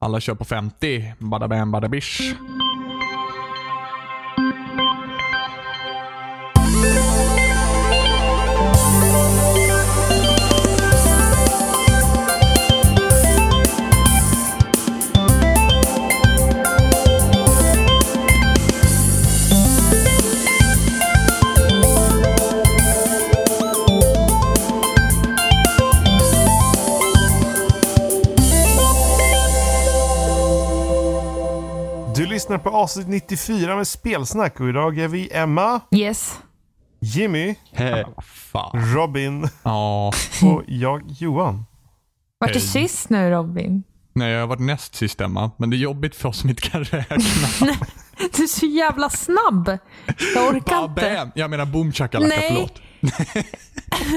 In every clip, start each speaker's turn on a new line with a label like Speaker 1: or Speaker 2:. Speaker 1: Alla kör på 50. Bada bam, bada bish.
Speaker 2: Du lyssnar på avsnitt 94 med Spelsnack och idag är vi Emma,
Speaker 3: Yes.
Speaker 2: Jimmy,
Speaker 1: Vad Fan.
Speaker 2: Robin
Speaker 1: Ja.
Speaker 2: och jag Johan.
Speaker 3: Vart du
Speaker 1: Hej.
Speaker 3: sist nu Robin?
Speaker 1: Nej, jag har varit näst sist Emma, men det är jobbigt för oss som inte kan räkna.
Speaker 3: Du är så jävla snabb. Jag orkar
Speaker 1: Bada
Speaker 3: inte.
Speaker 1: bam. Jag menar boom shakalaka,
Speaker 3: Nej.
Speaker 1: förlåt.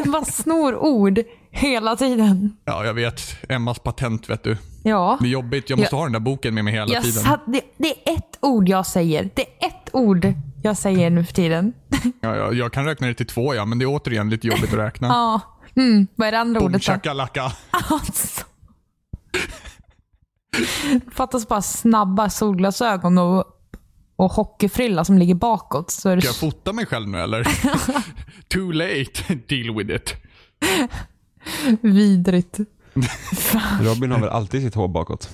Speaker 3: Du bara snor ord hela tiden.
Speaker 1: Ja, jag vet. Emmas patent vet du.
Speaker 3: Ja.
Speaker 1: Det är jobbigt. Jag måste ha den där boken med mig hela
Speaker 3: Jag
Speaker 1: tiden.
Speaker 3: satt, det, det är ett ord jag säger. Det är ett ord jag säger nu för tiden.
Speaker 1: Ja, jag, jag kan räkna det till två ja, men det är återigen lite jobbigt att räkna.
Speaker 3: Ja. Mm. Vad är det andra
Speaker 1: boom
Speaker 3: ordet då?
Speaker 1: shakalaka.
Speaker 3: Alltså. Fattas bara snabba solglasögon och, och hockeyfrilla som ligger bakåt. Så är det
Speaker 1: Ska jag fota mig själv nu eller? Too late. Deal with it.
Speaker 3: vidrigt.
Speaker 4: Robin har väl alltid sitt hår bakåt?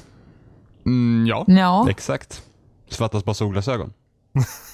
Speaker 1: Mm, ja.
Speaker 3: Ja.
Speaker 4: Exakt. Så fattas bara solglasögon.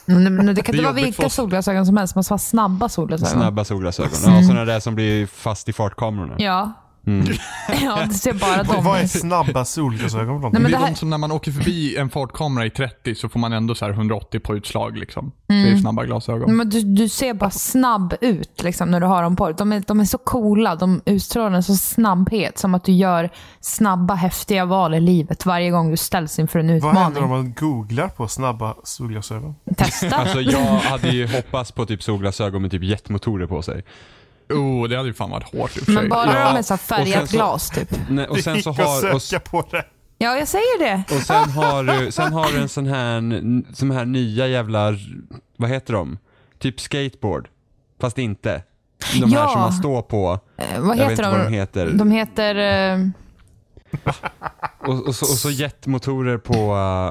Speaker 3: Mm, Men, men det kan
Speaker 1: Det är
Speaker 3: inte vara
Speaker 1: jobbigt för
Speaker 3: vilka
Speaker 1: oss.
Speaker 3: solglasögon som helst, man ska ha snabba solglasögon.
Speaker 4: Snabba solglasögon. Ja, sådana där som blir fast i fartkamerorna.
Speaker 3: Ja.
Speaker 4: Mm.
Speaker 3: ja, du ser bara
Speaker 2: Vad, vad är
Speaker 3: dem.
Speaker 2: snabba solglasögon för någonting?
Speaker 3: Mm. Nej, men
Speaker 1: det är
Speaker 3: det här-
Speaker 1: de som när man åker förbi en fartkamera i 30 så får man ändå så här 180 på utslag. Liksom. Det är
Speaker 3: Mm.
Speaker 1: snabba glasögon.
Speaker 3: Men du, du ser bara snabb ut liksom, när du har dem på dig. De är, de är så coola, de utstrålar en sån snabbhet. Som att du gör snabba, häftiga val i livet varje gång du ställs inför en
Speaker 2: Vad händer
Speaker 3: utmaning.
Speaker 2: om man googlar på snabba solglasögon?
Speaker 3: Testa.
Speaker 4: Alltså jag hade ju hoppats på typ solglasögon med typ jetmotorer på sig.
Speaker 1: Oh, det hade ju fan varit hårt i och för sig.
Speaker 3: men bara
Speaker 4: Ja.
Speaker 3: med så här
Speaker 4: Och sen
Speaker 3: färgat
Speaker 4: så-
Speaker 3: glas typ.
Speaker 4: Nej, och
Speaker 2: det
Speaker 4: sen
Speaker 2: gick
Speaker 4: så
Speaker 2: att
Speaker 4: har... Och,
Speaker 2: söka på det.
Speaker 3: Ja, jag säger det.
Speaker 4: och sen har du, sen har du en sån här, sån här nya jävla, vad heter de? Typ skateboard. Fast inte. De här
Speaker 3: Ja.
Speaker 4: som man står på.
Speaker 3: Eh, vad heter
Speaker 4: Jag vet inte
Speaker 3: de?
Speaker 4: vad de heter.
Speaker 3: De heter... eh,
Speaker 4: Och, och, så, och så jetmotorer på,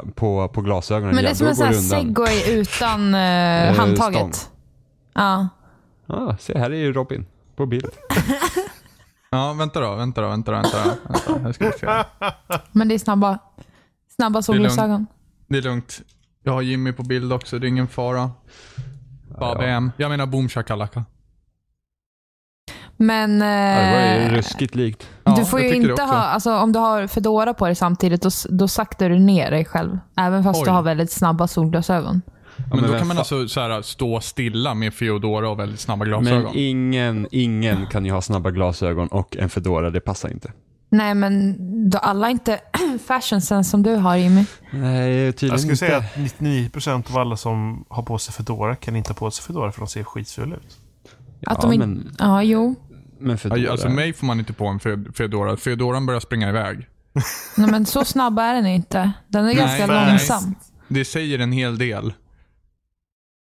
Speaker 4: eh, på, på glasögonen.
Speaker 3: men det är
Speaker 4: Ja,
Speaker 3: som
Speaker 4: då
Speaker 3: en sån här
Speaker 4: går det undan.
Speaker 3: segway utan eh, handtaget.
Speaker 4: stång.
Speaker 3: Ja.
Speaker 4: Ah, se här är ju Robin. På bild.
Speaker 1: Ja, vänta då, vänta då, vänta då. Vänta då. Vänta, här ska vi se.
Speaker 3: Men det är snabba, snabba
Speaker 1: lugnt.
Speaker 3: solglasögon.
Speaker 1: Det är lugnt. Jag har Jimmy på bild också, det är ingen fara. Babem. Jag menar boom shakalaka.
Speaker 3: Men
Speaker 4: Ja, det var ju
Speaker 3: eh,
Speaker 4: ruskigt likt.
Speaker 1: Ja,
Speaker 3: du får ju
Speaker 1: jag tycker det
Speaker 3: inte
Speaker 1: också.
Speaker 3: ha, alltså, om du har Fedora på dig samtidigt, då, s- då saktar du ner dig själv. Även fast
Speaker 1: Oj.
Speaker 3: du har väldigt snabba solglasögon.
Speaker 1: Men,
Speaker 4: men
Speaker 1: då
Speaker 4: vem
Speaker 1: kan man
Speaker 4: fa-
Speaker 1: alltså så här, stå stilla med Feodora och väldigt snabba
Speaker 4: Men
Speaker 1: glasögon.
Speaker 4: ingen, ingen kan ju ha snabba glasögon och en fedora, det passar inte.
Speaker 3: Nej, men då alla har inte fashion sense som du har Jimmy.
Speaker 4: Nej,
Speaker 2: Jag
Speaker 4: tydligen
Speaker 2: skulle
Speaker 4: inte.
Speaker 2: säga att 99% av alla som har på sig Fedora kan inte ha på sig Fedora för de ser skitfula ut.
Speaker 4: ja,
Speaker 3: att de in-
Speaker 4: men,
Speaker 3: Ja, jo.
Speaker 4: men
Speaker 1: Aj,
Speaker 4: fedora.
Speaker 1: Alltså mig får man inte på en Fe- Feodora. Feodoran börjar springa iväg.
Speaker 3: Nej, men så snabb är den inte. Den är ganska
Speaker 1: nej.
Speaker 3: långsam.
Speaker 1: Det säger en hel del.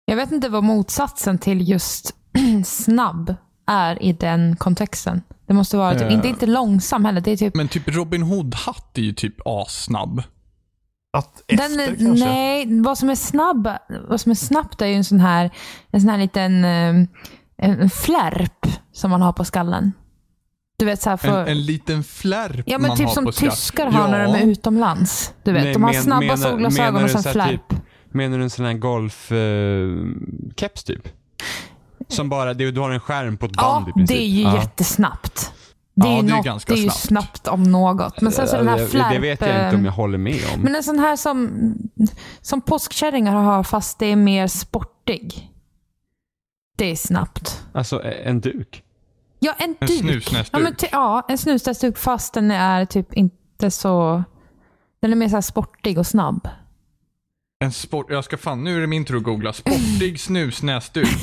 Speaker 3: Jag vet inte vad motsatsen till just snabb är i den kontexten. Det måste vara, typ,
Speaker 1: Eh.
Speaker 3: inte, inte långsam heller, det är typ
Speaker 1: Men typ Robin Hood-hatt är ju typ assnabb.
Speaker 2: Att efter
Speaker 3: Den är,
Speaker 2: kanske?
Speaker 3: nej, vad som är snabb, vad som är snabbt är ju en sån här, en sån här liten eh, en flärp som man har på skallen. Du vet så här för,
Speaker 1: En, en liten flärp
Speaker 3: ja men
Speaker 1: man
Speaker 3: typ
Speaker 1: har
Speaker 3: som
Speaker 1: på skatt.
Speaker 3: tyskar har när de är utomlands. Du vet,
Speaker 4: Nej,
Speaker 3: de har
Speaker 4: men-
Speaker 3: snabba
Speaker 4: menar-
Speaker 3: solglasögon
Speaker 4: menar
Speaker 3: och
Speaker 4: du
Speaker 3: sen
Speaker 4: så här
Speaker 3: flärp.
Speaker 4: Typ, menar du en sån här golfkeps typ? Som bara, det, du har en skärm på ett band
Speaker 3: ja,
Speaker 4: i princip.
Speaker 3: det är ju
Speaker 4: ja.
Speaker 3: jättesnabbt. Det är,
Speaker 1: Ja,
Speaker 3: ju
Speaker 1: det är
Speaker 3: något,
Speaker 1: ganska
Speaker 3: det är ju
Speaker 1: snabbt.
Speaker 3: snabbt om något. Men sen så den här
Speaker 4: Ja, det-
Speaker 3: flärp...
Speaker 4: Det vet jag inte
Speaker 3: eh,
Speaker 4: om jag håller med om.
Speaker 3: Men en sån här som, som påskkärringar har fast det är mer sportig. Det är snabbt.
Speaker 4: Alltså e- en duk.
Speaker 3: Ja, en,
Speaker 1: En
Speaker 3: duk.
Speaker 1: snusnäsduk.
Speaker 3: Ja, men ty- ja, en snusnäsduk fast den är typ inte så... Den är mer så här sportig och snabb.
Speaker 1: En sport... Jag ska fan, nu är det min tur att googla. Sportig snusnäsduk.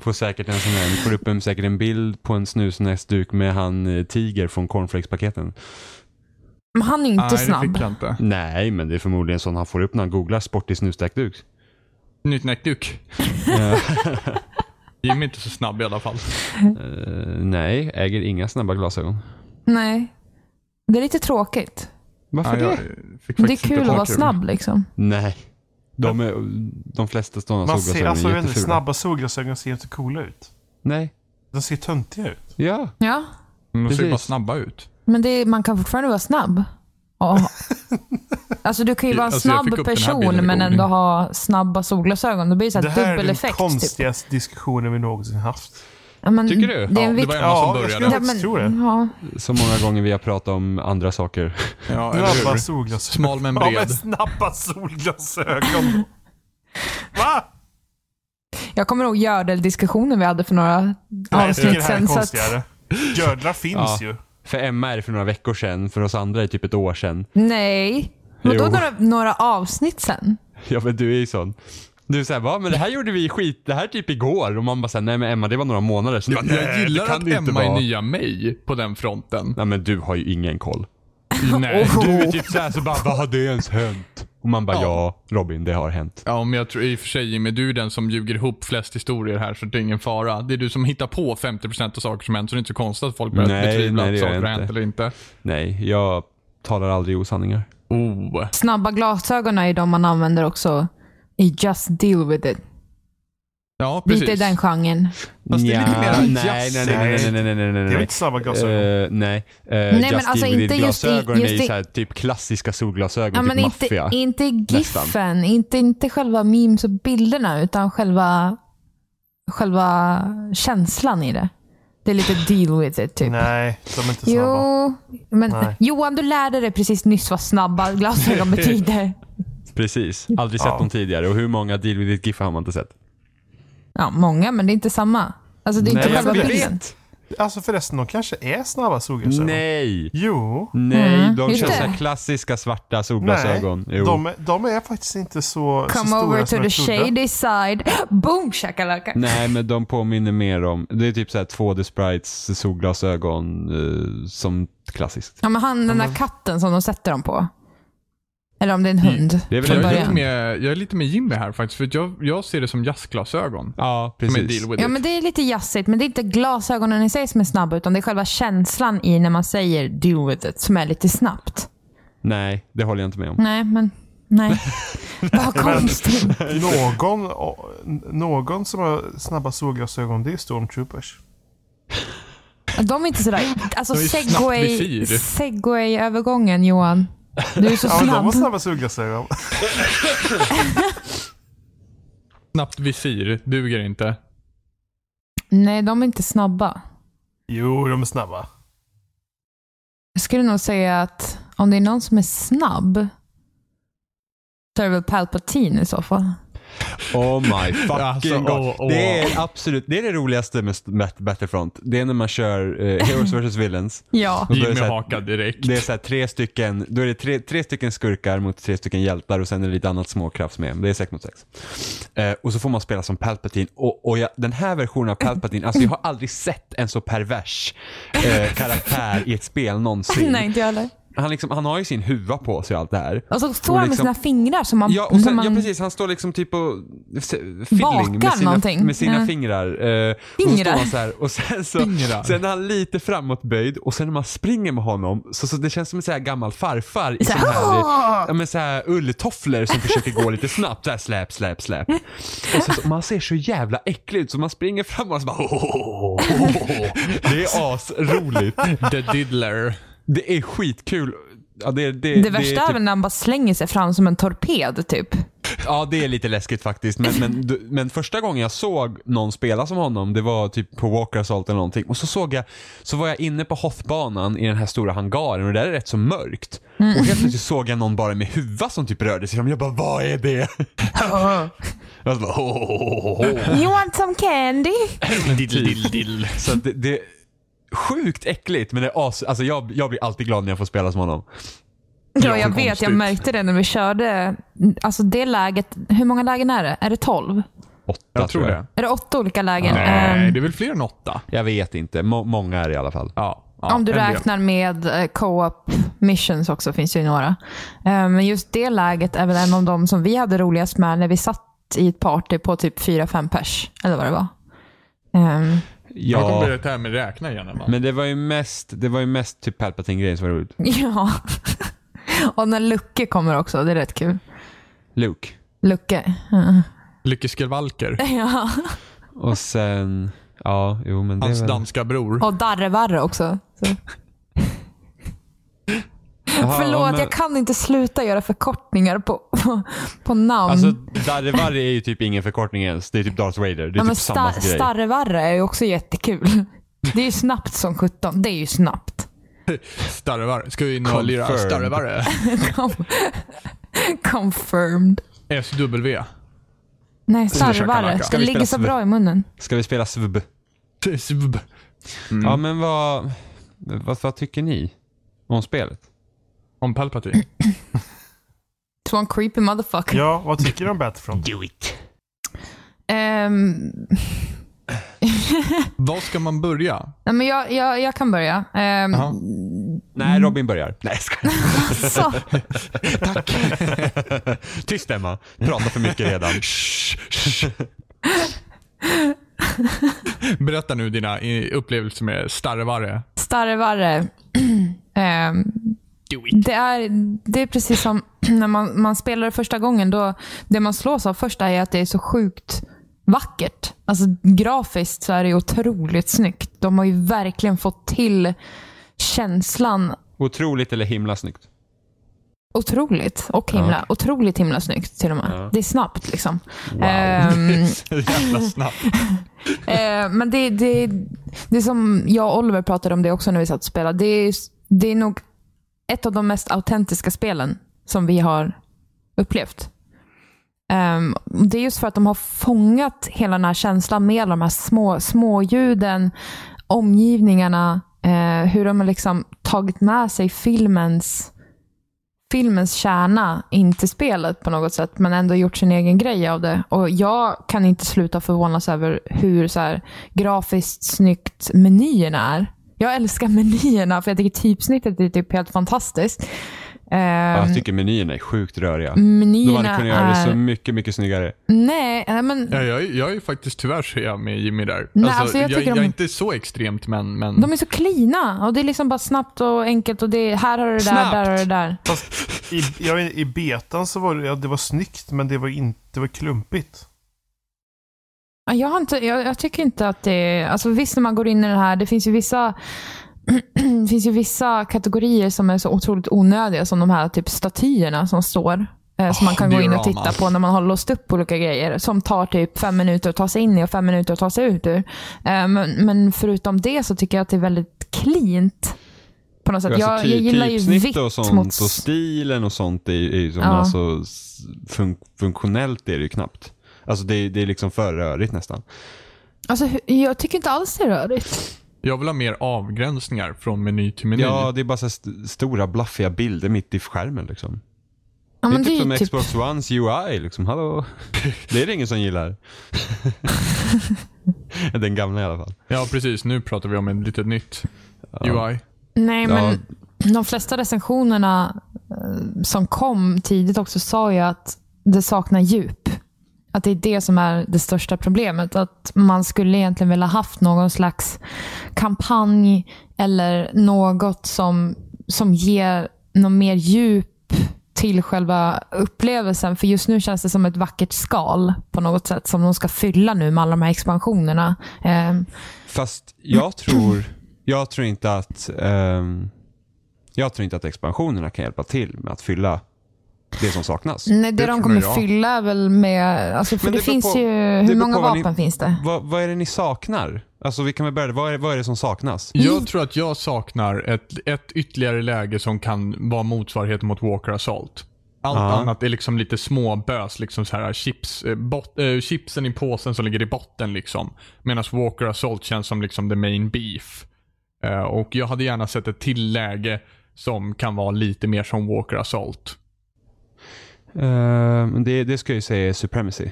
Speaker 4: Får säkert en sån här, får upp en, säkert en bild på en snusnäsduk med han eh, Tiger från cornflakespaketen.
Speaker 3: Men han är ju inte
Speaker 1: Nej, det
Speaker 3: snabb.
Speaker 1: fick jag inte.
Speaker 4: Nej, men det är förmodligen sån han får upp när han googlar sportig snusnäsduk.
Speaker 1: Nytnäckduk. Jimmy är inte så snabb i alla fall.
Speaker 4: Eh, nej, äger inga snabba glasögon.
Speaker 3: Nej. Det är lite tråkigt.
Speaker 4: Varför
Speaker 1: Ja, jag
Speaker 4: det?
Speaker 1: fick
Speaker 3: Det är
Speaker 1: faktiskt inte
Speaker 3: kul att
Speaker 1: ha
Speaker 3: vara snabb liksom.
Speaker 4: Nej. De, är, de flesta sådana
Speaker 2: Man ser,
Speaker 4: solglasögon
Speaker 2: alltså,
Speaker 4: är
Speaker 2: jag vet inte,
Speaker 4: jättefula.
Speaker 2: snabba solglasögon ser inte coola ut.
Speaker 4: Nej.
Speaker 2: De ser töntiga ut.
Speaker 4: Ja.
Speaker 3: Ja,
Speaker 1: De ser ju bara
Speaker 4: Precis.
Speaker 1: snabba ut.
Speaker 3: men det, man kan fortfarande vara snabb. Ja. alltså du kan ju vara en
Speaker 1: Alltså, jag
Speaker 3: snabb
Speaker 1: fick upp den här bilden
Speaker 3: person
Speaker 1: i
Speaker 3: men ändå
Speaker 1: Google.
Speaker 3: ha snabba solglasögon. Då blir det så
Speaker 2: Det
Speaker 3: här
Speaker 2: här är
Speaker 3: dubbel
Speaker 2: den
Speaker 3: effekt. Typ.
Speaker 2: konstigaste diskussionen vi någonsin haft.
Speaker 3: Ja, men
Speaker 4: Tycker du?
Speaker 1: Ja,
Speaker 3: Det är en
Speaker 1: det
Speaker 3: vikt...
Speaker 1: var Emma
Speaker 2: Ja,
Speaker 1: som
Speaker 2: jag
Speaker 1: började.
Speaker 2: skulle-
Speaker 3: ja,
Speaker 2: Jag tror det.
Speaker 3: men, ja.
Speaker 4: Så många gånger vi har pratat om andra saker.
Speaker 1: Ja, eller
Speaker 2: Snabba
Speaker 1: hur?
Speaker 2: solglasögon.
Speaker 1: Smal men
Speaker 2: Ja, men
Speaker 1: bred.
Speaker 2: snabba solglasögon. Va?
Speaker 3: Jag kommer ihåg gördeldiskussionen vi hade för några
Speaker 2: Nej, jag tycker
Speaker 3: avsnitt
Speaker 2: det här är
Speaker 3: sen. Så att,
Speaker 2: konstigare. Gödlar finns
Speaker 4: Ja.
Speaker 2: ju.
Speaker 4: För Emma är det för några veckor sedan, för oss andra är det typ ett år sedan.
Speaker 3: nej. Vadå
Speaker 4: Jo.
Speaker 3: några, några avsnitt sen?
Speaker 4: Ja men du är ju sån. Du säger va, men det här gjorde vi skit, det här är typ igår. Och man bara säger nej men Emma det var några månader sedan. Du bara,
Speaker 1: Jag
Speaker 4: "Nej,
Speaker 1: gillar
Speaker 4: det kan
Speaker 1: att
Speaker 4: det inte
Speaker 1: Emma är
Speaker 4: vara."
Speaker 1: nya mig på den fronten.
Speaker 4: Nej men du har ju ingen koll.
Speaker 1: Nej.
Speaker 4: Du är typ såhär så bara, vad har det ens hänt? Och man bara, ja, Robin, det har hänt.
Speaker 1: Ja, men jag tror i och för sig Jimmy, du är den som ljuger ihop flest historier här så det är ingen fara. Det är du som hittar på 50% av saker som hänt så det är inte så konstigt att folk börjar
Speaker 4: Nej,
Speaker 1: betvivla
Speaker 4: nej, det
Speaker 1: att
Speaker 4: gör jag
Speaker 1: saker har hänt
Speaker 4: inte.
Speaker 1: eller inte.
Speaker 4: Nej, jag talar aldrig osanningar.
Speaker 1: Oh.
Speaker 3: Snabba glasögon är ju de man använder också i Just Deal With It.
Speaker 1: Ja, precis.
Speaker 3: Lite i den genren.
Speaker 1: Fast det är lite
Speaker 4: Nja,
Speaker 1: mer en
Speaker 4: nej, nej,
Speaker 1: jazz.
Speaker 4: nej, nej, nej, nej, nej, nej, nej.
Speaker 2: Det är väl inte snabba glasögon?
Speaker 4: Eh, nej,
Speaker 3: men
Speaker 4: nej just
Speaker 3: alltså
Speaker 4: Evil
Speaker 3: inte just i-
Speaker 4: glasögonen
Speaker 3: just
Speaker 4: är ju
Speaker 3: i-
Speaker 4: såhär typ klassiska solglasögon,
Speaker 3: Ja,
Speaker 4: typ
Speaker 3: men inte,
Speaker 4: maffia.
Speaker 3: inte
Speaker 4: Nästan.
Speaker 3: giffen, inte, inte själva memes och bilderna, utan själva, själva känslan i det. Det är lite deal with it, typ.
Speaker 2: Nej, de är inte snabba.
Speaker 3: Jo, men
Speaker 2: Nej.
Speaker 3: Johan, du lärde dig precis nyss vad snabba glasögon betyder.
Speaker 4: Precis, aldrig sett
Speaker 2: Ja.
Speaker 4: dem tidigare. Och hur många deal with it-giffar har man inte sett?
Speaker 3: Ja, många, men det är inte samma. Alltså det är inte
Speaker 4: Nej,
Speaker 3: själva
Speaker 4: vi
Speaker 3: bilden.
Speaker 4: vet.
Speaker 2: Alltså förresten, de kanske är snabba solglasögon.
Speaker 4: Nej!
Speaker 2: Jo.
Speaker 4: Nej, de
Speaker 3: Mm. just
Speaker 4: kör
Speaker 3: det.
Speaker 4: såhär klassiska svarta
Speaker 2: Nej.
Speaker 4: solglasögon. Jo.
Speaker 2: De, är- de är faktiskt inte så, så
Speaker 3: Come
Speaker 2: stora
Speaker 3: over
Speaker 2: som
Speaker 3: to the
Speaker 2: jag trodde.
Speaker 3: shady side. Boom shakalaka.
Speaker 4: Nej, men de påminner mer om, det är typ såhär 2D sprites solglasögon eh, som klassiskt.
Speaker 3: Ja, men han, den där katten som de sätter dem på. Eller om det är en hund.
Speaker 4: Det är väl
Speaker 3: från
Speaker 4: en
Speaker 1: Jag är, lite
Speaker 3: början.
Speaker 1: med, jag är lite med Jimmy här faktiskt, för att jag, jag ser det som jazzglasögon.
Speaker 4: Ja,
Speaker 1: Som är
Speaker 4: precis.
Speaker 1: deal with
Speaker 3: Ja,
Speaker 1: it.
Speaker 3: men det är lite jazzigt, men det är inte glasögonen i sig som är snabba, utan det är själva känslan i när man säger do with it som är lite snabbt.
Speaker 4: Nej, det håller jag inte med om.
Speaker 3: Nej, men nej. Vad konstigt.
Speaker 2: Någon, å- n- någon som har snabba solglasögon, det är Stormtroopers.
Speaker 3: De är inte sådär... Alltså
Speaker 1: De är snabbt
Speaker 3: segway,
Speaker 1: visir.
Speaker 3: segway-övergången Johan. Du är så
Speaker 2: Ja, men de
Speaker 3: snabb.
Speaker 2: har snabba solglasögon.
Speaker 1: Snabbt visir duger inte.
Speaker 3: Nej, de är inte snabba.
Speaker 2: Jo, de är snabba.
Speaker 3: Jag skulle nog säga att om det är någon som är snabb så är det väl Palpatine i så fall.
Speaker 4: Oh my fucking
Speaker 1: Alltså,
Speaker 4: god.
Speaker 1: åh, åh.
Speaker 4: Det är absolut, det är det roligaste med Bat- Battlefront. Det är när man kör eh, Heroes vs Villains.
Speaker 3: Ja.
Speaker 4: Och då är det
Speaker 1: Jimmy
Speaker 4: så här-
Speaker 1: hakar direkt.
Speaker 4: Det är så här tre stycken, då är det tre, tre stycken skurkar mot tre stycken hjältar och sen är det lite annat småkrafts med. Det är sex mot sex. Eh, och så får man spela som Palpatine och, och jag, den här versionen av Palpatine, alltså jag har aldrig sett en så pervers eh, karaktär i ett spel någonsin.
Speaker 3: Nej, inte Alltså, jag heller.
Speaker 4: Han, liksom, han har ju sin huva på sig och allt det här.
Speaker 3: Och så står han med
Speaker 4: liksom-
Speaker 3: sina fingrar som man...
Speaker 4: Ja, och sen,
Speaker 3: som man
Speaker 4: ja precis. Han står liksom typ och s-
Speaker 3: Bakar
Speaker 4: fiddling med sina,
Speaker 3: någonting.
Speaker 4: med sina
Speaker 3: Ja.
Speaker 4: fingrar. eh, Och så
Speaker 3: Fingrar.
Speaker 4: står han så här, och sen, så,
Speaker 1: Fingrar.
Speaker 4: sen är han lite framåtböjd och sen när man springer med honom så, så det känns som en så här gammal farfar i
Speaker 3: Så
Speaker 4: så
Speaker 3: här,
Speaker 4: här, ja, men så här ulltofflor som försöker gå lite snabbt. Så här, släp, släp, släp. Och så, så, man ser så jävla äcklig ut så man springer fram och så bara Det är asroligt.
Speaker 1: The diddler.
Speaker 4: Det är skitkul. Ja, det, det,
Speaker 3: Det värsta är
Speaker 4: typ-
Speaker 3: väl när han bara slänger sig fram som en torped typ.
Speaker 4: Ja, det är lite läskigt faktiskt. Men, men, du- men första gången jag såg någon spela som honom, det var typ på Walker Assault eller någonting. Och så såg jag, så var jag inne på Hothbanan i den här stora hangaren och där är rätt så mörkt. Och helt plötsligt såg jag någon bara med huva som typ rörde sig fram. Jag bara, vad är det? jag bara, "Ho, ho, ho, ho, ho."
Speaker 3: You want some candy?
Speaker 1: Diddle, diddle, diddle.
Speaker 4: Så att det, det är sjukt äckligt, men det är as... Alltså jag, jag blir alltid glad när jag får spela som honom.
Speaker 3: Ja,
Speaker 4: Ja,
Speaker 3: jag vet.
Speaker 4: konstigt.
Speaker 3: Jag märkte det när vi körde. Alltså det läget. Hur många lägen är det? Är det 12?
Speaker 4: Åtta
Speaker 1: Jag tror det.
Speaker 3: Är det åtta olika lägen?
Speaker 1: Nej,
Speaker 3: Ehm,
Speaker 1: det är väl fler än åtta?
Speaker 4: Jag vet inte. Må- många är det i alla fall.
Speaker 1: Ja.
Speaker 3: om du räknar med eh, co-op missions också finns det ju några. Ehm, Men just det läget är väl en av de som vi hade roligast med när vi satt i ett party på typ 4-5 pers. Eller vad det var. Ehm,
Speaker 1: Jag kommer
Speaker 4: Ja,
Speaker 1: börja det här med räkna igen. Emma.
Speaker 4: men det var ju mest, det var ju mest typ Palpatine-grejen som var roligt.
Speaker 3: ja. Och när Lucke kommer också, det är rätt kul.
Speaker 4: Luke.
Speaker 3: Lucke. Ja.
Speaker 1: Lycke Skelvalker.
Speaker 3: Ja.
Speaker 4: Och sen... Ja, jo men det
Speaker 1: Hans
Speaker 4: är väl...
Speaker 1: danska bror.
Speaker 3: Och Darrevarre också. Så.
Speaker 4: Jaha,
Speaker 3: Förlåt,
Speaker 4: men-
Speaker 3: jag kan inte sluta göra förkortningar på, på, på namn.
Speaker 4: Alltså, Darrevarre är ju typ ingen förkortning ens. Det är typ Darth Vader. Det är
Speaker 3: Mm. ja, men
Speaker 4: typ samma
Speaker 3: sta-
Speaker 4: grej.
Speaker 3: Starrevarre är ju också jättekul. Det är ju snabbt som sjutton. Det är ju snabbt.
Speaker 1: Starvar. Ska vi in och lira
Speaker 4: Confirmed.
Speaker 1: starvare?
Speaker 3: Com- Confirmed.
Speaker 1: SW.
Speaker 3: Nej,
Speaker 1: vi käka
Speaker 3: starvarre.
Speaker 1: macka?
Speaker 3: Det
Speaker 1: Ska
Speaker 4: vi
Speaker 3: ligger så
Speaker 4: spela
Speaker 3: bra i munnen.
Speaker 4: Ska vi spela svub?
Speaker 1: SW.
Speaker 4: Ja, men vad, vad... Vad tycker ni om spelet?
Speaker 1: Om Palpatine.
Speaker 3: Så en creepy motherfucker.
Speaker 2: Ja, vad tycker du om Battlefront?
Speaker 4: Do it.
Speaker 3: Ehm,
Speaker 1: Var ska man börja?
Speaker 3: nej, men jag, jag, jag kan börja. Ehm,
Speaker 1: Jaha.
Speaker 3: Mm.
Speaker 4: Nej, Robin börjar. Nej, jag skojar.
Speaker 3: så,
Speaker 4: Tyst Emma. Pratar för mycket redan.
Speaker 1: Berätta nu dina eh, upplevelser med starvare.
Speaker 3: starvarre. Ehm, det, är, det är precis som när man, man spelar det första gången. Då, det man slås av först är att det är så sjukt vackert. Alltså grafiskt så är det ju otroligt snyggt. De har ju verkligen fått till känslan
Speaker 4: Otroligt eller himla snyggt.
Speaker 3: otroligt och himla, otroligt himla snyggt till och med. Det är snabbt liksom. Ehm,
Speaker 1: Jävla snabbt.
Speaker 3: Eh, men det, det, det är som jag och Oliver pratade om det också när vi satt och spelade. Det är, det är nog ett av de mest autentiska spelen som vi har upplevt. Ehm, det är just för att de har fångat hela den här känslan med alla de här små, små ljuden, omgivningarna, eh, hur de har liksom tagit med sig filmens filmens kärna in till spelet på något sätt, men ändå gjort sin egen grej av det. Och Jag kan inte sluta förvånas över hur så här, grafiskt snyggt menyerna är. Jag älskar menyerna, för jag tycker typsnittet är typ helt fantastiskt. Ehm,
Speaker 4: jag tycker menyerna är sjukt röriga. De hade
Speaker 3: menyerna
Speaker 4: kunnat göra det
Speaker 3: är...
Speaker 4: så mycket, mycket snyggare.
Speaker 3: Nej, nej, men
Speaker 1: Ja, jag, är- jag är faktiskt tyvärr så är jag med Jimmy där.
Speaker 3: Nej, alltså, jag
Speaker 1: jag,
Speaker 3: tycker de-
Speaker 1: är inte så extremt, men... men...
Speaker 3: de är så klina. Och Det är liksom bara snabbt och enkelt. Och det är, här har du det där,
Speaker 4: Snabbt.
Speaker 3: där har du det där.
Speaker 2: Fast i, ja, i betan så var det, ja, det var snyggt, men det var inte det var klumpigt.
Speaker 3: Ja, Jag, har inte, jag, jag tycker inte att det är... Alltså visst, när man går in i det här, det finns ju vissa... det finns ju vissa kategorier som är så otroligt onödiga, som de här typ statyerna som står. Eh, som
Speaker 1: Ah,
Speaker 3: man kan gå in och
Speaker 1: dioramas.
Speaker 3: titta på när man har låst upp olika grejer. Som tar typ fem minuter att ta sig in i och fem minuter att ta sig ut ur. Eh, men, men förutom det så tycker jag att det är väldigt cleant. På något sätt. jag,
Speaker 4: Alltså, ty-
Speaker 3: jag gillar ju
Speaker 4: typsnitt
Speaker 3: vitt
Speaker 4: och sånt
Speaker 3: mot...
Speaker 4: och stilen och sånt är, är ju som,
Speaker 3: Ja.
Speaker 4: alltså, s- fun- funktionellt är det ju knappt. Alltså det, det är liksom för rörigt nästan.
Speaker 3: Alltså, hu- jag tycker inte alls det är rörigt.
Speaker 1: Jag vill ha mer avgränsningar från meny till meny.
Speaker 4: Ja, det är bara så här st- stora blaffiga bilder mitt i skärmen liksom.
Speaker 3: Ja, men
Speaker 4: det är typ
Speaker 3: ju
Speaker 4: som Xbox Ones UI liksom, hallå. Det är det ingen som gillar. Den gamla i alla fall.
Speaker 1: ja, precis. Nu pratar vi om en lite nytt UI.
Speaker 3: Nej,
Speaker 4: Ja.
Speaker 3: men de flesta recensionerna eh, som kom tidigt också sa ju att det saknar djup. Att det är det som är det största problemet. Att man skulle egentligen vilja haft någon slags kampanj eller något som, som ger något mer djup till själva upplevelsen. För just nu känns det som ett vackert skal på något sätt som de ska fylla nu med alla de här expansionerna. Eh,
Speaker 4: Fast jag tror, jag tror inte att ehm, jag tror inte att expansionerna kan hjälpa till med att fylla det som saknas.
Speaker 3: Nej, det,
Speaker 1: Det
Speaker 3: de
Speaker 1: tror
Speaker 3: kommer
Speaker 1: jag.
Speaker 3: fylla är väl med... Alltså, för
Speaker 4: Men
Speaker 3: det,
Speaker 4: det beror
Speaker 3: finns
Speaker 4: på-
Speaker 3: ju...
Speaker 4: beror
Speaker 3: Hur många
Speaker 4: på vad ni-
Speaker 3: vapen finns det?
Speaker 4: Vad, vad är det ni saknar? Alltså vi kan väl börja där. vad är, vad är det som saknas?
Speaker 1: Jag tror att jag saknar ett, ett ytterligare läge som kan vara motsvarighet mot Walker Assault. Allt
Speaker 4: Ja.
Speaker 1: annat är liksom lite småbös. Liksom så här, chips, eh, bot, eh, chipsen i påsen som ligger i botten. Liksom. Medan Walker Assault känns som liksom the main beef. Eh, och Jag hade gärna sett ett till läge som kan vara lite mer som Walker Assault.
Speaker 4: Ehm, det, det ska jag ju säga är supremacy.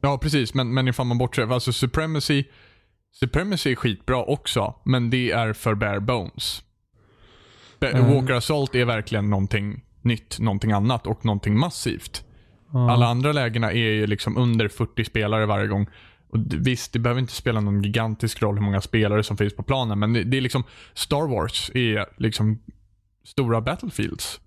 Speaker 1: Ja, precis. Men, men ifall man bortser... Alltså Supremacy, Supremacy är skitbra också, men det är för bare bones. Ba- Walker Assault är verkligen någonting nytt, någonting annat och någonting massivt. Alla andra lägena är ju liksom under 40 spelare varje gång. Och d- visst, det behöver inte spela någon gigantisk roll hur många spelare som finns på planen, men det, det är liksom... Star Wars är liksom stora Battlefields.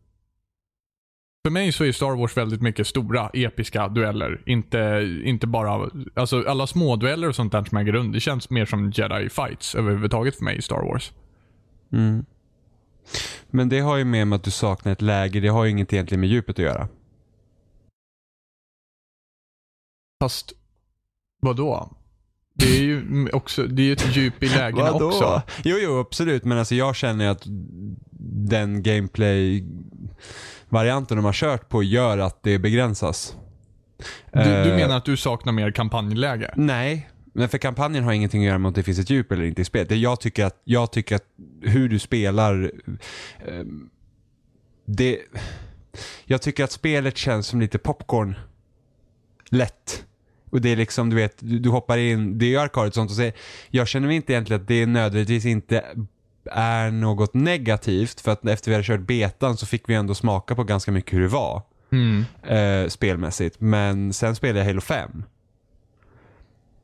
Speaker 1: För mig så är Star Wars väldigt mycket stora, episka dueller. Inte, inte bara, alltså alla små dueller och sånt där som äger rum. Det känns mer som jedi fights överhuvudtaget för mig i Star Wars.
Speaker 4: Mm. Men det har ju med, med att du saknar ett läge, det har ju inget egentligen med djupet att göra.
Speaker 1: Fast, vadå? Det är ju m- också, det är ju ett djup i lägena också.
Speaker 4: Jo, jo, absolut. Men alltså jag känner ju att den gameplay-varianten de har kört på gör att det begränsas.
Speaker 1: Du, du
Speaker 4: Eh,
Speaker 1: menar att du saknar mer kampanjläge?
Speaker 4: Nej, men för kampanjen har ingenting att göra med om det finns ett djup eller inte i spelet. Det- Jag tycker att, jag tycker att hur du spelar... eh, det, jag tycker att spelet känns som lite popcorn. Lätt. Och det är liksom, du vet, du, du hoppar in, det är ju arkad och sånt och säger, jag känner mig inte egentligen att det nödvändigtvis inte är något negativt för att efter vi hade kört betan så fick vi ändå smaka på ganska mycket hur det var
Speaker 1: Mm.
Speaker 4: eh, spelmässigt. Men sen spelade jag Halo 5.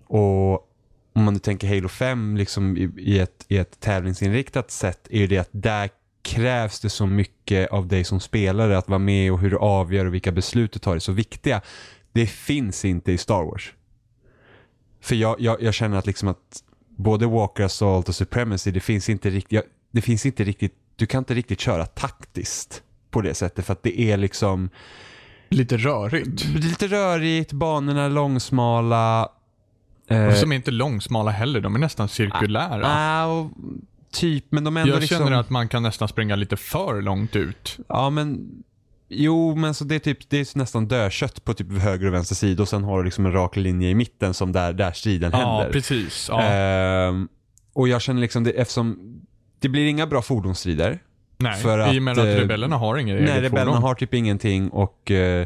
Speaker 4: Och om man nu tänker Halo 5 liksom i, i, ett, i ett tävlingsinriktat sätt är ju det att där krävs det så mycket av dig som spelare att vara med och hur du avgör och vilka beslut du tar är så viktiga. Det finns inte i Star Wars. För jag, jag, jag känner att liksom att både Walker Assault och Supremacy, det finns inte riktigt, jag, det finns inte riktigt, du kan inte riktigt köra taktiskt på det sättet för att det är liksom,
Speaker 1: Lite rörigt.
Speaker 4: det är lite rörigt, banorna är långsmala.
Speaker 1: Och
Speaker 4: Eh,
Speaker 1: Som är inte långsmala heller. De är nästan cirkulära.
Speaker 4: ah, och typ, men de är ändå
Speaker 1: Jag
Speaker 4: liksom...
Speaker 1: känner att man kan nästan springa lite för långt ut.
Speaker 4: Ja, men... Jo, men så det är, typ, det är nästan dödkött på typ höger och vänster sida och sen har du liksom en rak linje i mitten som där, där striden
Speaker 1: Ja,
Speaker 4: händer.
Speaker 1: precis. Ja.
Speaker 4: Ehm, och jag känner liksom, det, eftersom det blir inga bra fordonsstrider.
Speaker 1: nej,
Speaker 4: för att,
Speaker 1: i och med att
Speaker 4: eh,
Speaker 1: rebellerna har inget eget
Speaker 4: Nej, rebellerna
Speaker 1: fordon.
Speaker 4: har typ ingenting och eh,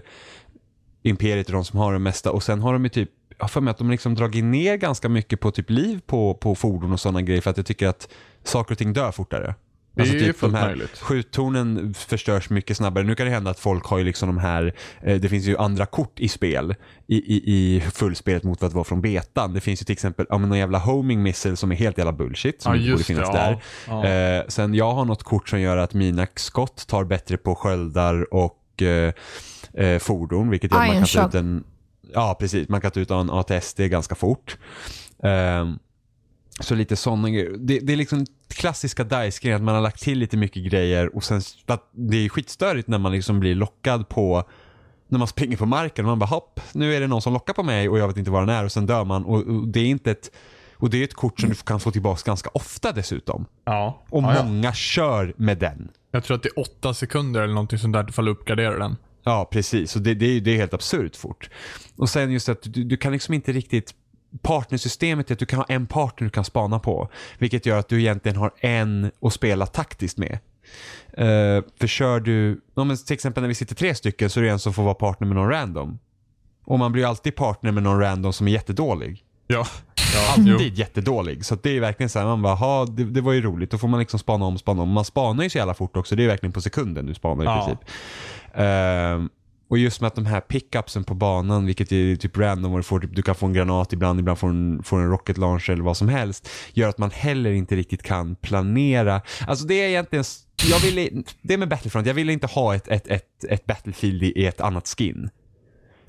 Speaker 4: Imperiet är de som har det mesta. Och sen har de ju typ, jag har för mig att de liksom dragit ner ganska mycket på typ liv på, på fordon och sådana grejer för att jag tycker att saker och ting dör fortare.
Speaker 1: Det är ju
Speaker 4: typ
Speaker 1: fullt
Speaker 4: de här
Speaker 1: möjligt.
Speaker 4: skjuttornen förstörs mycket snabbare. Nu kan det hända att folk har ju liksom de här, eh, det finns ju andra kort i spel i, i, i fullspelet mot vad det var från betan. Det finns ju till exempel ja, men någon jävla homing missile som är helt jävla bullshit som
Speaker 1: Ja,
Speaker 4: inte borde
Speaker 1: just det.
Speaker 4: finnas
Speaker 1: Ja.
Speaker 4: där.
Speaker 1: Ja.
Speaker 4: Eh, sen jag har något kort som gör att mina skott tar bättre på sköldar och eh, eh, fordon, vilket gör att man
Speaker 3: Iron
Speaker 4: kan ta
Speaker 3: shot.
Speaker 4: ut en... Ja, precis. Man kan ta ut en ATSD ganska fort. Ehm, så lite sådana grejer. Det, det är liksom klassiska DICE-grejen, att man har lagt till lite mycket grejer och sen... för Att det är skitstörigt när man liksom blir lockad på... När man springer på marken och man bara hopp, nu är det någon som lockar på mig och jag vet inte var den är och sen dör man. Och, och det är inte ett... Och det är ett kort som du kan få tillbaka ganska ofta dessutom.
Speaker 1: Ja.
Speaker 4: Och
Speaker 1: Ja, ja.
Speaker 4: många kör med den.
Speaker 1: Jag tror att det är åtta sekunder eller någonting sånt där ifall du uppgraderar den.
Speaker 4: Ja, precis. Och det, det, är, det är helt absurt fort. Och sen just att du, du kan liksom inte riktigt... Partnersystemet är att du kan ha en partner du kan spana på. Vilket gör att du egentligen har en att spela taktiskt med. Uh, för kör du... Ja, men till exempel när vi sitter tre stycken så är det en som får vara partner med någon random. Och man blir ju alltid partner med någon random som är jättedålig.
Speaker 1: Ja. Alltså, Jo.
Speaker 4: alltid jättedålig. Så att det är verkligen så här, man bara, "Ha, det, det var ju roligt. Då får man liksom spana om, spana om. Man spanar ju så jävla fort också. Det är verkligen på sekunden du spanar i
Speaker 1: Ja.
Speaker 4: princip. Ehm, och just med att de här pickupsen på banan, vilket är typ random, och du, får, typ, du kan få en granat ibland, ibland får en, får en rocket launcher eller vad som helst, gör att man heller inte riktigt kan planera. Alltså det är egentligen, s- jag ville, det är med Battlefront, jag ville inte ha ett, ett, ett, ett Battlefield i i ett annat skin.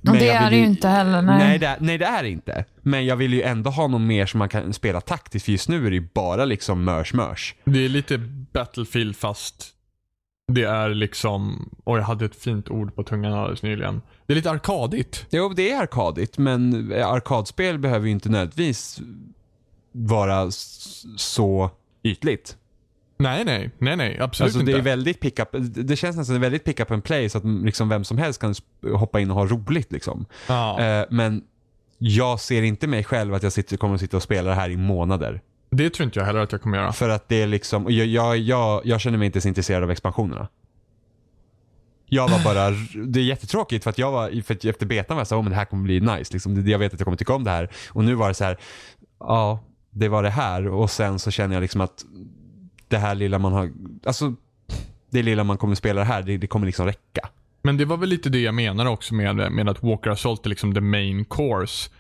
Speaker 4: Men
Speaker 3: det
Speaker 4: jag
Speaker 3: är
Speaker 4: vill
Speaker 3: det ju inte heller, nej.
Speaker 4: Nej det, är- nej, det är det inte. Men jag vill ju ändå ha någon mer som man kan spela taktiskt, för just nu är det ju bara liksom mörs, mörs.
Speaker 1: Det är lite Battlefield fast det är liksom, och jag hade ett fint ord på tungan alldeles nyligen. Det är lite arkadigt.
Speaker 4: Jo, det är arkadigt, men eh, arkadspel behöver ju inte nödvändigtvis vara s- så ytligt.
Speaker 1: Nej, nej, nej, nej, absolut
Speaker 4: Alltså
Speaker 1: inte.
Speaker 4: det är väldigt pick up, det känns nästan väldigt pick up and play så att liksom vem som helst kan sp- hoppa in och ha roligt liksom.
Speaker 1: ja.
Speaker 4: Eh, men jag ser inte mig själv att jag sitter, kommer att sitta och spela det här i månader.
Speaker 1: Det tror inte jag heller att jag kommer göra.
Speaker 4: För att det är liksom, och jag, jag, jag, jag känner mig inte ens intresserad av expansionerna. Jag var bara, det är jättetråkigt för att jag var, för att efter betan var jag såhär, oh, men det här kommer bli nice. Liksom, det- jag vet att jag kommer tycka om det här. Och nu var det så här, ja, det var det här. Och sen så känner jag liksom att det här lilla man har, alltså det lilla man kommer spela det här, det, det kommer liksom räcka.
Speaker 1: Men det var väl lite det jag menade också med, med att Walker Assault är liksom the main course.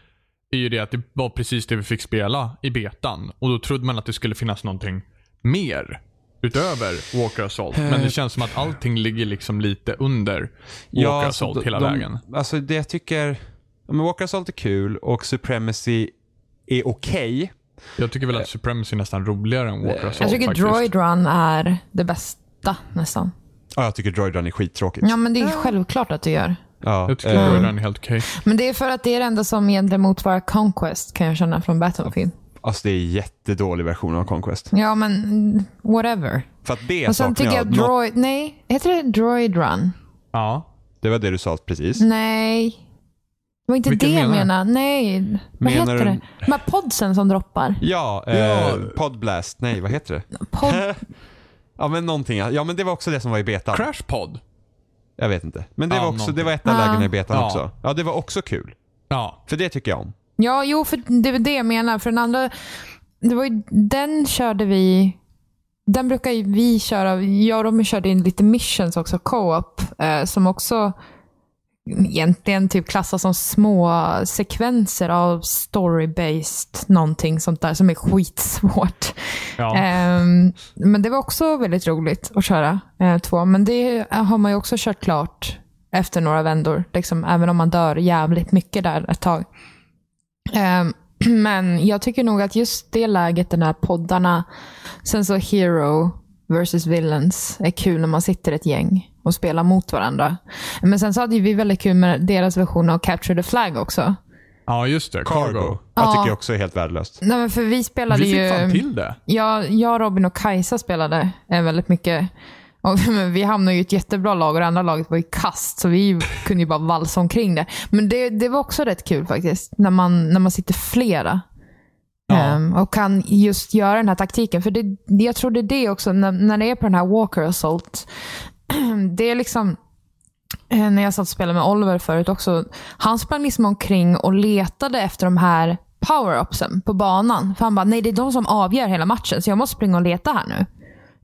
Speaker 1: Det är ju det att det var precis det vi fick spela i betan och då trodde man att det skulle finnas någonting mer. utöver Walker Assault. Men
Speaker 4: Eh.
Speaker 1: det känns som att allting ligger liksom lite under Walker
Speaker 4: alltså,
Speaker 1: Assault
Speaker 4: de-
Speaker 1: hela
Speaker 4: de,
Speaker 1: vägen.
Speaker 4: Alltså det jag tycker, ja, men Walker Assault är kul och Supremacy är okej.
Speaker 1: Jag tycker
Speaker 4: Eh.
Speaker 1: väl att Supremacy är nästan roligare än Walker Assault
Speaker 3: Jag tycker
Speaker 1: faktiskt.
Speaker 3: Droid Run är det bästa nästan.
Speaker 4: Ja, jag tycker Droid Run är skittråkigt.
Speaker 3: Ja, men det är självklart att du gör.
Speaker 4: Ja,
Speaker 1: Jag tycker
Speaker 4: eh,
Speaker 1: Droid Run är helt okej.
Speaker 3: Men det är för att det är det enda som egentligen motsvarar Conquest, kan jag känna från Battlefield.
Speaker 4: Alltså det är en jättedålig version av Conquest.
Speaker 3: Ja, men mm, whatever.
Speaker 4: För att det
Speaker 3: Och sen
Speaker 4: saknar
Speaker 3: tycker jag
Speaker 4: Något-
Speaker 3: Droid... Nej, heter det Droid Run?
Speaker 1: Ja.
Speaker 4: Det var det du sa precis.
Speaker 3: Nej. Det var inte
Speaker 1: Vilken
Speaker 3: det jag
Speaker 1: menar du?
Speaker 3: menade. Nej. Vad
Speaker 4: Menar
Speaker 3: heter
Speaker 4: du-
Speaker 3: det? De här podsen som droppar.
Speaker 4: Ja,
Speaker 1: Ja.
Speaker 4: eh, Podblast. Nej, vad heter det?
Speaker 3: Pod...
Speaker 4: Ja, men någonting. Ja, men det var också det som var i betan.
Speaker 1: Crash Pod.
Speaker 4: Jag vet inte. Men det
Speaker 1: Ja,
Speaker 4: var också,
Speaker 1: någonting.
Speaker 4: det var ett av lägena i betan
Speaker 1: Ja.
Speaker 4: också. Ja, det var också kul.
Speaker 1: Ja.
Speaker 4: För det tycker jag om.
Speaker 3: Ja, jo, för det är väl det jag menar. För den andra... Det var ju, den körde vi... Den brukar ju vi köra. Jag och Robin körde in lite missions också, co-op, eh, som också egentligen typ klassas som små sekvenser av story-based någonting sånt där som är skitsvårt.
Speaker 1: ja.
Speaker 3: Ehm, men det var också väldigt roligt att köra eh, två. Men det har man ju också kört klart efter några vändor. Liksom, även om man dör jävligt mycket där ett tag. Ehm, men jag tycker nog att just det läget, den här poddarna. Sen så Hero versus Villains är kul när man sitter ett gäng och spelar mot varandra. Men sen så hade ju vi väldigt kul med deras version av Capture the Flag också.
Speaker 1: ja, just det. Cargo.
Speaker 4: Cargo. Jag
Speaker 3: Ja.
Speaker 4: tycker jag också är helt värdelöst.
Speaker 3: Nej, men för vi spelade
Speaker 1: Vi
Speaker 3: ju...
Speaker 1: fick fan till det.
Speaker 3: Jag, jag, Robin och Kajsa spelade eh, väldigt mycket. Och, men vi hamnade ju i ett jättebra lag och det andra laget var ju kast så vi kunde ju bara valsa omkring det. Men det, det var också rätt kul faktiskt, när man, när man sitter flera. Ehm, och kan just göra den här taktiken. För det, det- jag tror det är det också, när, när det är på den här Walker Assault. det är liksom, eh, när jag satt och spelade med Oliver förut också. Han sprang liksom omkring och letade efter de här power-upsen på banan. För han bara, nej det är de som avgör hela matchen, så jag måste springa och leta här nu.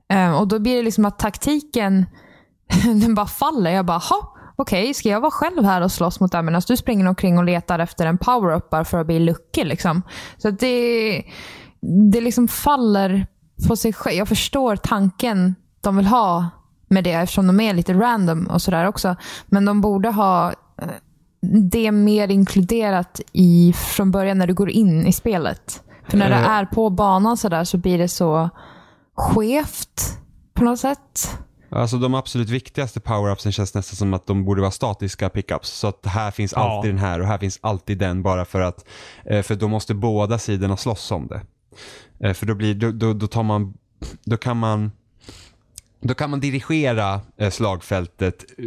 Speaker 3: Ehm, och då blir det liksom att taktiken, den bara faller. Jag bara, ha okej, ska jag vara själv här och slåss mot det här medan du springer omkring och letar efter en power-up bara för att bli lucky liksom. Så att det, det liksom faller på sig själv. Jag förstår tanken de vill ha med det eftersom de är lite random och sådär också. Men de borde ha eh, det mer inkluderat i, från början när du går in i spelet. För när det
Speaker 4: Eh.
Speaker 3: är på banan sådär så blir det så skevt på något sätt.
Speaker 4: Alltså de absolut viktigaste power-upsen känns nästan som att de borde vara statiska pickups. Så att här finns
Speaker 1: Ja.
Speaker 4: alltid den här och här finns alltid den bara för att eh, för då måste båda sidorna slåss om det. Eh, För då, blir, då, då, då tar man, då kan man, då kan man dirigera eh, slagfältet eh,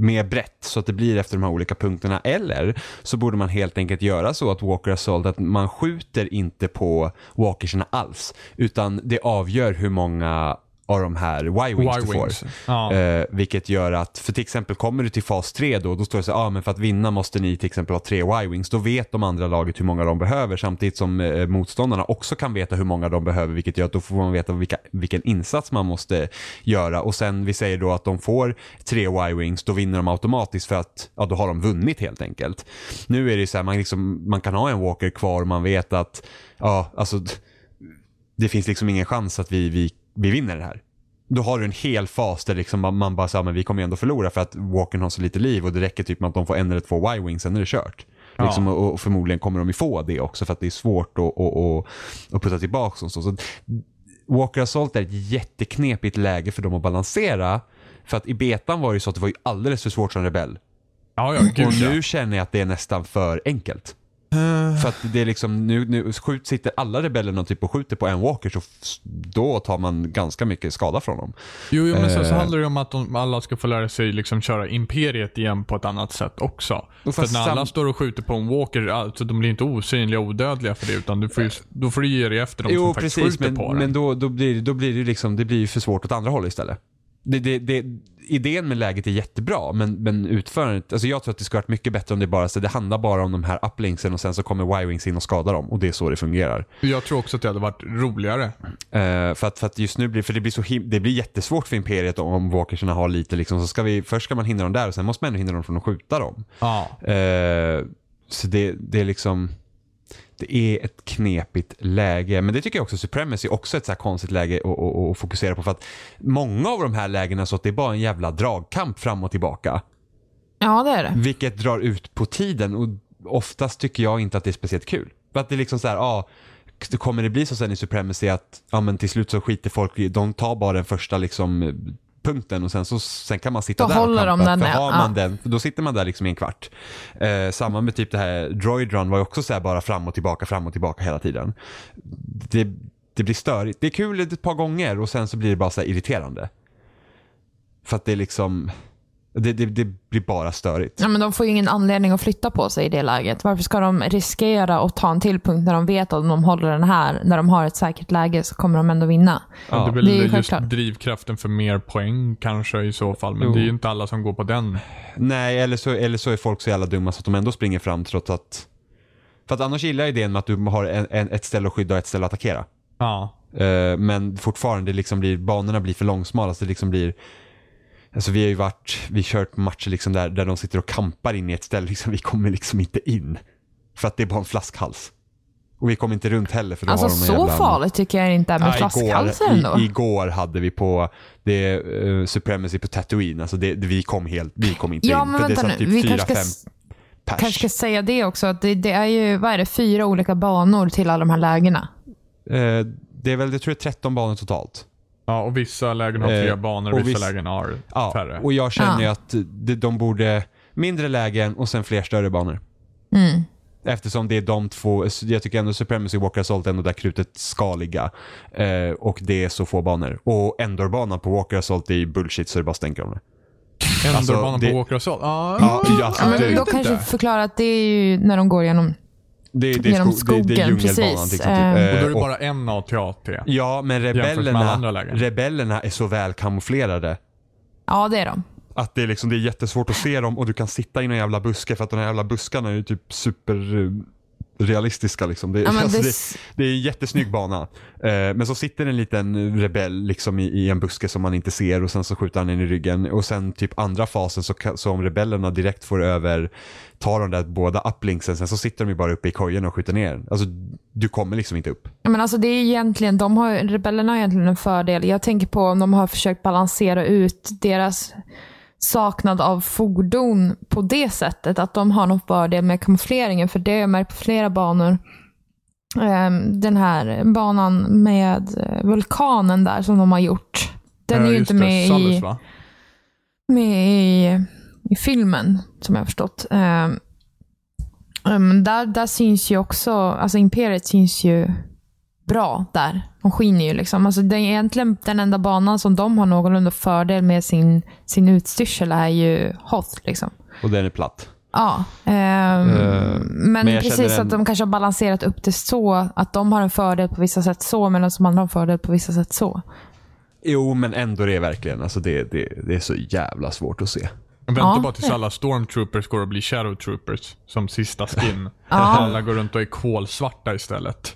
Speaker 4: mer brett så att det blir efter de här olika punkterna. Eller så borde man helt enkelt göra så att Walker Assault, att man skjuter inte på walkerserna alls. Utan det avgör hur många av de här Y-wings du får.
Speaker 1: Y-wings. Ja.
Speaker 4: Eh, vilket gör att, för till exempel kommer du till fas 3 då, då står det så här, ah, men för att vinna måste ni till exempel ha tre Y-wings. Då vet de andra laget hur många de behöver samtidigt som eh, motståndarna också kan veta hur många de behöver vilket gör att då får man veta vilka, vilken insats man måste göra. Och sen vi säger då att de får tre Y-wings, då vinner de automatiskt för att ja, då har de vunnit helt enkelt. Nu är det ju så här, man, liksom, man kan ha en walker kvar och man vet att ja, alltså, det finns liksom ingen chans att vi, vi, vi vinner det här. Då har du en hel fas där liksom man- man bara säger men vi kommer ändå förlora för att Walken har så lite liv och det räcker typ med att de får en eller två Y-wings, sen är det kört. Liksom, och, och förmodligen kommer de ju få det också för att det är svårt att, att, att, att putta tillbaka. Och så. Så, Walker Assault är ett jätteknepigt läge för dem att balansera. För att i betan var det ju så att det var ju alldeles för svårt som rebell.
Speaker 1: Ja, ja, gud
Speaker 4: Och
Speaker 1: ja. Eh.
Speaker 4: nu känner jag att det är nästan för enkelt. För att det är liksom, nu, nu skjut, sitter alla rebellerna typ och skjuter på en walker så f- då tar man ganska mycket skada från dem.
Speaker 1: Jo, jo men sen
Speaker 4: Eh.
Speaker 1: så handlar det ju om att de, alla ska få lära sig liksom köra Imperiet igen på ett annat sätt också.
Speaker 4: fast
Speaker 1: För att när alla
Speaker 4: sam-
Speaker 1: står och skjuter på en walker, alltså, de blir inte osynliga och odödliga för det, utan du får ju, då får du ge dig efter dem som faktiskt skjuter
Speaker 4: Eh. men,
Speaker 1: på
Speaker 4: men
Speaker 1: den.
Speaker 4: då, då blir, det- då blir det, ju liksom, det blir ju för svårt åt andra hållet istället. Det, det, det, idén med läget är jättebra, men, men utförandet, alltså jag tror att det skulle varit mycket bättre om det bara, så det handlar bara om de här uplinksen och sen så kommer Y-wings in och skadar dem och det är så det fungerar.
Speaker 1: Jag tror också att det hade varit roligare.
Speaker 4: Eh, för, att, för att just nu blir, för det blir så him- det blir jättesvårt för Imperiet om, om walkerserna har lite liksom, så ska vi, först ska man hindra dem där och sen måste man ändå hindra dem från att skjuta dem.
Speaker 1: Ja.
Speaker 4: Eh, så det, det är liksom, Det är ett knepigt läge, men det tycker jag också Supremacy är också ett så här konstigt läge att, att, att fokusera på för att många av de här lägena så att det är bara en jävla dragkamp fram och tillbaka.
Speaker 3: Ja, det är det.
Speaker 4: Vilket drar ut på tiden och oftast tycker jag inte att det är speciellt kul. För att det är liksom så här, ja, kommer det bli så sen i Supremacy att ja, men till slut så skiter folk i, de tar bara den första liksom punkten och sen, så, sen kan man sitta
Speaker 3: Då
Speaker 4: där
Speaker 3: håller
Speaker 4: och
Speaker 3: de
Speaker 4: kampa,
Speaker 3: den,
Speaker 4: för
Speaker 3: ja.
Speaker 4: har man
Speaker 3: Ja.
Speaker 4: den, då sitter man där liksom i en kvart. Eh, samma med typ det här Droid Run var ju också så här bara fram och tillbaka, fram och tillbaka hela tiden. Det, det blir störigt. Det är kul ett par gånger och sen så blir det bara så här irriterande. För att det är liksom, det, det, det blir bara störigt.
Speaker 3: Ja, men de får ju ingen anledning att flytta på sig i det läget. Varför ska de riskera att ta en till punkt när de vet att om de håller den här, när de har ett säkert läge, så kommer de ändå vinna?
Speaker 1: Ja, det är väl
Speaker 3: Det är ju
Speaker 1: just
Speaker 3: självklart.
Speaker 1: drivkraften för mer poäng kanske i så fall. Men
Speaker 4: Jo.
Speaker 1: det är ju inte alla som går på den.
Speaker 4: Nej, eller så, eller så är folk så jävla dumma så att de ändå springer fram trots att... För att annars gillar jag idén med att du har en, en, ett ställe att skydda och ett ställe att attackera.
Speaker 1: Ja.
Speaker 4: Eh, men fortfarande, det liksom blir, banorna blir för långsmala så det liksom blir... Alltså vi har ju varit, vi har kört matcher liksom där, där de sitter och kampar in i ett ställe, liksom, vi kommer liksom inte in. För att det är bara en flaskhals. Och vi kommer inte runt heller för då
Speaker 3: Alltså
Speaker 4: har de en
Speaker 3: så
Speaker 4: jävla...
Speaker 3: farligt tycker jag inte är med
Speaker 4: Ja,
Speaker 3: flaskhalsar
Speaker 4: igår,
Speaker 3: ändå.
Speaker 4: i, igår hade vi på det, eh, Supremacy på Tatooine, alltså det, vi kom helt, vi kom inte
Speaker 3: Ja,
Speaker 4: in.
Speaker 3: men
Speaker 4: för
Speaker 3: vänta
Speaker 4: det
Speaker 3: nu.
Speaker 4: satt
Speaker 3: vi
Speaker 4: typ fyra,
Speaker 3: kanske
Speaker 4: fem
Speaker 3: ska,
Speaker 4: pers.
Speaker 3: kanske ska säga det också. Att det, det är ju vad är det, fyra olika banor till alla de här lägena.
Speaker 4: Eh, det är väl, jag tror det är 13 banor totalt.
Speaker 1: ja, och vissa lägen har
Speaker 4: Eh,
Speaker 1: flera banor
Speaker 4: och
Speaker 1: och vissa
Speaker 4: viss-
Speaker 1: lägen har
Speaker 4: Ja,
Speaker 1: färre.
Speaker 4: och jag känner ju
Speaker 3: Ja.
Speaker 4: att de, de borde, mindre lägen och sen fler större banor.
Speaker 3: Mm.
Speaker 4: Eftersom det är de två, jag tycker ändå Supremacy och Walker Assault är ändå där krutet ska ligga. Eh, och det är så få banor. Och Endor-banan på Walker Assault är ju bullshit så det bara stänker om det. alltså,
Speaker 1: Endorbanan
Speaker 4: det-
Speaker 1: på Walker Assault. Ja,
Speaker 4: Ja, ja, alltså,
Speaker 3: Ja,
Speaker 4: det-
Speaker 3: men då kanske vi förklarar att det är ju när de går genom...
Speaker 4: Det, det, är
Speaker 3: Typ Genom
Speaker 4: sko- det, det är
Speaker 3: skogen,
Speaker 4: djungelbanan.
Speaker 3: precis.
Speaker 4: Liksom, typ.
Speaker 3: Ehm.
Speaker 4: Eh,
Speaker 1: Och då är det
Speaker 4: och-
Speaker 1: bara en AT-AT.
Speaker 4: Ja, men
Speaker 1: med alla andra
Speaker 4: rebellerna,
Speaker 1: läger.
Speaker 4: rebellerna är så väl kamouflerade
Speaker 3: Ja, det är de.
Speaker 4: att det är, liksom, det är jättesvårt att se dem och du kan sitta i någon jävla buske för att de här jävla buskarna är ju typ superrealistiska. Liksom. Det,
Speaker 3: Ja, men
Speaker 4: alltså,
Speaker 3: det-
Speaker 4: det, det är en jättesnygg bana. Eh, men så sitter en liten rebell liksom, i, i en buske som man inte ser och sen så skjuter han en i ryggen. Och sen typ andra fasen så, kan- så om rebellerna direkt får över, tar de där båda upplinksen, sen så sitter de ju bara uppe i kojen och skjuter ner. Alltså du kommer liksom inte upp.
Speaker 3: Ja, men alltså det är egentligen, de har, rebellerna har egentligen en fördel. Jag tänker på om de har försökt balansera ut deras saknad av fordon på det sättet. Att de har någon fördel med kamoufleringen. För det har jag märkt på flera banor. Ehm, Den här banan med eh, vulkanen där som de har gjort. Den är
Speaker 1: Eh,
Speaker 3: ju
Speaker 1: just
Speaker 3: inte
Speaker 1: det,
Speaker 3: med
Speaker 1: Sallus,
Speaker 3: i,
Speaker 1: va?
Speaker 3: med i, i filmen, som jag har förstått. Ehm, ehm, där, där syns ju också, alltså Imperiet syns ju bra där. De skiner ju liksom. Alltså det är egentligen den enda banan som de har någorlunda fördel med sin, sin utstyrsel är ju Hoth. Liksom.
Speaker 4: Och den är platt.
Speaker 3: Ja, ehm,
Speaker 4: Eh,
Speaker 3: men,
Speaker 4: men jag
Speaker 3: precis
Speaker 4: känner en-
Speaker 3: att de kanske har balanserat upp det så att de har en fördel på vissa sätt så, medan de andra har en fördel på vissa sätt så.
Speaker 4: Jo, men ändå det är verkligen, alltså det, det, det är så jävla svårt att se.
Speaker 1: Vänta
Speaker 3: Ja.
Speaker 1: bara tills alla stormtroopers går och blir shadow troopers som sista skin. Alla går runt och är kolsvarta istället.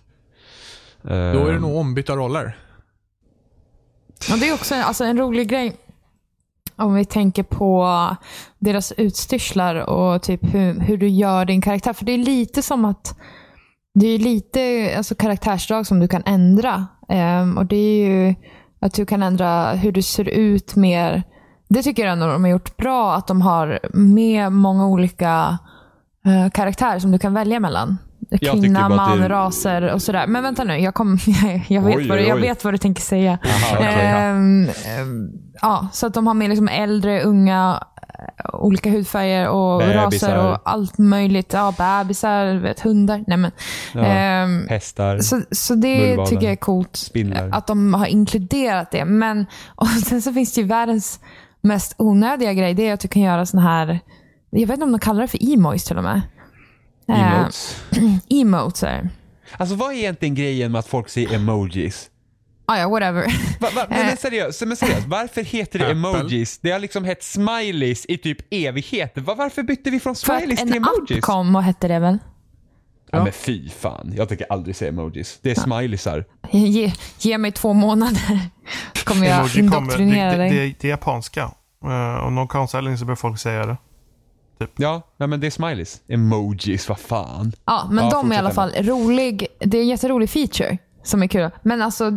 Speaker 1: Då
Speaker 4: Ehm.
Speaker 1: är det nog ombytta roller.
Speaker 3: Men det är också en, alltså en rolig grej om vi tänker på deras utstyrslar och typ hur, hur du gör din karaktär. För det är lite som att det är lite alltså, karaktärsdrag som du kan ändra. Ehm, och Det är ju att du kan ändra hur du ser ut mer. Det tycker jag ändå de har gjort bra. Att de har med många olika eh, karaktärer som du kan välja mellan.
Speaker 4: tyckte bara
Speaker 3: Kvinna,
Speaker 4: att
Speaker 3: man,
Speaker 4: det-
Speaker 3: raser och sådär. Men vänta nu, jag, kom, jag, vet,
Speaker 4: Oj,
Speaker 3: vad, du- jag
Speaker 4: oj.
Speaker 3: vet vad du tänker säga.
Speaker 4: Aha, okej.
Speaker 3: Ehm, ehm, ja, så att de har med liksom äldre, unga, eh, olika hudfärger och
Speaker 4: Bebisar.
Speaker 3: raser och allt möjligt. Ja, bebisar, vet, hundar. Nej, men,
Speaker 4: Ja.
Speaker 3: ehm,
Speaker 4: Hästar.
Speaker 3: så, så det
Speaker 4: Mullvadar.
Speaker 3: tycker jag är coolt.
Speaker 4: Spindlar.
Speaker 3: Att de har inkluderat det. Men och sen så finns det ju världens mest onödiga grej. Det är att du kan göra såna här, jag vet inte om de kallar det för emotes till och med. Ehm,
Speaker 4: Emotes.
Speaker 3: emotes är det.
Speaker 4: Alltså vad är egentligen grejen med att folk säger emojis?
Speaker 3: Ah, ja, whatever.
Speaker 4: Va, va, nej,
Speaker 3: Eh.
Speaker 4: men, seriöst, men seriöst, varför heter det
Speaker 1: Apple.
Speaker 4: emojis? Det har liksom hett smileys i typ evigheter. Va, varför bytte vi från
Speaker 3: För att
Speaker 4: smileys till
Speaker 3: en app
Speaker 4: liksom emojis?
Speaker 3: kom och hette det väl?
Speaker 4: Ja, men fy fan, jag tänker aldrig säga emojis. Det är smileysar.
Speaker 3: Ge, ge mig två månader så kommer jag
Speaker 2: Emoji kommer.
Speaker 3: indoktrinera
Speaker 2: Det, det,
Speaker 3: dig.
Speaker 2: det, det är japanska. Eh, Av någon konstig anledning så börjar folk säga det.
Speaker 4: Ja, nej, men det är smileys. Emojis, vad fan.
Speaker 3: Ja, men
Speaker 4: Ja,
Speaker 3: de är i
Speaker 4: fortsätt,
Speaker 3: alla fall rolig. Det är en jätterolig feature som är kul. Men alltså,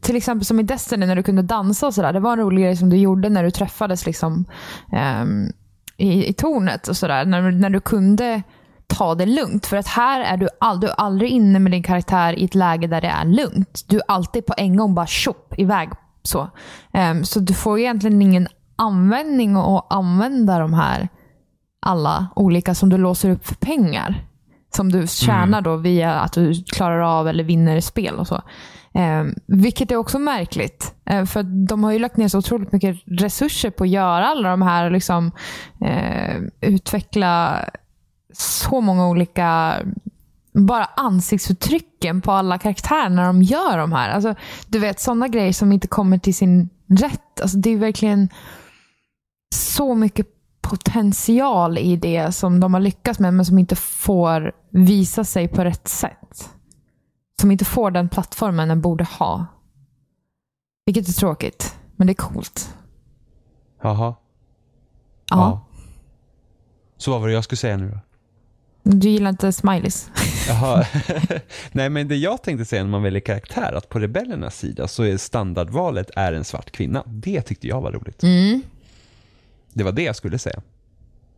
Speaker 3: till exempel som i Destiny när du kunde dansa och sådär. Det var en rolig grej som du gjorde när du träffades liksom, ehm, i, i tornet och sådär. När, när du kunde ta det lugnt. För att här är du, all, du är aldrig inne med din karaktär i ett läge där det är lugnt. Du är alltid på en gång bara tjopp iväg. Så, Ehm, så du får egentligen ingen användning att använda de här alla olika som du låser upp för pengar. Som du tjänar då via att du klarar av eller vinner spel och så. Eh, vilket är också märkligt. Eh, för att de har ju lagt ner så otroligt mycket resurser på att göra alla de här och liksom, eh, utveckla så många olika bara ansiktsuttrycken på alla karaktärer när de gör de här. Alltså, du vet, sådana grejer som inte kommer till sin rätt. Alltså, det är verkligen så mycket potential i det som de har lyckats med, men som inte får visa sig på rätt sätt. Som inte får den plattformen den borde ha. Vilket är tråkigt, men det är coolt.
Speaker 4: Jaha.
Speaker 3: Ja.
Speaker 4: Så vad var det jag skulle säga nu då?
Speaker 3: Du gillar inte smileys?
Speaker 4: Jaha. Nej, men det jag tänkte säga när man väljer karaktär, att på rebellernas sida så är standardvalet är en svart kvinna. Det tyckte jag var roligt. Det var det jag skulle säga.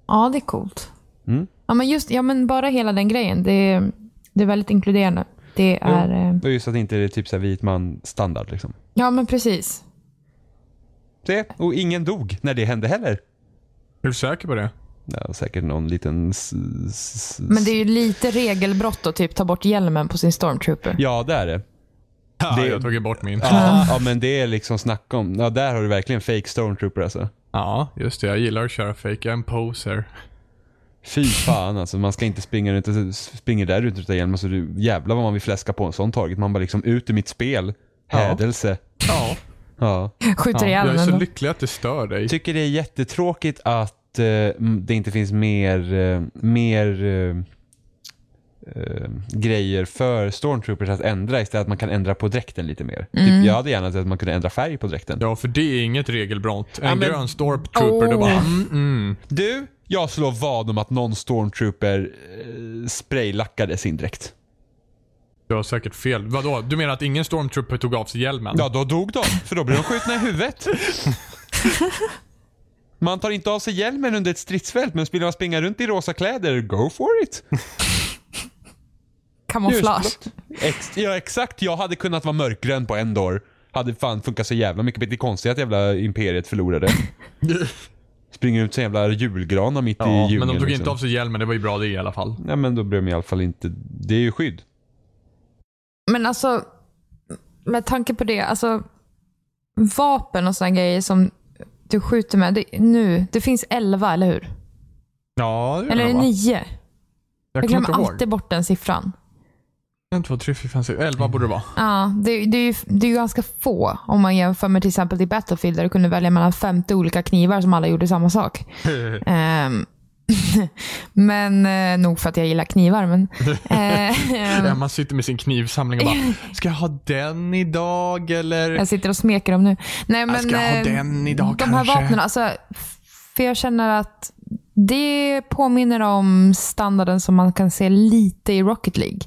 Speaker 3: Ja, det är coolt.
Speaker 1: Mm.
Speaker 3: Ja, men just, ja, men bara hela den grejen. Det är, det är väldigt inkluderande. Det är... eh,
Speaker 4: Och just att inte det är typ så här vit man standard liksom.
Speaker 3: Ja, men precis.
Speaker 4: Det, och ingen dog när det hände heller.
Speaker 1: Är du säker på det?
Speaker 4: Ja, säkert någon liten... s- s- s-
Speaker 3: Men det är ju lite regelbrott att typ ta bort hjälmen på sin stormtrooper.
Speaker 4: Ja, det är det.
Speaker 1: Ja,
Speaker 4: Det-
Speaker 1: jag tog ju bort min. Ja.
Speaker 4: Ja, ja, men det är liksom snack om... Ja, där har du verkligen fake stormtrooper alltså.
Speaker 1: just det. Jag gillar att köra fake. Jag är en poser.
Speaker 4: Fy fan alltså, man ska inte springa runt och springer där ute utan hjälm. Alltså, du, jävlar vad man vill fläska på en sån target. Man bara liksom, ut ur mitt spel. Hädelse.
Speaker 1: Ja.
Speaker 4: Ja.
Speaker 3: Skjuter
Speaker 1: ja.
Speaker 3: ihjäl
Speaker 1: Jag är så
Speaker 3: den.
Speaker 1: lycklig att det stör dig.
Speaker 4: Tycker det är jättetråkigt att eh, m- det inte finns mer, eh, mer eh, eh, grejer för stormtroopers att ändra istället att man kan ändra på dräkten lite mer. Typ, jag hade gärna sett att man kunde ändra färg på dräkten.
Speaker 1: Mm. Ja, för det är inget regelbrott. En
Speaker 4: Ja, men-
Speaker 1: grön stormtrooper, då
Speaker 3: Oh.
Speaker 1: bara mm, mm.
Speaker 4: Du, jag slår vad om att någon stormtrooper eh, spraylackade sin dräkt.
Speaker 1: Du har säkert fel. Vadå? Du menar att ingen stormtrooper tog av sig hjälmen?
Speaker 4: Ja, då dog de, för då blev de skjutna i huvudet. Man tar inte av sig hjälmen under ett stridsfält, men skulle man springa runt i rosa kläder, go for it.
Speaker 3: Kamouflage.
Speaker 4: Ex- ja, exakt. Jag hade kunnat vara mörkgrön på en dag. Hade fan funkat så jävla mycket. Det är konstigt att jävla imperiet förlorade. Springer ut som jävla julgranar mitt i
Speaker 1: Ja,
Speaker 4: djungeln.
Speaker 1: men de tog
Speaker 4: liksom.
Speaker 1: inte av sig hjälmen. Det var ju bra det i alla fall.
Speaker 4: Nej, men då blev de i alla fall inte... Det är ju skydd.
Speaker 3: Men alltså, med tanke på det, alltså vapen och sådana grejer som du skjuter med. Det, nu, det finns elva, eller hur?
Speaker 1: Ja, det gör
Speaker 3: Eller är
Speaker 1: det
Speaker 3: det
Speaker 1: va?
Speaker 3: nio?
Speaker 1: Jag
Speaker 3: Jag
Speaker 1: kommer inte
Speaker 3: glömmer
Speaker 1: ihåg.
Speaker 3: alltid bort den siffran.
Speaker 1: En, två, tre, fyra, fem, sex. Elva borde det vara.
Speaker 3: Ja, det, det, är ju, det är ju ganska få om man jämför med till exempel i Battlefield där du kunde välja mellan 50 olika knivar som alla gjorde samma sak. Ehm, men eh, nog för att jag gillar knivar. Men, eh,
Speaker 1: Ja, man sitter med sin knivsamling och bara, ska jag ha den idag eller?
Speaker 3: Jag sitter och smeker dem nu. Nej, men,
Speaker 1: ska ha
Speaker 3: eh,
Speaker 1: den idag
Speaker 3: De här
Speaker 1: kanske.
Speaker 3: vapnen, alltså, för jag känner att det påminner om standarden som man kan se lite i Rocket League.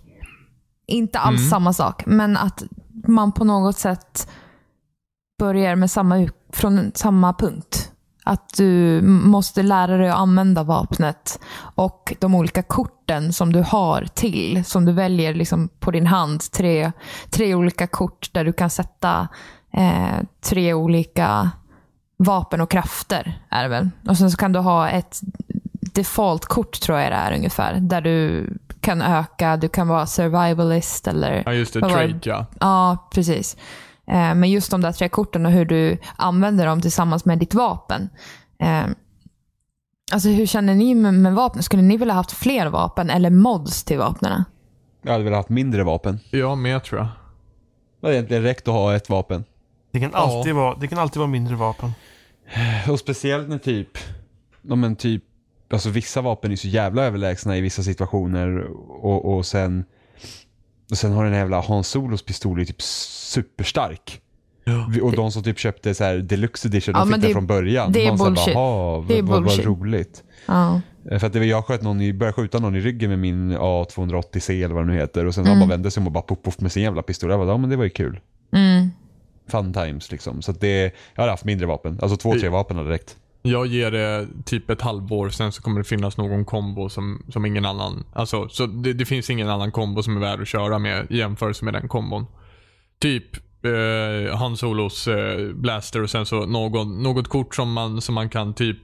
Speaker 3: Inte alls
Speaker 1: Mm.
Speaker 3: samma sak, men att man på något sätt börjar med samma, ut- från samma punkt. Att du måste lära dig att använda vapnet och de olika korten som du har till, som du väljer liksom på din hand. Tre, tre olika kort där du kan sätta eh, tre olika vapen och krafter. Är det väl. Och Sen så kan du ha ett defaultkort, tror jag det är ungefär, där du kan öka, du kan vara survivalist eller
Speaker 1: Ja, just det.
Speaker 3: Vad var det?
Speaker 1: Trade, ja.
Speaker 3: Ja, precis. Eh, Men just de där tre korten och hur du använder dem tillsammans med ditt vapen. Eh, Alltså hur känner ni med, med vapen? Skulle ni vilja haft fler vapen eller mods till vapnen?
Speaker 4: Jag hade velat ha mindre vapen.
Speaker 1: Jag med tror jag.
Speaker 4: Det hade egentligen räckt att ha ett vapen.
Speaker 2: Det kan alltid, vara, det kan alltid vara mindre vapen.
Speaker 4: Och speciellt när typ, ja men typ, alltså vissa vapen är så jävla överlägsna i vissa situationer och, och sen, och sen har den här jävla Hans Solos pistol är typ superstark. Vi- Och de som typ köpte så här deluxe edition,
Speaker 3: Ja,
Speaker 4: de
Speaker 3: men
Speaker 4: fick den
Speaker 3: det-
Speaker 4: från början.
Speaker 3: det är
Speaker 4: Man så här bara,
Speaker 3: bullshit.
Speaker 4: "Ha,
Speaker 3: Det är
Speaker 4: vad, vad, vad
Speaker 3: bullshit."
Speaker 4: roligt.
Speaker 3: Ja.
Speaker 4: Eh, För att det var jag sköt någon i, började skjuta någon i ryggen med min A280C eller vad den nu heter. Och sen
Speaker 3: Mm.
Speaker 4: han bara vände sig om och bara poff, poff med sin jävla pistol. Jag bara, ja men det var ju kul.
Speaker 3: Mm.
Speaker 4: Fun times liksom. Så att det, jag hade haft mindre vapen. Alltså två, tre vapen hade räckt.
Speaker 1: Jag ger det typ ett halvår, sen så kommer det finnas någon kombo som, som ingen annan... Alltså, så det, det finns ingen annan kombo som är värd att köra med i jämförelse med den kombon. Typ eh, Han Solos eh, blaster och sen så någon, något kort som man, som man kan typ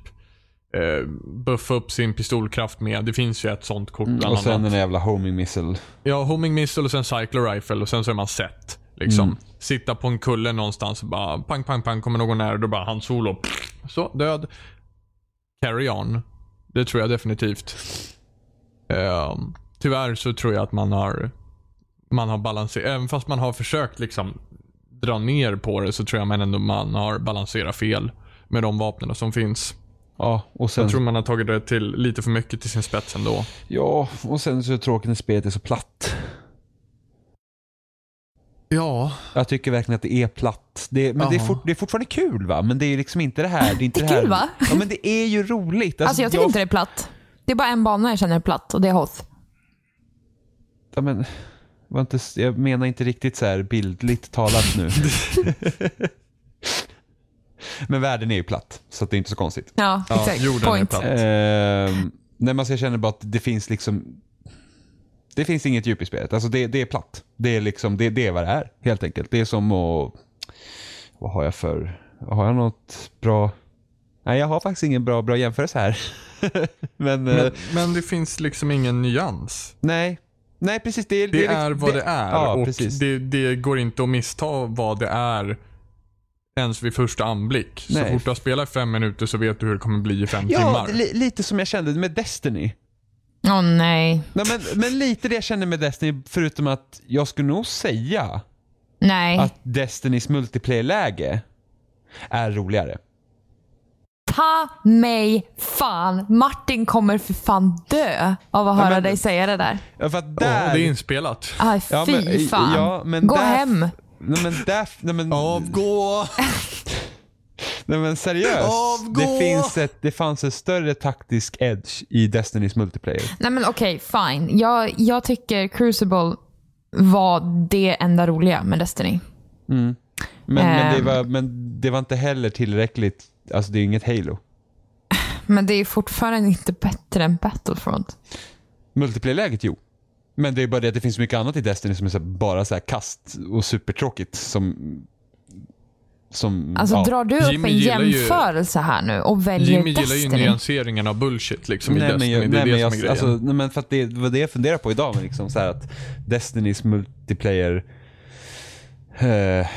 Speaker 1: eh, buffa upp sin pistolkraft med. Det finns ju ett sånt kort bland
Speaker 4: Mm. Och sen
Speaker 1: annat.
Speaker 4: den där jävla homing missile.
Speaker 1: Ja, homing missile och sen cycler rifle och sen så är man sett. Liksom. Sitta på en kulle någonstans och bara pang, pang, pang kommer någon nära och då bara han solo. Pff, Så, död. Carry on. Det tror jag definitivt. Ehm, tyvärr så tror jag att man har man har balanserat, även fast man har försökt liksom dra ner på det så tror jag man ändå man har balanserat fel med de vapnen som finns.
Speaker 4: Ja, och sen,
Speaker 1: Jag tror man har tagit det till lite för mycket till sin spets ändå.
Speaker 4: ja, och sen så är det tråkigt när spelet är så platt.
Speaker 1: Ja,
Speaker 4: Jag tycker verkligen att det är platt. Det, men det är,
Speaker 1: Ja.
Speaker 4: fort, det är fortfarande kul va? Men det är liksom inte det här. Det är, inte
Speaker 3: Det är
Speaker 4: det här.
Speaker 3: kul, va?
Speaker 4: Ja men det är ju roligt.
Speaker 3: Alltså jag tycker inte det är platt. Det är bara en bana jag känner är platt och det är Hoth.
Speaker 4: Ja, men, var inte, jag menar inte riktigt så här bildligt talat nu. men världen är ju platt, så att det är inte så konstigt.
Speaker 3: Ja, exakt.
Speaker 1: jorden är
Speaker 3: Point.
Speaker 1: platt.
Speaker 4: Ehm, nej, men alltså jag känner bara att det finns liksom... Det finns inget djup i spelet. Alltså det, det är platt. Det är, liksom, det, det är vad det är, helt enkelt. Det är som att... Vad har jag för... Har jag något bra... Nej, jag har faktiskt ingen bra, bra jämförelse här. men, eh,
Speaker 1: Men, men det finns liksom ingen nyans.
Speaker 4: nej. Nej, precis. Det,
Speaker 1: Det,
Speaker 4: liksom-
Speaker 1: är vad det, är
Speaker 4: Ja,
Speaker 1: och
Speaker 4: precis.
Speaker 1: det, det går inte att missta vad det är ens vid första anblick. Så
Speaker 4: Nej.
Speaker 1: fort du har spelat i fem minuter så vet du hur det kommer bli i fem
Speaker 4: Ja,
Speaker 1: timmar.
Speaker 4: det är li, lite som jag kände med Destiny.
Speaker 3: Åh nej.
Speaker 4: Nej, men, men lite det jag kände med Destiny, förutom att jag skulle nog säga
Speaker 3: Nej.
Speaker 4: att Destinys multiplayer-läge är roligare.
Speaker 3: Ta mig fan. Martin kommer för fan dö av att höra
Speaker 4: men-
Speaker 3: dig säga det där.
Speaker 4: Ja, för att
Speaker 1: Åh,
Speaker 4: där...
Speaker 1: det är inspelat.
Speaker 3: Aj,
Speaker 4: Ja,
Speaker 3: fy
Speaker 4: men-
Speaker 3: fan.
Speaker 4: ja, men
Speaker 3: Gå
Speaker 4: där-
Speaker 3: hem.
Speaker 4: Nej men där... Nej men,
Speaker 1: Avgå!
Speaker 4: nej, men seriöst.
Speaker 1: Avgå!
Speaker 4: Det, finns ett, det fanns en större taktisk edge i Destinys multiplayer.
Speaker 3: Nej men okej, fine. Jag, jag tycker Crucible var det enda roliga med Destiny.
Speaker 4: Men, men, det
Speaker 3: Ehm.
Speaker 4: var, men det var inte heller tillräckligt. Alltså det är inget Halo.
Speaker 3: Men det är fortfarande inte bättre än Battlefront.
Speaker 4: Multiplayer-läget, jo. Men det är bara det att det finns mycket annat i Destiny som är så här, bara så här kast och supertråkigt som... Som...
Speaker 3: Alltså
Speaker 4: ja.
Speaker 3: drar du upp
Speaker 1: Jimmy
Speaker 3: en
Speaker 1: gillar ju-
Speaker 3: jämförelse här nu och väljer
Speaker 1: Jimmy gillar ju
Speaker 3: Destiny?
Speaker 1: nyanseringen av bullshit liksom i
Speaker 4: Nej, men
Speaker 1: Destiny.
Speaker 4: jag,
Speaker 1: det är
Speaker 4: nej,
Speaker 1: det
Speaker 4: men
Speaker 1: som
Speaker 4: jag,
Speaker 1: är grejen.
Speaker 4: alltså, nej, men för att det det var det jag funderar på idag. Men liksom så här att Destinys multiplayer... Eh,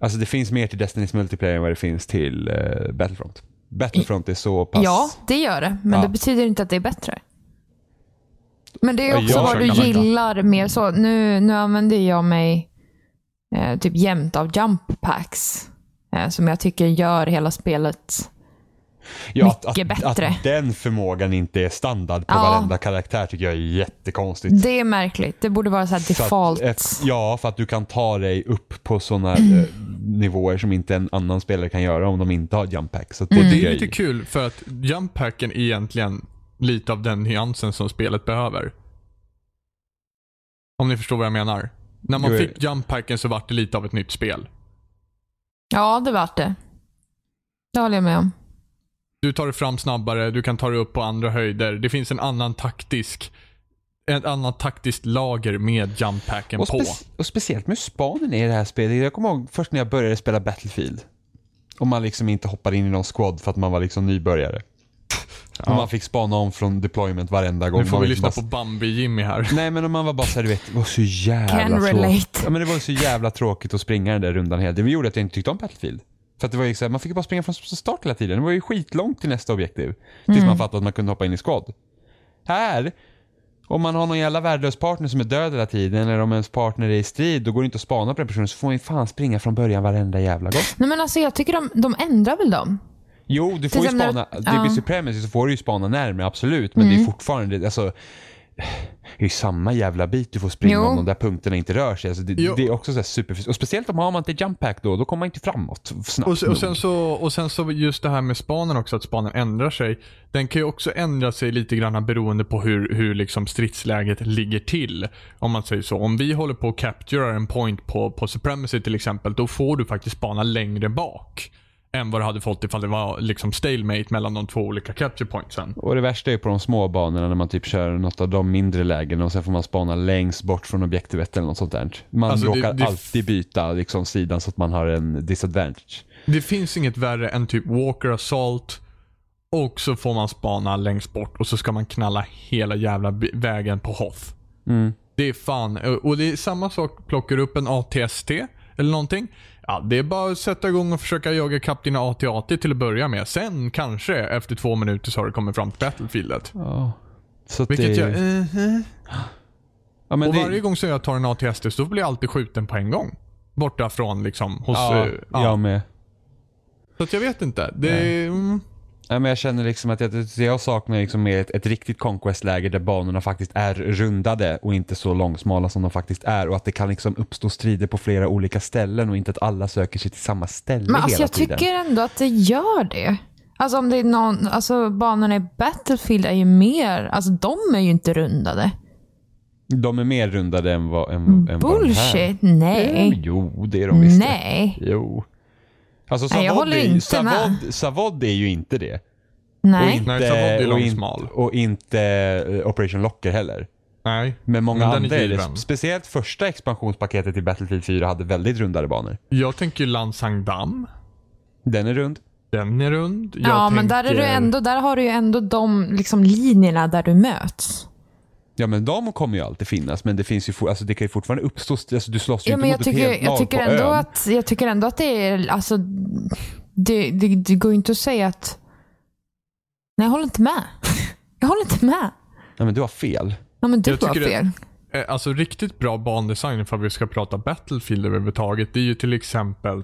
Speaker 4: alltså det finns mer till Destinys multiplayer än vad det finns till eh, Battlefront. Battlefront är så pass...
Speaker 3: Ja, det gör det. Men
Speaker 4: Ja.
Speaker 3: det betyder inte att det är bättre. Men det är
Speaker 4: Ja,
Speaker 3: också
Speaker 4: jag
Speaker 3: vad du
Speaker 1: försöker verkligen.
Speaker 3: gillar mer så. Nu, nu använder jag mig eh, typ jämt av jump packs. Eh, som jag tycker gör hela spelet.
Speaker 4: Ja,
Speaker 3: mycket
Speaker 4: att,
Speaker 3: bättre.
Speaker 4: Att den förmågan inte är standard på
Speaker 3: Ja.
Speaker 4: varenda karaktär tycker jag är jättekonstigt.
Speaker 3: Det är märkligt. Det borde vara så här
Speaker 4: För att
Speaker 3: default.
Speaker 4: ett- ja, för att du kan ta dig upp på sådana eh, nivåer som inte en annan spelare kan göra om de inte har jump pack. Så att det,
Speaker 1: Det
Speaker 3: Mm.
Speaker 4: tycker
Speaker 1: är
Speaker 4: jag
Speaker 1: lite kul för att jumphacken är egentligen lite av den nyansen som spelet behöver. Om ni förstår vad jag menar. När man
Speaker 4: Jo, jag-
Speaker 1: fick jumphacken så var det lite av ett nytt spel.
Speaker 3: Ja, det vart det. Det håller jag med om.
Speaker 1: Du tar dig fram snabbare, du kan ta dig upp på andra höjder. Det finns en annan taktisk ett annat taktiskt lager med jumphacken
Speaker 4: Och,
Speaker 1: på.
Speaker 4: spec- och speciellt med spanen i det här spelet. Jag kommer ihåg först när jag började spela Battlefield. Och man liksom inte hoppade in i någon squad för att man var liksom nybörjare. Och man fick spana om från deployment varenda gång.
Speaker 1: Nu får
Speaker 4: Man
Speaker 1: vi
Speaker 4: var
Speaker 1: lyssna
Speaker 4: liksom
Speaker 1: på
Speaker 4: bara-
Speaker 1: Bambi-Jimmy här.
Speaker 4: Nej men om man var bara såhär, du vet, det var så
Speaker 3: Can
Speaker 4: jävla
Speaker 3: relate.
Speaker 4: tråkigt. Ja, men det var ju så jävla tråkigt att springa den där rundan hela tiden. Det gjorde att jag inte tyckte om Battlefield. För att det var ju så här, man fick ju bara springa från start hela tiden. Det var ju skitlångt till nästa objektiv. Tills
Speaker 3: Mm.
Speaker 4: man fattade att man kunde hoppa in i squad. Här om man har någon jävla värdelös partner som är död hela tiden eller om ens partner är i strid, då går det inte att spana på den personen så får man ju fan springa från början varenda jävla gång.
Speaker 3: Nej, men alltså, jag tycker de, de ändrar väl dem?
Speaker 4: Jo, du får
Speaker 3: är
Speaker 4: ju
Speaker 3: som när-
Speaker 4: spana,
Speaker 3: ja. Mm.
Speaker 4: det blir supremacy så får du ju spana närmare absolut, men det är fortfarande, alltså det är ju samma jävla bit du får springa
Speaker 3: Jo.
Speaker 4: om de där punkterna inte rör sig. Alltså det,
Speaker 1: Jo.
Speaker 4: det är också så här superfysiskt. Och speciellt om har man inte jump pack då, då kommer man inte framåt snabbt
Speaker 1: Och, se- och,
Speaker 4: nog.
Speaker 1: sen så, och sen så just det här med spanen också, att spanen ändrar sig. Den kan ju också ändra sig lite grann beroende på hur, hur liksom stridsläget ligger till. Om man säger så. Om vi håller på att captura en point på, på Supremacy till exempel, då får du faktiskt spana längre bak. Än vad du hade fått ifall det var liksom stalemate mellan de två olika capture pointsen.
Speaker 4: Och det värsta är ju på de små banorna när man typ kör något av de mindre lägena och sen får man spana längst bort från objektivet eller något sånt där. Man
Speaker 1: Alltså, det-
Speaker 4: råkar
Speaker 1: det-
Speaker 4: alltid byta liksom, sidan så att man har en disadvantage.
Speaker 1: Det finns inget värre än typ Walker Assault och så får man spana längst bort och så ska man knalla hela jävla bi- vägen på Hoth.
Speaker 4: Mm.
Speaker 1: Det är fan. eh, Och det är samma sak, plockar du upp en ATST eller någonting. Ja, det är bara att sätta igång och försöka jaga ikapp dina AT-AT till att börja med. Sen kanske efter två minuter så har du kommit fram till Battlefieldet.
Speaker 4: Så att
Speaker 1: Vilket
Speaker 4: det,
Speaker 1: jag... eh,
Speaker 4: ja, men
Speaker 1: och
Speaker 4: det-
Speaker 1: varje gång som jag tar en ATST så blir jag alltid skjuten på en gång. Borta från liksom hos...
Speaker 4: Ja,
Speaker 1: eh, ja.
Speaker 4: jag med.
Speaker 1: Så att jag vet inte. Det är... Mm,
Speaker 4: Ja, men jag känner liksom att jag, det jag saknar liksom mer ett, ett riktigt conquest-läge där banorna faktiskt är rundade och inte så långsmala som de faktiskt är och att det kan liksom uppstå strider på flera olika ställen och inte att alla söker sig till samma ställe
Speaker 3: Men alltså,
Speaker 4: hela
Speaker 3: jag
Speaker 4: tiden.
Speaker 3: tycker ändå att det gör det. Alltså om det är någon, alltså banorna i Battlefield är ju mer, alltså de är ju inte rundade.
Speaker 4: De är mer rundade än vad, än, än vad den här.
Speaker 3: Bullshit, nej.
Speaker 4: Jo, det är de visst. det.
Speaker 3: Nej,
Speaker 4: Jo. Alltså
Speaker 3: Nej, jag
Speaker 4: Savod
Speaker 3: håller
Speaker 4: är, ju-
Speaker 3: inte
Speaker 4: Savod, Savod är ju inte det. Och
Speaker 3: nej.
Speaker 4: inte,
Speaker 1: Nej, Savod är
Speaker 4: och,
Speaker 1: långsmal.
Speaker 4: in, och inte eh, Operation Locker heller.
Speaker 1: nej.
Speaker 4: Men många
Speaker 1: Men den är
Speaker 4: andra är
Speaker 1: given.
Speaker 4: det. Speciellt första expansionspaketet i Battlefield 4 hade väldigt rundade banor.
Speaker 1: Jag tänker Lansang Dam.
Speaker 4: Den är rund.
Speaker 1: Den är rund. Jag
Speaker 3: Ja, men där, är du
Speaker 1: tänker-
Speaker 3: ändå, där har du ju ändå de liksom, linjerna där du möts.
Speaker 4: Ja men de kommer ju alltid finnas men det finns ju for, alltså, det kan ju fortfarande uppstå, alltså, du slåss ju
Speaker 3: Ja,
Speaker 4: inte
Speaker 3: men jag,
Speaker 4: mot ett
Speaker 3: tycker,
Speaker 4: helt
Speaker 3: jag,
Speaker 4: lag
Speaker 3: tycker
Speaker 4: på
Speaker 3: ändå
Speaker 4: ön.
Speaker 3: att, jag tycker ändå att det är... Alltså, det, det, det går ju inte att säga att... Nej, jag håller inte med. Jag håller inte med.
Speaker 4: Ja men du har fel.
Speaker 3: Ja, men du
Speaker 1: Jag
Speaker 3: har
Speaker 1: tycker det-
Speaker 3: fel.
Speaker 1: Eh, Alltså riktigt bra bandesign ifall vi ska prata Battlefield överhuvudtaget. Det är ju till exempel,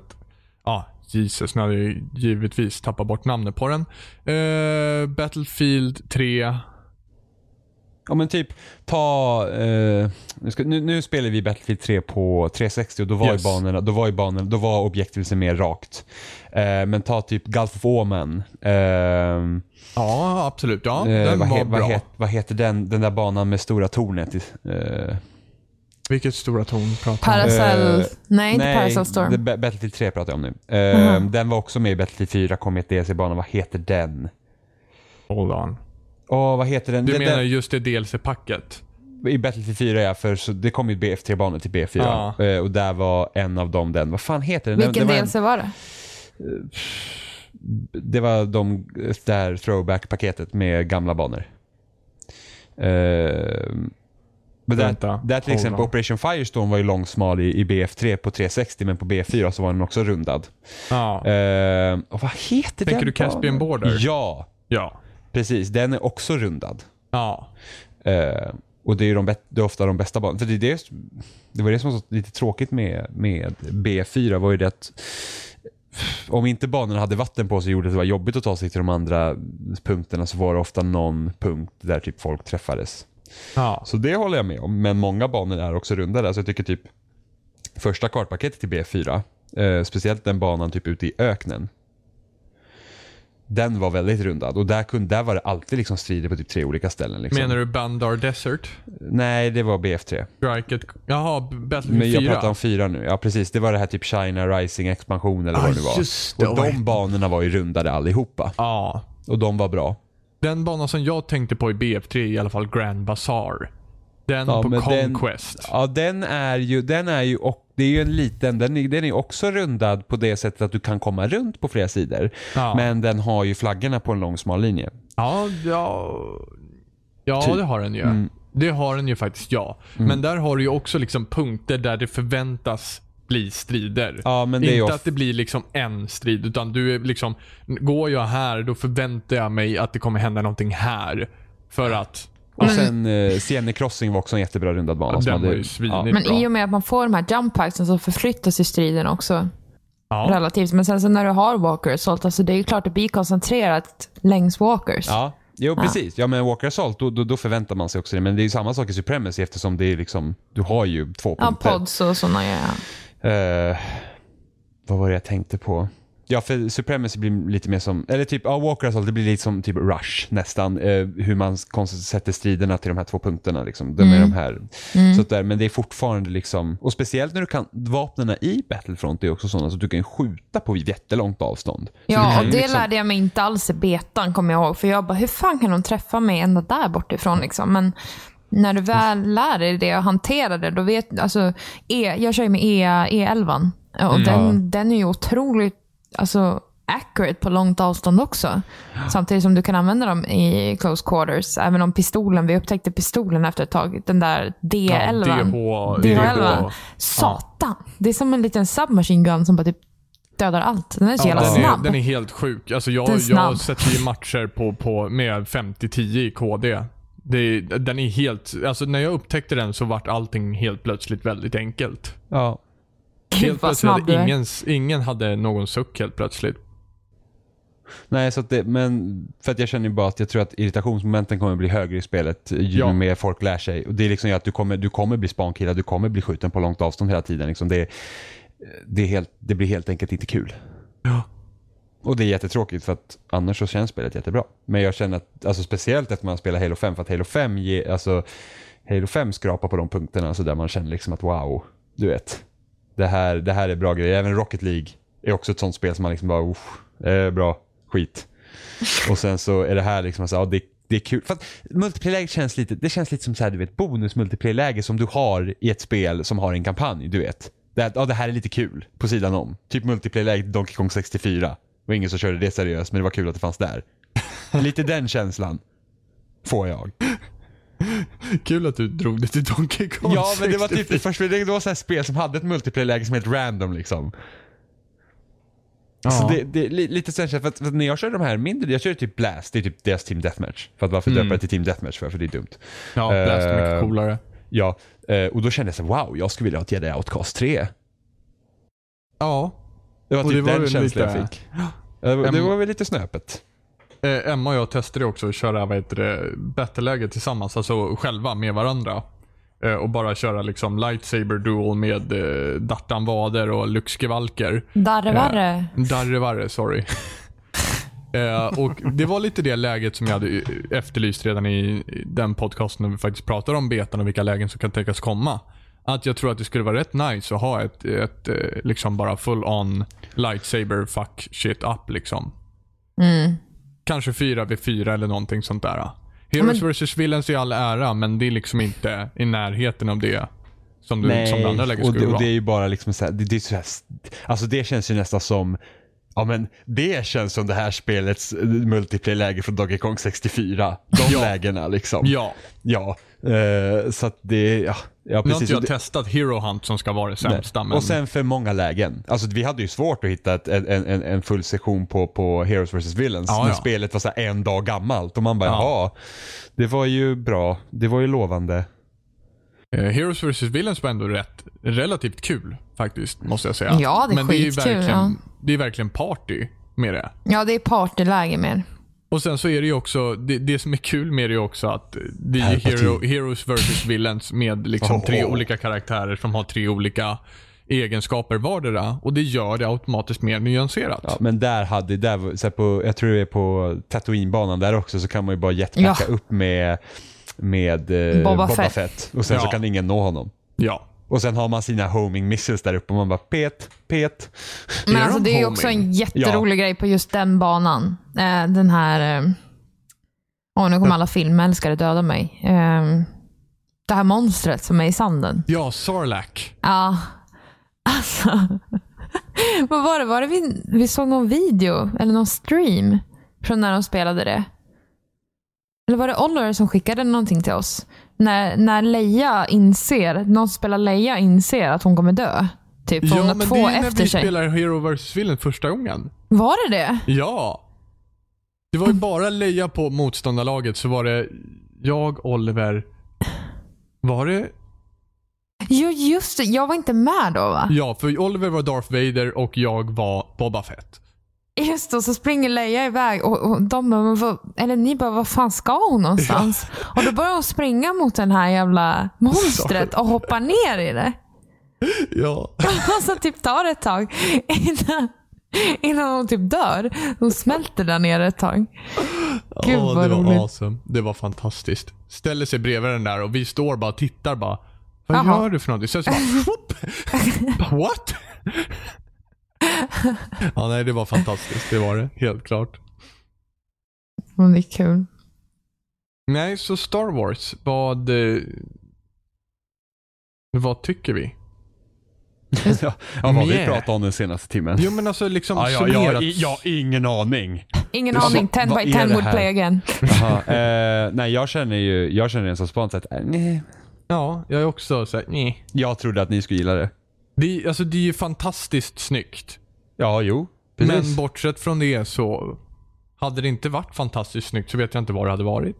Speaker 1: ja Jesus, nu hade jag ju givetvis tappat bort namnet på den. Eh, Battlefield 3.
Speaker 4: Ja men typ, ta... Eh, nu, ska, nu, nu spelar vi Battlefield 3 på 360 och då var
Speaker 1: Yes.
Speaker 4: ju banorna, då var, ju banorna, då var objektivet mer rakt. Eh, men ta typ Gulf of Oman. Eh,
Speaker 1: Ja, absolut. Ja,
Speaker 4: eh,
Speaker 1: den
Speaker 4: vad,
Speaker 1: var
Speaker 4: he-
Speaker 1: bra.
Speaker 4: vad, het, vad heter den, den där banan med stora tornet? i- Eh,
Speaker 1: Vilket stora torn pratar vi om?
Speaker 3: Paracel...
Speaker 4: Eh,
Speaker 3: nej, inte Paracel
Speaker 4: det-
Speaker 3: Storm.
Speaker 4: Ba- Battlefield 3 pratar jag om nu. Eh,
Speaker 3: Mhm.
Speaker 4: Den var också med i Battlefield 4, kom i ett DLC-bana. Vad heter den?
Speaker 1: Hold on.
Speaker 4: Åh, vad heter den?
Speaker 1: Du
Speaker 4: den,
Speaker 1: menar just det DLC-packet?
Speaker 4: den I Battlefield 4 ja, för så det kom ju BF3-banor till B4.
Speaker 1: Ja.
Speaker 4: Eh, och där var en av dem den. Vad fan heter den?
Speaker 3: Vilken
Speaker 4: den, den
Speaker 3: DLC var det?
Speaker 4: Var en, det var de där throwback-paketet med gamla banor. Eh, men
Speaker 1: Vänta,
Speaker 4: där, där till
Speaker 1: hold
Speaker 4: exempel
Speaker 1: on.
Speaker 4: Operation Firestorm var ju långsmal i, i BF3 på 360 men på B4 så var den också rundad.
Speaker 1: Ja.
Speaker 4: Eh, och vad heter
Speaker 1: Tänker
Speaker 4: den
Speaker 1: du Caspian
Speaker 4: banan?
Speaker 1: Border?
Speaker 4: Ja,
Speaker 1: Ja.
Speaker 4: precis. Den är också rundad.
Speaker 1: Ja.
Speaker 4: Eh, och det är, ju de, bä- det är ofta de bästa banorna. För det, är det, det var det som var så lite tråkigt med, med B4 var ju det att om inte banorna hade vatten på sig gjorde det att det var jobbigt att ta sig till de andra punkterna så var det ofta någon punkt där typ folk träffades.
Speaker 1: ja.
Speaker 4: Så det håller jag med om. Men många banor är också rundade. Alltså jag tycker typ första kartpaketet till B4, eh, speciellt den banan typ ute i öknen. Den var väldigt rundad och där, kunde, där var det alltid liksom strider på typ tre olika ställen. Liksom.
Speaker 1: Menar du Bandar Desert?
Speaker 4: Nej, det var BF3.
Speaker 1: Striket? Jaha, B- Battlefield 4?
Speaker 4: Men jag pratar om fyra nu. Ja, precis. Det var det här typ China Rising expansion eller
Speaker 1: Ah,
Speaker 4: vad det var.
Speaker 1: just det.
Speaker 4: och de banorna var ju rundade allihopa.
Speaker 1: Ja.
Speaker 4: Och de var bra.
Speaker 1: Den banan som jag tänkte på i BF3 är i alla fall Grand Bazaar. Den
Speaker 4: Ja,
Speaker 1: på
Speaker 4: men den-
Speaker 1: Conquest.
Speaker 4: Ja, den är ju, den är ju och det är ju en liten, den är, den är också rundad på det sättet att du kan komma runt på flera sidor.
Speaker 1: Ja.
Speaker 4: Men den har ju flaggorna på en lång smal linje.
Speaker 1: Ja, ja, ja det har den ju.
Speaker 4: Mm.
Speaker 1: Det har den ju faktiskt, ja. Men där har du ju också liksom punkter där det förväntas bli strider.
Speaker 4: Ja, men det är
Speaker 1: Inte
Speaker 4: ju of-
Speaker 1: att det blir liksom en strid, utan du är liksom, går jag här då förväntar jag mig att det kommer hända någonting här. För att,
Speaker 4: Och sen eh, Siene Crossing var också en jättebra rundad bana. som
Speaker 1: den
Speaker 4: hade-
Speaker 1: var ju svinig
Speaker 3: Men
Speaker 1: bra.
Speaker 3: i och med att man får de här jump packsen så förflyttas ju striden också.
Speaker 1: Ja.
Speaker 3: Relativt. Men sen så när du har walkers, alltså det är ju klart att det blir koncentrerat längs walkers.
Speaker 4: Ja, Jo, precis. Ja, men Walker Assault, då, då, då förväntar man sig också det. Men det är ju samma sak i Supremacy eftersom det är liksom, du har ju två
Speaker 3: Ja,
Speaker 4: punkter.
Speaker 3: pods och sådana grejer.
Speaker 4: Eh, vad var det jag tänkte på? Ja, för Supremacy blir lite mer som, eller typ, ja, Walker Assault, det blir lite som typ Rush nästan. eh, hur man konstigt sätter striderna till de här två punkterna. Liksom. De är de här. Så att där, men det är fortfarande liksom, och speciellt när du kan, vapnena i Battlefront är också sådana så du kan skjuta på jättelångt avstånd. så du
Speaker 3: Ja,
Speaker 4: kan
Speaker 3: och
Speaker 4: ju
Speaker 3: det
Speaker 4: liksom,
Speaker 3: lärde jag mig inte alls i betan, kommer jag ihåg. För jag bara, hur fan kan de träffa mig ända där bortifrån? Liksom? Men när du väl lär dig det och hanterar det, då vet alltså, e, Jag kör ju med e, E11. Och
Speaker 1: Mm.
Speaker 3: den, den är ju otroligt alltså, accurate på långt avstånd också. Samtidigt som du kan använda dem i close quarters. Även om pistolen, vi upptäckte pistolen efter ett tag. Den där D11.
Speaker 1: Ja, DH,
Speaker 3: DH11. Satan! Det är som en liten submachine gun som bara typ dödar allt. Den är så jävla
Speaker 1: den,
Speaker 3: snabb.
Speaker 1: Är, den är helt sjuk. Alltså jag,
Speaker 3: Den är snabb.
Speaker 1: jag sätter ju matcher på, på, med 50-10 i KD. Det, är- den är helt... Alltså när jag upptäckte den så vart allting helt plötsligt väldigt enkelt.
Speaker 4: ja.
Speaker 1: Helt
Speaker 3: Gud vad
Speaker 1: plötsligt
Speaker 3: snabb du
Speaker 1: hade
Speaker 3: är.
Speaker 1: ingen, ingen hade någon suck helt plötsligt.
Speaker 4: Nej, så att det, men för att jag känner ju bara att jag tror att irritationsmomenten kommer bli högre i spelet ju
Speaker 1: Ja.
Speaker 4: mer folk lär sig. Och det är liksom ju att du kommer, du kommer bli spankillad, du kommer bli skjuten på långt avstånd hela tiden. Liksom det, det, är helt, det blir helt enkelt inte kul.
Speaker 1: Ja.
Speaker 4: Och det är jättetråkigt för att annars så känns spelet jättebra. Men jag känner att, alltså speciellt efter man spelar Halo 5, för att Halo 5, ge, alltså, Halo 5 skrapar på de punkterna så där man känner liksom att wow, du vet. Det här, det här är bra grejer. Även Rocket League är också ett sånt spel som man liksom bara, usch, eh, bra, skit. Och sen så är det här liksom, så, ja, det, det är kul. Fast multiplayer-läget känns lite, det känns lite som så här, du vet, bonus-multiplayer-läge som du har i ett spel som har en kampanj, du vet. Det, här- ja, det här är lite kul, på sidan om. Typ multiplayer-läge Donkey Kong 64. Det var ingen som körde det seriöst, men det var kul att det fanns där. Lite den känslan. Får jag.
Speaker 1: Kul att du drog det till Donkey Kong
Speaker 4: Ja, men det var typ
Speaker 1: 64.
Speaker 4: det första, det var så här spel som hade ett multiplayer-läge som är helt random liksom. Så Alltså, det, det är li- lite sen för, att, för att när jag körde de här mindre, jag körde typ Blast, det är typ deras Team Deathmatch. För att varför döpa det till Team Deathmatch för? För det är dumt.
Speaker 1: Ja, Blast är
Speaker 4: Eh,
Speaker 1: mycket coolare.
Speaker 4: Ja, eh, och då kände jag så här, wow, jag skulle vilja ha ett Jedi Outcast 3.
Speaker 1: Ja.
Speaker 4: Det var
Speaker 1: Och
Speaker 4: typ
Speaker 1: det var
Speaker 4: den
Speaker 1: väl
Speaker 4: känslan
Speaker 1: lite-
Speaker 4: jag fick. Ja, Det var, det var väl lite snöpet.
Speaker 1: Eh, Emma och jag testade också att köra vad heter det, battle-läge tillsammans, alltså själva med varandra. Eh, och bara köra liksom lightsaber duel med eh, Dartan Vader och Luxgevalker.
Speaker 3: Darrevärre.
Speaker 1: Darrevarre, sorry. eh, och Det var lite det läget som jag hade eh, efterlyst redan i i den podcasten när vi faktiskt pratade om betan och vilka lägen som kan tänkas komma. Att jag tror att det skulle vara rätt nice att ha ett, ett eh, liksom bara full on lightsaber fuck shit up liksom.
Speaker 3: Mm.
Speaker 1: Kanske 4v4 eller någonting sånt där. Heroes vs Villains i all ära, men det är liksom inte i närheten av det som, du, som det andra läget
Speaker 4: och,
Speaker 1: skulle
Speaker 4: det, och
Speaker 1: vara.
Speaker 4: det är ju bara liksom så här, det, det är så här, alltså det känns ju nästan som, ja men det känns som det här spelets eh, multiplayer-läge från Donkey Kong 64. De
Speaker 1: Ja.
Speaker 4: lägena liksom.
Speaker 1: Ja.
Speaker 4: Ja, eh, så att det, ja, ja
Speaker 1: Nu har
Speaker 4: precis.
Speaker 1: inte jag
Speaker 4: Det-
Speaker 1: testat Hero Hunt som ska vara det
Speaker 4: Nej.
Speaker 1: sämsta, men...
Speaker 4: Och sen för många lägen. Alltså vi hade ju svårt att hitta ett, en, en, en full session på, på Heroes vs. Villains
Speaker 1: Ja,
Speaker 4: när
Speaker 1: ja.
Speaker 4: spelet var så här en dag gammalt och man bara, ja. det var ju bra. Det var ju lovande.
Speaker 1: Eh, Heroes vs Villains var ändå rätt, relativt kul faktiskt, måste jag säga.
Speaker 3: Ja, det är
Speaker 1: Men det är ju
Speaker 3: skitkul,
Speaker 1: verkligen,
Speaker 3: ja.
Speaker 1: det är verkligen party med det.
Speaker 3: Ja, det är partyläge mer.
Speaker 1: Och sen så är det ju också, det, det som är kul med det är också att det är ju
Speaker 4: Här,
Speaker 1: Hero, Heroes vs Villains med liksom tre
Speaker 4: Oh.
Speaker 1: olika karaktärer som har tre olika egenskaper vardera. Och det gör det automatiskt mer nyanserat.
Speaker 4: Ja, men där hade, där, var- så här på, jag tror det är på Tatooine-banan där också, så kan man ju bara jetpacka
Speaker 3: Ja.
Speaker 4: upp med, med eh,
Speaker 3: Boba
Speaker 4: Boba Fett.
Speaker 3: Fett.
Speaker 4: Och sen så
Speaker 1: Ja.
Speaker 4: kan ingen nå honom.
Speaker 1: ja.
Speaker 4: Och sen har man sina homing missiles där uppe och man bara pet, pet.
Speaker 1: Är
Speaker 3: Men alltså,
Speaker 1: de
Speaker 3: det är ju
Speaker 1: homing?
Speaker 3: också en jätterolig grej på just den banan. Eh, den här... eh, Åh, nu kommer alla filmälskare döda mig. Eh, det här monstret som är i sanden.
Speaker 1: Ja, Sarlacc.
Speaker 3: Ja. Alltså. Vad var det? Var det vi, vi såg någon video eller någon stream från när de spelade det? Eller var det Oliver som skickade någonting till oss? När, när Leia inser, någon spelar Leia inser att hon kommer dö. Typ, för hon
Speaker 1: Ja,
Speaker 3: har
Speaker 1: men
Speaker 3: två
Speaker 1: det är ju när
Speaker 3: efter
Speaker 1: vi
Speaker 3: sig.
Speaker 1: spelar Hero vs Villains första gången.
Speaker 3: Var det det?
Speaker 1: Ja. Det var ju bara Leia på motståndarlaget så var det jag, Oliver. Var det?
Speaker 3: Jo, just det. Jag var inte med då va?
Speaker 1: Ja, för Oliver var Darth Vader och jag var Boba Fett.
Speaker 3: Just då, så springer Leia iväg och, och de bara, "Men vad- eller ni bara, vad fan ska hon någonstans? Och då börjar hon springa mot den här jävla monstret och hoppar ner i det.
Speaker 1: Ja.
Speaker 3: Alltså typ tar ett tag innan, innan hon typ dör. Hon smälter där nere ett tag. Gud,
Speaker 1: Ja,
Speaker 3: vad
Speaker 1: det
Speaker 3: roligt.
Speaker 1: var awesome. Det var fantastiskt. Ställer sig bredvid den där och vi står bara och tittar bara. Vad
Speaker 3: Jaha.
Speaker 1: gör du för någonting? Sen så bara, whoop. Bara, What? ja, nej, det var fantastiskt. Det var det. Helt klart.
Speaker 3: Men det är kul.
Speaker 1: Nej, så Star Wars. Vad... eh, Vad tycker vi?
Speaker 4: ja, vad har vi
Speaker 1: Yeah.
Speaker 4: pratat om den senaste timmen?
Speaker 1: Jo, men alltså liksom
Speaker 4: Ja, ja, ja,
Speaker 1: summerat.
Speaker 4: i- ja, ingen aning.
Speaker 3: Ingen
Speaker 4: Alltså,
Speaker 3: aning. 10
Speaker 4: vad
Speaker 3: by
Speaker 4: är
Speaker 3: 10
Speaker 4: det
Speaker 3: would
Speaker 4: här?
Speaker 3: play again.
Speaker 4: Jaha, eh, nej, jag känner ju, jag känner rent spontant att, eh, nej.
Speaker 1: ja, jag är också såhär, nej.
Speaker 4: Jag trodde att ni skulle gilla det.
Speaker 1: Det, är- alltså, det är ju fantastiskt snyggt.
Speaker 4: Ja, jo. Precis.
Speaker 1: Men bortsett från det så hade det inte varit fantastiskt snyggt så vet jag inte vad det hade varit.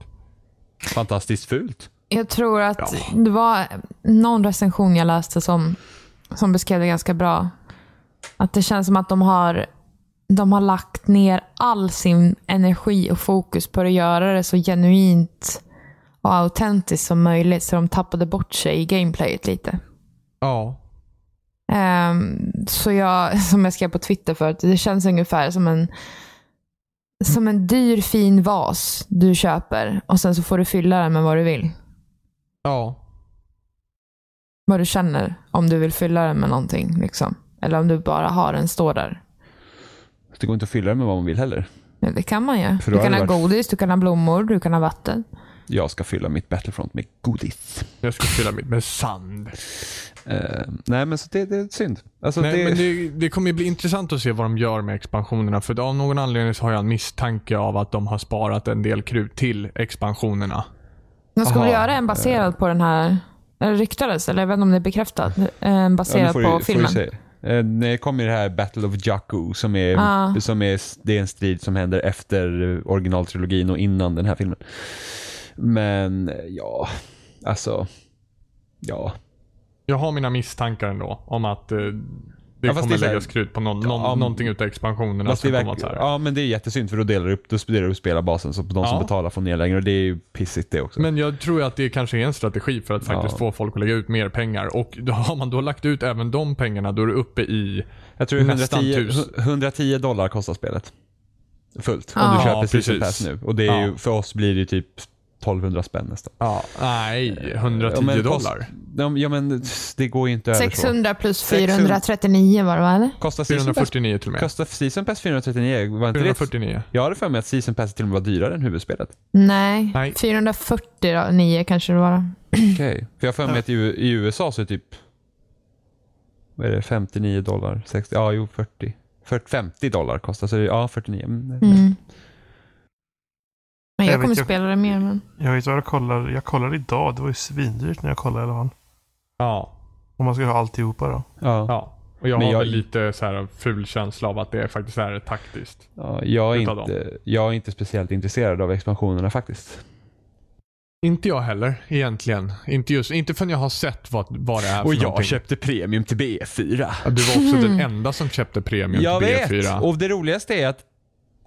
Speaker 4: Fantastiskt fult.
Speaker 3: Jag tror att det var någon recension jag läste som, som beskrev det ganska bra. Att det känns som att de har, de har lagt ner all sin energi och fokus på att göra det så genuint och autentiskt som möjligt. Så de tappade bort sig i gameplayet lite.
Speaker 1: Ja.
Speaker 3: Ehm, så jag, som jag skrev på Twitter förut, det känns ungefär som en, som en dyr fin vas du köper och sen så får du fylla den med vad du vill.
Speaker 1: Ja.
Speaker 3: Vad du känner. Om du vill fylla den med någonting. Liksom. Eller om du bara har den stå där.
Speaker 4: Det går inte att fylla det med vad man vill heller.
Speaker 3: Ja, det kan man ju.
Speaker 4: För då
Speaker 3: Du kan
Speaker 4: hade
Speaker 3: ha
Speaker 4: det varit-
Speaker 3: godis, du kan ha blommor, du kan ha vatten.
Speaker 4: Jag ska fylla mitt Battlefront med godis.
Speaker 1: Jag ska fylla mitt med sand.
Speaker 4: Eh, nej, men så det, det är synd. Alltså,
Speaker 1: Nej,
Speaker 4: det,
Speaker 1: men det, det kommer ju bli intressant att se vad de gör med expansionerna. För av någon anledning så har jag en misstanke av att de har sparat en del krut till expansionerna.
Speaker 3: De ska väl
Speaker 4: Aha, eh.
Speaker 3: göra en baserad på den här... Eller ryktades, eller jag vet inte om det är bekräftat. Eh, En
Speaker 4: Ja, nu
Speaker 3: baserad
Speaker 4: får du-
Speaker 3: på
Speaker 4: får
Speaker 3: filmen.
Speaker 4: du se. Eh, Det kommer ju det här Battle of Jakku som är,
Speaker 3: Ja.
Speaker 4: som är, det är en strid som händer efter eh, originaltrilogin och innan den här filmen. Men eh, ja, alltså. Ja.
Speaker 1: Jag har mina misstankar ändå om att eh, det
Speaker 4: Ja, fast
Speaker 1: kommer
Speaker 4: det är så här-
Speaker 1: läggas krut på någon, någon,
Speaker 4: Ja, men-
Speaker 1: någonting utav expansionerna.
Speaker 4: Fast det
Speaker 1: som kommer att
Speaker 4: verkar,
Speaker 1: så här.
Speaker 4: ja men det är jättesynd för då delar du upp, då delar du upp spelarbasen så de som
Speaker 1: Ja.
Speaker 4: betalar får ner längre och det är ju pissigt det också.
Speaker 1: Men jag tror att det kanske är en strategi för att faktiskt
Speaker 4: Ja.
Speaker 1: få folk att lägga ut mer pengar. Och då har man då lagt ut även de pengarna, då är du uppe i...
Speaker 4: jag tror det är
Speaker 1: nästan
Speaker 4: 110,
Speaker 1: tusen.
Speaker 4: 110 dollar kostar spelet. Fullt. Om
Speaker 3: Ja.
Speaker 4: du köper
Speaker 1: Ja,
Speaker 4: precis
Speaker 1: precis.
Speaker 4: pass nu. Och det är ju,
Speaker 1: Ja.
Speaker 4: för oss blir det ju typ 1200 spänn nästan.
Speaker 1: Ja. Nej, 110
Speaker 4: Eh, Ja, men kost-
Speaker 1: dollar.
Speaker 4: Ja, men- ja men det går ju inte över så.
Speaker 3: 600 plus 439 var det va? Eller?
Speaker 4: Kostar season, pass,
Speaker 1: 449 till och med.
Speaker 4: kostar season pass 439? Var inte Det?
Speaker 1: 449.
Speaker 4: Jag hade för mig att season pass till och med var dyrare än huvudspelet.
Speaker 3: Nej.
Speaker 1: Nej.
Speaker 3: 449 kanske det var.
Speaker 4: Okej. För jag har för mig att i, U- i USA så är typ... Vad är det? 59 dollar? 60? Ja, jo 40. 40 50 dollar kostar så det, ja 49. Mm. nej.
Speaker 3: Mm. Men
Speaker 2: Jag
Speaker 3: jag
Speaker 2: vet
Speaker 3: kommer
Speaker 2: ju-
Speaker 3: spela det mer. Men...
Speaker 2: Jag vet vad jag kollar. Jag kollar idag. Det var ju svindyrt när jag kollade i alla fall.
Speaker 1: Ja.
Speaker 2: Om man ska ha alltihopa då.
Speaker 4: Ja.
Speaker 1: ja. Och jag
Speaker 4: Men
Speaker 1: har
Speaker 4: jag-
Speaker 1: väl lite så här ful känsla av att det faktiskt är taktiskt.
Speaker 4: ja jag, är
Speaker 1: Utav
Speaker 4: inte, jag är inte speciellt intresserad av expansionerna faktiskt.
Speaker 1: Inte jag heller egentligen. Inte, just, inte förrän jag har sett vad, vad det är för Alltså någonting.
Speaker 4: köpte premium till B4.
Speaker 1: Ja, Du var också
Speaker 3: Hmm.
Speaker 1: den enda som köpte premium
Speaker 4: Jag
Speaker 1: till
Speaker 4: vet!
Speaker 1: B4.
Speaker 4: Och det roligaste är att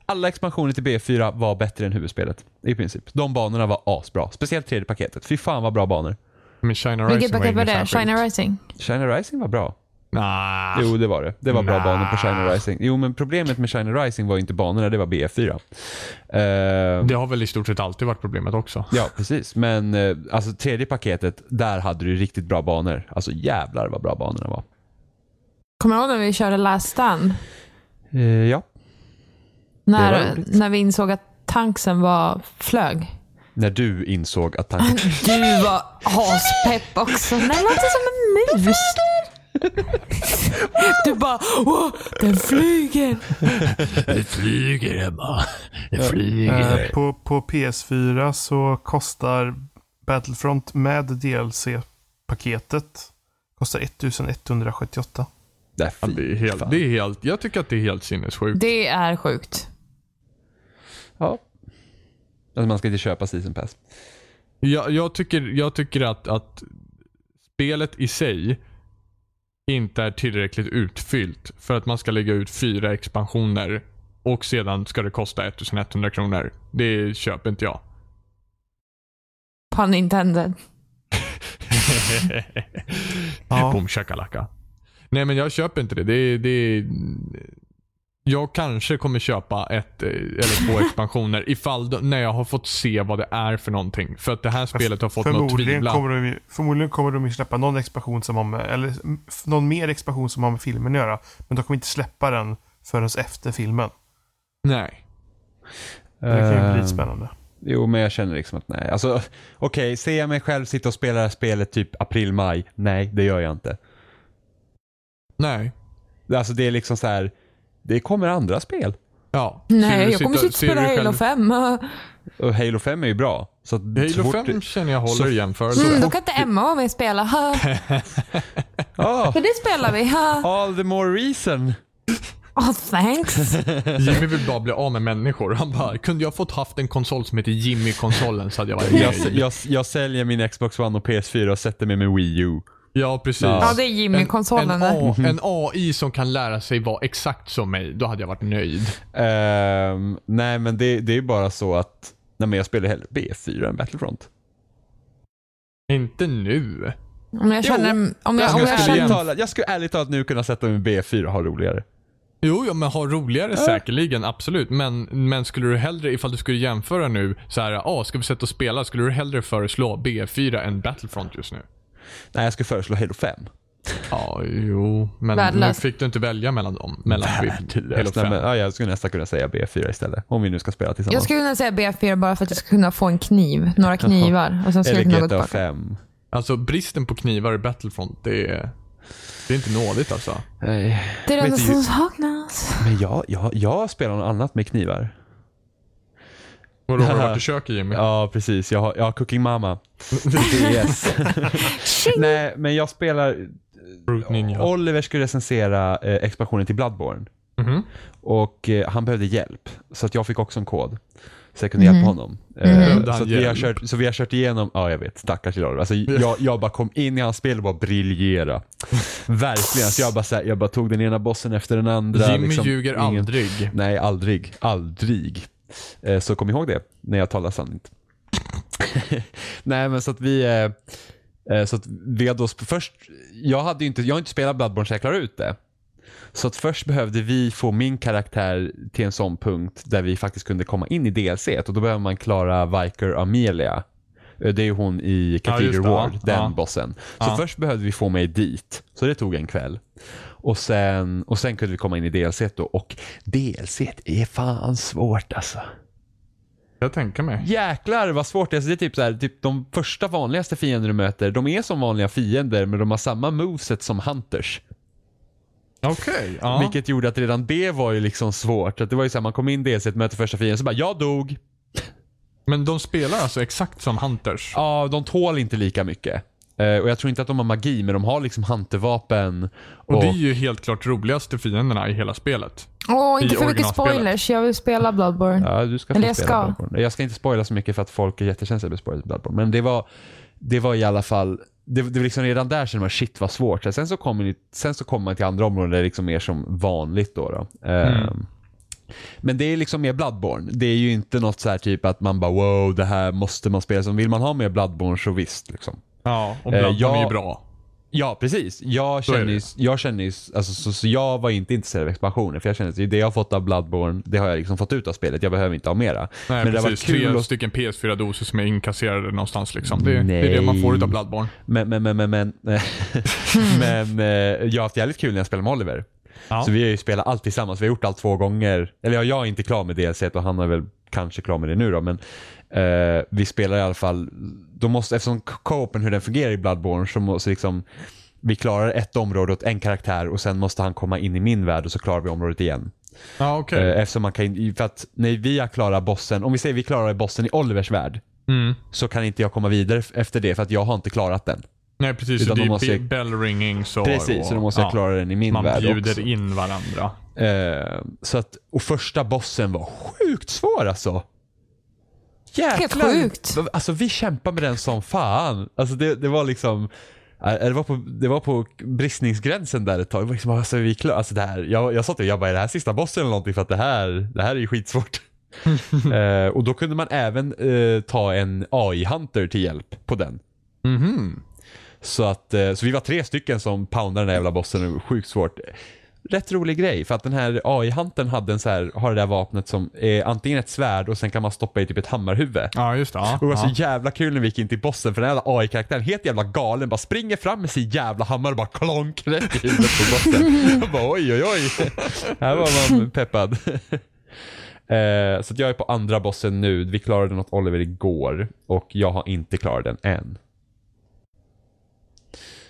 Speaker 4: alla expansioner till B4 var bättre än huvudspelet. I princip. De banorna var asbra. Speciellt tredje paketet. Fy fan vad bra banor.
Speaker 1: Men China
Speaker 3: Vilket
Speaker 1: Rising var
Speaker 3: paket var
Speaker 1: inget
Speaker 3: det?
Speaker 1: särskilt.
Speaker 3: China Rising?
Speaker 4: China Rising var bra.
Speaker 1: Nah.
Speaker 4: Jo, det var det. Det var bra
Speaker 1: Ah. Nah.
Speaker 4: banor på China Rising. Jo, men problemet med China Rising var ju inte banorna, det var B4. Eh,
Speaker 1: Det har väl i stort sett alltid varit problemet också.
Speaker 4: Ja, precis. Men eh, alltså tredje paketet, där hade du riktigt bra banor. Alltså jävlar vad bra banorna var.
Speaker 3: Kommer du ihåg när vi körde Last Stand?
Speaker 4: Eh, ja. Det var
Speaker 3: När,
Speaker 4: roligt.
Speaker 3: när vi insåg att tanksen var flög.
Speaker 4: När du insåg att tanken...
Speaker 3: Du var aspepp också. Nej, det låter som en mus. Du bara åh, den flyger.
Speaker 1: Det flyger Emma. Det
Speaker 2: Eh,
Speaker 1: flyger.
Speaker 2: på, på PS4 så kostar Battlefront med DLC-paketet kostar 1178.
Speaker 4: Där,
Speaker 1: Ja, det, är helt, det är helt, jag tycker att det är helt sinnessjukt.
Speaker 3: Det är sjukt.
Speaker 4: Ja. Alltså man ska inte köpa season pass.
Speaker 1: Jag, jag tycker, jag tycker att, att spelet i sig inte är tillräckligt utfyllt för att man ska lägga ut fyra expansioner Och sedan ska det kosta 1100 kronor. Det köper inte jag.
Speaker 3: Pun intended.
Speaker 2: Ja.
Speaker 1: Boom shakalaka. Nej men jag köper inte det. det, det jag kanske kommer köpa ett eh, eller två expansioner ifall de, när jag har fått se vad det är för någonting. För att det här spelet har fått mig att
Speaker 2: förmodligen
Speaker 1: tvivla.
Speaker 2: kommer, de, ju- förmodligen kommer de ju släppa någon expansion som har med, eller mm, f- någon mer expansion som har med filmen att göra. Men de kommer inte släppa den förrän efter filmen.
Speaker 1: Nej.
Speaker 2: Det kan ju bli
Speaker 4: Eh,
Speaker 2: lite spännande.
Speaker 4: Jo, men jag känner liksom att nej. Alltså, okej, ser jag mig själv sitta och spela det här spelet typ april-maj? Nej, det gör jag inte.
Speaker 1: Nej.
Speaker 4: Alltså det är liksom så här, det kommer andra spel.
Speaker 1: Ja. Ser
Speaker 3: Nej,
Speaker 1: du
Speaker 3: jag kommer
Speaker 1: sitta-
Speaker 3: sitta och
Speaker 1: ser du
Speaker 3: spela
Speaker 1: själv-
Speaker 3: Halo 5. och-
Speaker 4: Och Halo 5 är ju bra. Så att så
Speaker 1: Halo
Speaker 4: fort-
Speaker 1: 5 känner jag håller
Speaker 4: så-
Speaker 1: i jämförelse.
Speaker 3: Mm, då kan inte Emma vara med och spela. Ha,
Speaker 4: Ja,
Speaker 3: För det spelar vi. Ha.
Speaker 4: all the more reason.
Speaker 3: Oh, thanks.
Speaker 1: Jimmy vill bara bli av med människor. Han bara, kunde jag fått haft en konsol som heter Jimmy-konsolen så hade jag varit
Speaker 4: Jag,
Speaker 1: nöjd."
Speaker 4: jag, jag säljer min Xbox One och PS4 och sätter mig med Wii U.
Speaker 1: Ja, Mhm. precis.
Speaker 3: Ja, det är Jimmy-konsolen
Speaker 1: en, en,
Speaker 3: där.
Speaker 1: A- en AI som kan lära sig vara exakt som mig, då hade jag varit nöjd.
Speaker 4: Ehm, nej, men det, det är ju bara så att nej, men jag spelar hellre B4 än Battlefront.
Speaker 1: Inte nu.
Speaker 3: Om jag känner... um, Om jag, om
Speaker 1: skulle
Speaker 3: jag
Speaker 1: igen.
Speaker 3: känner
Speaker 4: ärligt talat, jag skulle ärligt talat nu kunna sätta mig med B4 och ha roligare.
Speaker 1: Jo, ja, men ha roligare säkerligen, absolut. Men, men skulle du hellre, ifall du skulle jämföra nu, så här, ah, ska vi sätta och spela? Skulle du hellre föreslå B4 än Battlefront just nu?
Speaker 4: Nej, jag skulle föreslå Halo 5.
Speaker 1: Ja, jo, men
Speaker 3: Värdelöst.
Speaker 1: nu fick du inte välja mellan dem. Mellan Halo
Speaker 4: Halo 5.
Speaker 1: 5.
Speaker 4: Men, ja, jag skulle nästan kunna säga B4 istället. Om vi nu ska spela
Speaker 3: Jag
Speaker 4: tillsammans.
Speaker 3: skulle kunna säga B4 bara för att jag ska kunna få en kniv. Några knivar. Och sen skulle
Speaker 4: Eller
Speaker 3: jag kunna gå
Speaker 4: GTA
Speaker 3: tillbaka.
Speaker 4: 5.
Speaker 1: Alltså bristen på knivar i Battlefront, det är, det är inte nådigt alltså.
Speaker 4: Nej.
Speaker 3: Det är det
Speaker 4: Vet
Speaker 3: enda
Speaker 4: du-
Speaker 3: som saknas.
Speaker 4: Men jag, jag, jag spelar något annat med knivar.
Speaker 1: Vadå, har du varit i köket Jimmy?
Speaker 4: Ja, precis. Jag har, jag har Cooking Mama. yes. Nej, men jag spelar...
Speaker 1: Fruit Ninja.
Speaker 4: Oliver skulle recensera eh, expansionen till Bloodborne.
Speaker 1: Mhm.
Speaker 4: Och eh, han behövde hjälp. Så att jag fick också en kod. Så jag kunde hjälpa honom. Eh,
Speaker 1: Behövde han
Speaker 4: så, att vi har
Speaker 1: hjälp?
Speaker 4: kört, så vi har kört igenom, ja jag vet, stackars lilla Oliver. Alltså, jag, jag bara kom in i hans spel och bara briljera. Verkligen. Så jag, bara, så här, jag bara tog den ena bossen efter den andra.
Speaker 1: Jimmy
Speaker 4: liksom.
Speaker 1: ljuger
Speaker 4: Ingen-
Speaker 1: aldrig.
Speaker 4: Nej, aldrig. Aldrig. Eh, Så kom ihåg det när jag talar sanning. Nej, men så att vi... eh, eh, Så att vi har då sp- först, jag, hade ju inte, jag har inte spelat Bloodborne så jag klarar ut det. Så att först behövde vi få min karaktär till en sån punkt där vi faktiskt kunde komma in i DLC et, och då behöver man klara Viker Amelia. Eh, Det är ju hon i Cathedral
Speaker 1: just det,
Speaker 4: Ward,
Speaker 1: ja,
Speaker 4: den
Speaker 1: ja.
Speaker 4: bossen. Så först behövde vi få mig dit, så det tog en kväll. Och sen, och sen kunde vi komma in i DLC et då och DLC et är fan svårt alltså.
Speaker 1: Jag tänker mig.
Speaker 4: Jäklar vad svårt det är. Så det är typ så här, typ de första vanligaste fiender du möter, de är som vanliga fiender men de har samma moveset som hunters.
Speaker 1: Okej. ja.
Speaker 4: Vilket gjorde att redan det var ju liksom svårt. Att det var ju så här, man kom in i DLC, möter första fienden, så bara jag dog.
Speaker 1: Men de spelar alltså exakt som Hunters?
Speaker 4: Ja, de tål inte lika mycket. Eh, och jag tror inte att de har magi, men de har liksom huntervapen. Och,
Speaker 1: Och det är ju helt klart roligaste fienderna i hela spelet.
Speaker 3: Åh, inte
Speaker 1: I
Speaker 3: för mycket
Speaker 1: originalspelet.
Speaker 3: spoilers. Jag vill spela Bloodborne.
Speaker 4: Ja, du ska få
Speaker 3: Eller jag
Speaker 4: spela
Speaker 3: ska.
Speaker 4: Bloodborne. Jag ska inte spoila så mycket för att folk är jättekänsliga för spoilers i Bloodborne. Men det var, det var i alla fall, det, det var liksom redan där kände man shit vad svårt. Sen så kommer ni- sen så kommer man till andra områden där det är liksom mer som vanligt då. då.
Speaker 3: Mm.
Speaker 4: Ehm, Men det är liksom mer Bloodborne. Det är ju inte något så här typ att man bara wow, det här måste man spela. Så vill man ha mer Bloodborne så visst. Liksom.
Speaker 1: Ja, och Bloodborne
Speaker 4: jag-
Speaker 1: är ju bra.
Speaker 4: Ja, precis. Jag
Speaker 1: är
Speaker 4: känner
Speaker 1: det.
Speaker 4: ju, jag känner ju, alltså, så, så jag var inte intresserad av expansionen. För jag känner att det jag har fått av Bloodborne, det har jag liksom fått ut av spelet. Jag behöver inte ha mera.
Speaker 1: Nej,
Speaker 4: men, det var
Speaker 1: precis.
Speaker 4: kul
Speaker 1: Tre
Speaker 4: att,
Speaker 1: stycken PS4-doser som är inkasserade någonstans liksom. Det, det är det man får
Speaker 4: Nej.
Speaker 1: utav Bloodborne.
Speaker 4: men, men, men, men, men, men eh, jag har haft jävligt kul när jag spelar med Oliver.
Speaker 1: Mm. Ja.
Speaker 4: Så vi har ju spelat allt tillsammans. Vi har gjort allt två gånger. Eller ja, jag är inte klar med DLC et och han är väl kanske klar med det nu då. Men eh, vi spelar i alla fall. Då måste, eftersom co-open hur den fungerar i Bloodborne så måste liksom vi klarar ett område åt en karaktär och sen måste han komma in i min värld och så klarar vi området igen.
Speaker 1: Ja, okej.
Speaker 4: Eh, Eftersom man kan, för att när vi har klarat bossen, om vi säger vi klarar bossen i Olivers värld,
Speaker 1: Mm.
Speaker 4: så kan inte jag komma vidare f- efter det för att jag har inte klarat den.
Speaker 1: Nej, precis. Så
Speaker 4: utan
Speaker 1: det
Speaker 4: de
Speaker 1: är
Speaker 4: måste
Speaker 1: be-
Speaker 4: ju-
Speaker 1: bell ringing så...
Speaker 4: Precis, så då måste jag
Speaker 1: ja,
Speaker 4: klara den i min
Speaker 1: Man
Speaker 4: värld
Speaker 1: bjuder
Speaker 4: också.
Speaker 1: in varandra.
Speaker 4: Eh, så att, och första bossen var sjukt svår alltså.
Speaker 3: Helt sjukt.
Speaker 4: Alltså vi kämpade med den som fan. Alltså det, det var liksom, eh, Det var, på, det var på bristningsgränsen där ett tag. Det var Liksom, alltså, vi är klara. Alltså, det här, jag, jag sa till jag bara, är det här sista bossen eller någonting? För att det här, det här är ju skitsvårt. Eh, och då kunde man även eh, ta en AI-hunter till hjälp på den.
Speaker 1: Mhm.
Speaker 4: Så, att, eh, så vi var tre stycken som poundade den där jävla bossen. Det var Sjukt svårt. Rätt rolig grej, för att den här AI-huntern hade en så här, har det där vapnet som är antingen ett svärd och sen kan man stoppa i typ ett hammarhuvud.
Speaker 1: Ja, just det. Ja,
Speaker 4: Och alltså, det var
Speaker 1: ja.
Speaker 4: så jävla kul när vi gick in till bossen för den här jävla AI-karaktären, helt jävla galen, bara springer fram med sin jävla hammare och bara klonk rätt i huvudet på bossen. Jag bara oj oj oj. Här var man peppad. Eh, så att jag är på andra bossen nu. Vi klarade något Oliver igår och jag har inte klarat den än.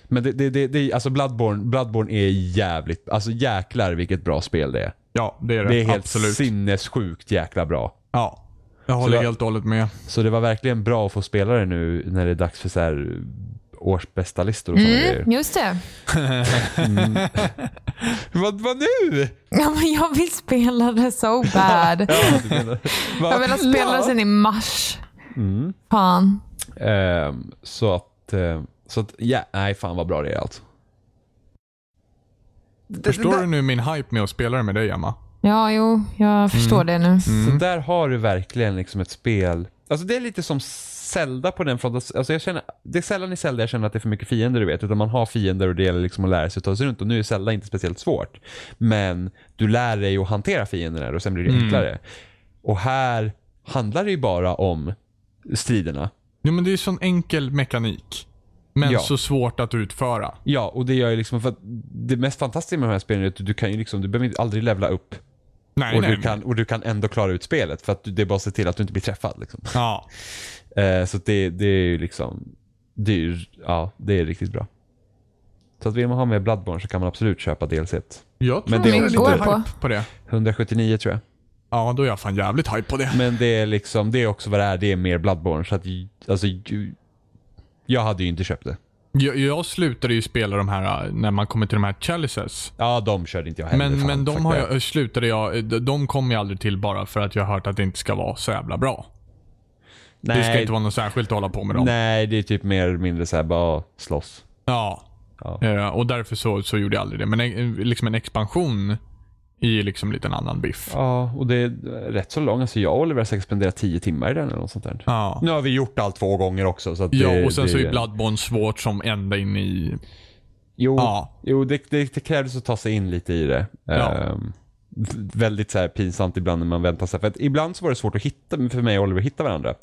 Speaker 4: Men det, det, det, det alltså Bloodborne, Bloodborne är jävligt, alltså jäklar vilket bra spel det är.
Speaker 1: ja, det är det.
Speaker 4: Det är helt
Speaker 1: Absolut.
Speaker 4: sinnessjukt jäkla bra.
Speaker 1: ja. Jag
Speaker 4: Så
Speaker 1: håller
Speaker 4: jag-
Speaker 1: helt och hållet med.
Speaker 4: Så det var verkligen bra att få spela det nu när det är dags för så här årsbästa listor och såna grejer.
Speaker 3: Mm, just det.
Speaker 4: Vad, vad nu?
Speaker 3: Ja, men jag vill spela det so bad. Jag har velat spela det sedan i mars.
Speaker 1: Mm.
Speaker 3: Fan.
Speaker 4: Ehm, så att, ehm, så att, ja, nej fan vad bra det är alltså.
Speaker 1: Förstår du nu min hype med att spela det med dig, Emma?
Speaker 3: Ja, jo,
Speaker 1: Mm.
Speaker 3: jag förstår det nu.
Speaker 4: Så där har du verkligen liksom ett spel. Alltså det är lite som Zelda på den fronten. Alltså jag känner, det är sällan i Zelda jag känner att det är för mycket fiender du vet. Utan man har fiender och det gäller liksom att lära sig att ta sig runt. Och nu är Zelda inte speciellt svårt. Men du lär dig att hantera fienderna och sen blir det
Speaker 1: Mm.
Speaker 4: enklare. Och här handlar det ju bara om striderna.
Speaker 1: Jo, men det är ju sån enkel mekanik. Men
Speaker 4: Ja.
Speaker 1: så svårt att utföra.
Speaker 4: Ja, och det gör ju liksom för att det mest fantastiska med de här spelen är att du kan ju liksom, du behöver inte- aldrig levla upp.
Speaker 1: Nej,
Speaker 4: Och
Speaker 1: nej.
Speaker 4: du, kan, och du kan ändå klara ut spelet för att du- det är bara att se till att du inte blir träffad. Liksom.
Speaker 1: Ja.
Speaker 4: Eh, så att det, det är ju liksom, det är, ju- ja, det är riktigt bra. Så att vill man ha med Bloodborne så kan man absolut köpa DLC. -et.
Speaker 1: Jag tror
Speaker 4: Men det är
Speaker 1: jag
Speaker 4: också
Speaker 1: lite
Speaker 4: går
Speaker 3: på.
Speaker 1: hype på det.
Speaker 4: 179 tror jag.
Speaker 1: Ja, då är jag fan jävligt hype på det.
Speaker 4: Men det är liksom, det är också vad det är, det är mer Bloodborne. Så att, ju- alltså, ju- jag hade ju inte köpt det.
Speaker 1: Jag, jag slutade ju spela de här äh, när man kommer till de här chalices.
Speaker 4: Ja, de körde inte jag heller.
Speaker 1: Men,
Speaker 4: fan,
Speaker 1: men de
Speaker 4: fuck
Speaker 1: har
Speaker 4: det.
Speaker 1: jag, äh, slutade jag, äh, de- de kom jag aldrig till bara för att jag har hört att det inte ska vara så jävla bra.
Speaker 4: nej,
Speaker 1: Det ska inte vara något särskilt att hålla på med dem.
Speaker 4: Nej, det är typ mer eller mindre såhär bara slåss.
Speaker 1: Ja.
Speaker 4: Ja.
Speaker 1: Eh, Och därför så, så gjorde jag aldrig det. Men en, liksom en expansion i liksom lite en annan biff. Ja.
Speaker 4: Ja, och det är rätt så långt. Alltså jag och Oliver har säkert spenderat 10 timmar i den eller något sånt där.
Speaker 1: Ja.
Speaker 4: Nu har vi gjort allt två gånger också. Så att det,
Speaker 1: och sen
Speaker 4: det,
Speaker 1: så är Bloodborne svårt som ända in i...
Speaker 4: Jo,
Speaker 1: Ja.
Speaker 4: jo det, det, det krävdes att ta sig in lite i det.
Speaker 1: Ja.
Speaker 4: Ehm, v- väldigt så här pinsamt ibland när man väntar sig. För att ibland så var det svårt att hitta, för mig och Oliver att hitta varandra.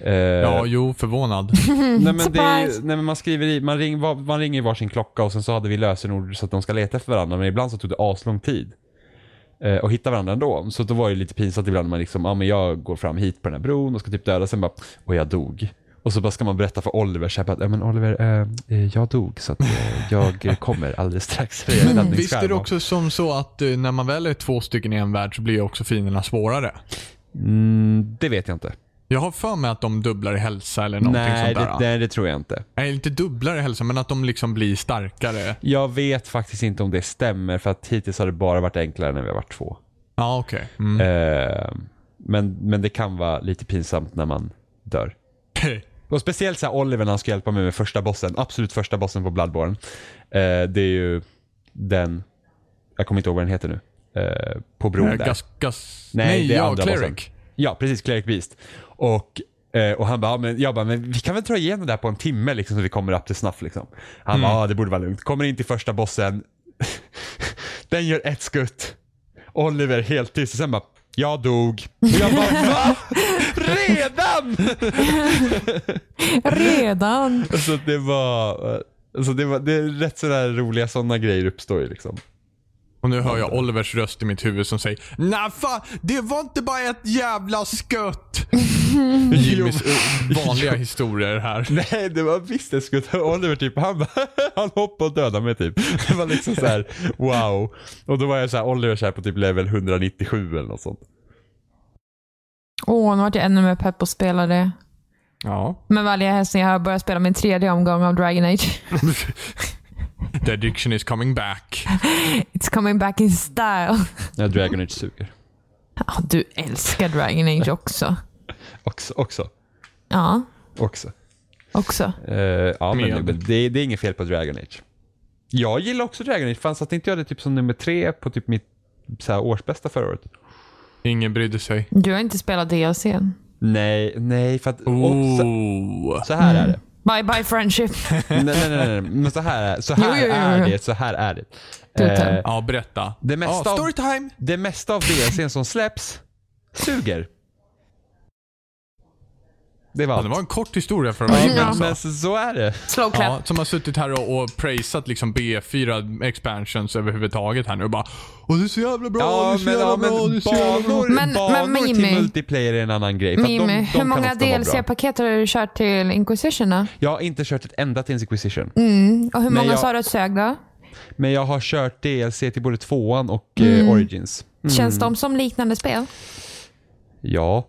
Speaker 4: Eh,
Speaker 1: Ja, jo, förvånad.
Speaker 4: nej, men det, är-
Speaker 3: surprise.
Speaker 4: nej, men man skriver i, man, ring, var- man ringer i varsin klocka och sen så hade vi lösenord så att de ska leta efter varandra. Men ibland så tog det aslång tid. eh, Och hitta varandra ändå. Så då var det lite pinsamt ibland när man liksom, ja ah, men jag går fram hit på den här bron och ska typ döda, sen bara, och jag dog. Och så bara ska man berätta för Oliver, så här, bara, ja men Oliver, eh, eh, jag dog så att eh, jag eh, kommer alldeles strax. för er
Speaker 1: Men visst
Speaker 4: räddningsskärm."
Speaker 1: är det också som så att eh, när man väl är två stycken i en värld så blir ju också fienderna svårare.
Speaker 4: Mm, det vet jag inte.
Speaker 1: Jag har för mig att de dubblar i hälsa eller någonting
Speaker 4: Nej
Speaker 1: sånt där.
Speaker 4: det, nej, det tror jag inte.
Speaker 1: Nej, inte dubblar i hälsa, men att de liksom blir starkare.
Speaker 4: Jag vet faktiskt inte om det stämmer för att hittills har det bara varit enklare när vi har varit två.
Speaker 1: Ja, okej. Mm.
Speaker 4: Eh, men, men det kan vara lite pinsamt när man dör. Och speciellt så här Oliver när han ska hjälpa mig med första bossen, absolut första bossen på Bloodborne. Eh, det är ju den, jag kommer inte ihåg vad den heter nu, eh, på bron
Speaker 1: Eh,
Speaker 4: där.
Speaker 1: gas, gas...
Speaker 4: Nej,
Speaker 1: Nej,
Speaker 4: det är
Speaker 1: ja,
Speaker 4: andra
Speaker 1: Cleric.
Speaker 4: bossen. Ja, precis. Cleric Beast. Och, eh, och han bara, ja, men, jag bara, men vi kan väl dra igenom det här på en timme liksom, så vi kommer upp till snuff. Liksom. Han bara, ja det borde vara lugnt. Kommer in till första bossen. Den gör ett skutt. Oliver helt tyst och sen bara, jag dog. Och jag bara, va? Redan?
Speaker 3: Redan.
Speaker 4: Så att det var, eh, så det var det är rätt sådär roliga sådana grejer uppstår ju liksom.
Speaker 1: Och nu hör jag Olivers röst i mitt huvud som säger Nej fan, det var inte bara ett jävla skött. Jimmys eh, vanliga historier här.
Speaker 4: Nej, det var visst det skulle ta Oliver typ, han, bara- han hoppade och dödade mig typ. Det var liksom så här: wow. Och då var jag så här, Oliver så här på typ level 197 eller något sånt.
Speaker 3: Åh, nu vart jag ännu mer pepp på att spela det.
Speaker 1: Ja.
Speaker 3: Men vänliga hälsningar, jag har börjat spela min tredje omgång av Dragon Age.
Speaker 1: The addiction is coming back.
Speaker 3: It's coming back in style.
Speaker 4: Ja, Dragon Age suger.
Speaker 3: Ja, du älskar Dragon Age också.
Speaker 4: Också, också,
Speaker 3: Ja.
Speaker 4: också.
Speaker 3: också.
Speaker 4: Eh, ja, men
Speaker 1: Med.
Speaker 4: det, det, det är inget fel på Dragon Age. Jag gillar också Dragon Age. Fan, satte inte jag det typ som nummer tre på typ mitt så här, årsbästa förra året?
Speaker 1: Ingen brydde sig.
Speaker 3: Du har inte spelat DLC. n.
Speaker 4: Nej, nej, för att... och så,
Speaker 1: Oh.
Speaker 4: så här är det.
Speaker 3: Bye bye friendship.
Speaker 4: Nej, nej, nej, nej. Men så här, är- så
Speaker 3: Jo,
Speaker 4: här
Speaker 3: jo, jo,
Speaker 4: är
Speaker 3: jo.
Speaker 4: det. Så här är det.
Speaker 3: Tutar.
Speaker 4: Eh,
Speaker 1: Ja, berätta.
Speaker 4: Det mesta
Speaker 1: ja,
Speaker 4: av-
Speaker 1: storytime!
Speaker 4: det mesta av DLCn som släpps suger. Det var
Speaker 1: Ja,
Speaker 4: allt.
Speaker 1: det var en kort historia för mig.
Speaker 4: Men-
Speaker 3: Ja.
Speaker 4: Men så, så är det.
Speaker 3: Slow clap.
Speaker 1: Ja, som har suttit här och, och praisat liksom B4 expansions överhuvudtaget här nu och bara Åh det är så jävla bra, det är
Speaker 4: Ja,
Speaker 1: så
Speaker 4: men,
Speaker 1: jävla
Speaker 4: ja, men
Speaker 1: bra, det är så jävla bra.
Speaker 4: banor,
Speaker 3: Men-
Speaker 4: banor
Speaker 3: men
Speaker 4: till
Speaker 3: Mimi-
Speaker 4: multiplayer är en annan grej. för att de-
Speaker 3: Mimi,
Speaker 4: de
Speaker 3: hur
Speaker 4: kan
Speaker 3: många
Speaker 4: ofta vara bra.
Speaker 3: DLC-paket har du kört till Inquisition då?
Speaker 4: Jag har inte kört ett enda till Inquisition.
Speaker 3: Mm. Och hur
Speaker 4: Men
Speaker 3: många
Speaker 4: jag- Mm.
Speaker 3: sa du att sög då?
Speaker 4: Men jag har kört DLC till både tvåan och eh,
Speaker 3: Mm.
Speaker 4: Origins.
Speaker 3: Känns de som liknande spel?
Speaker 4: Ja.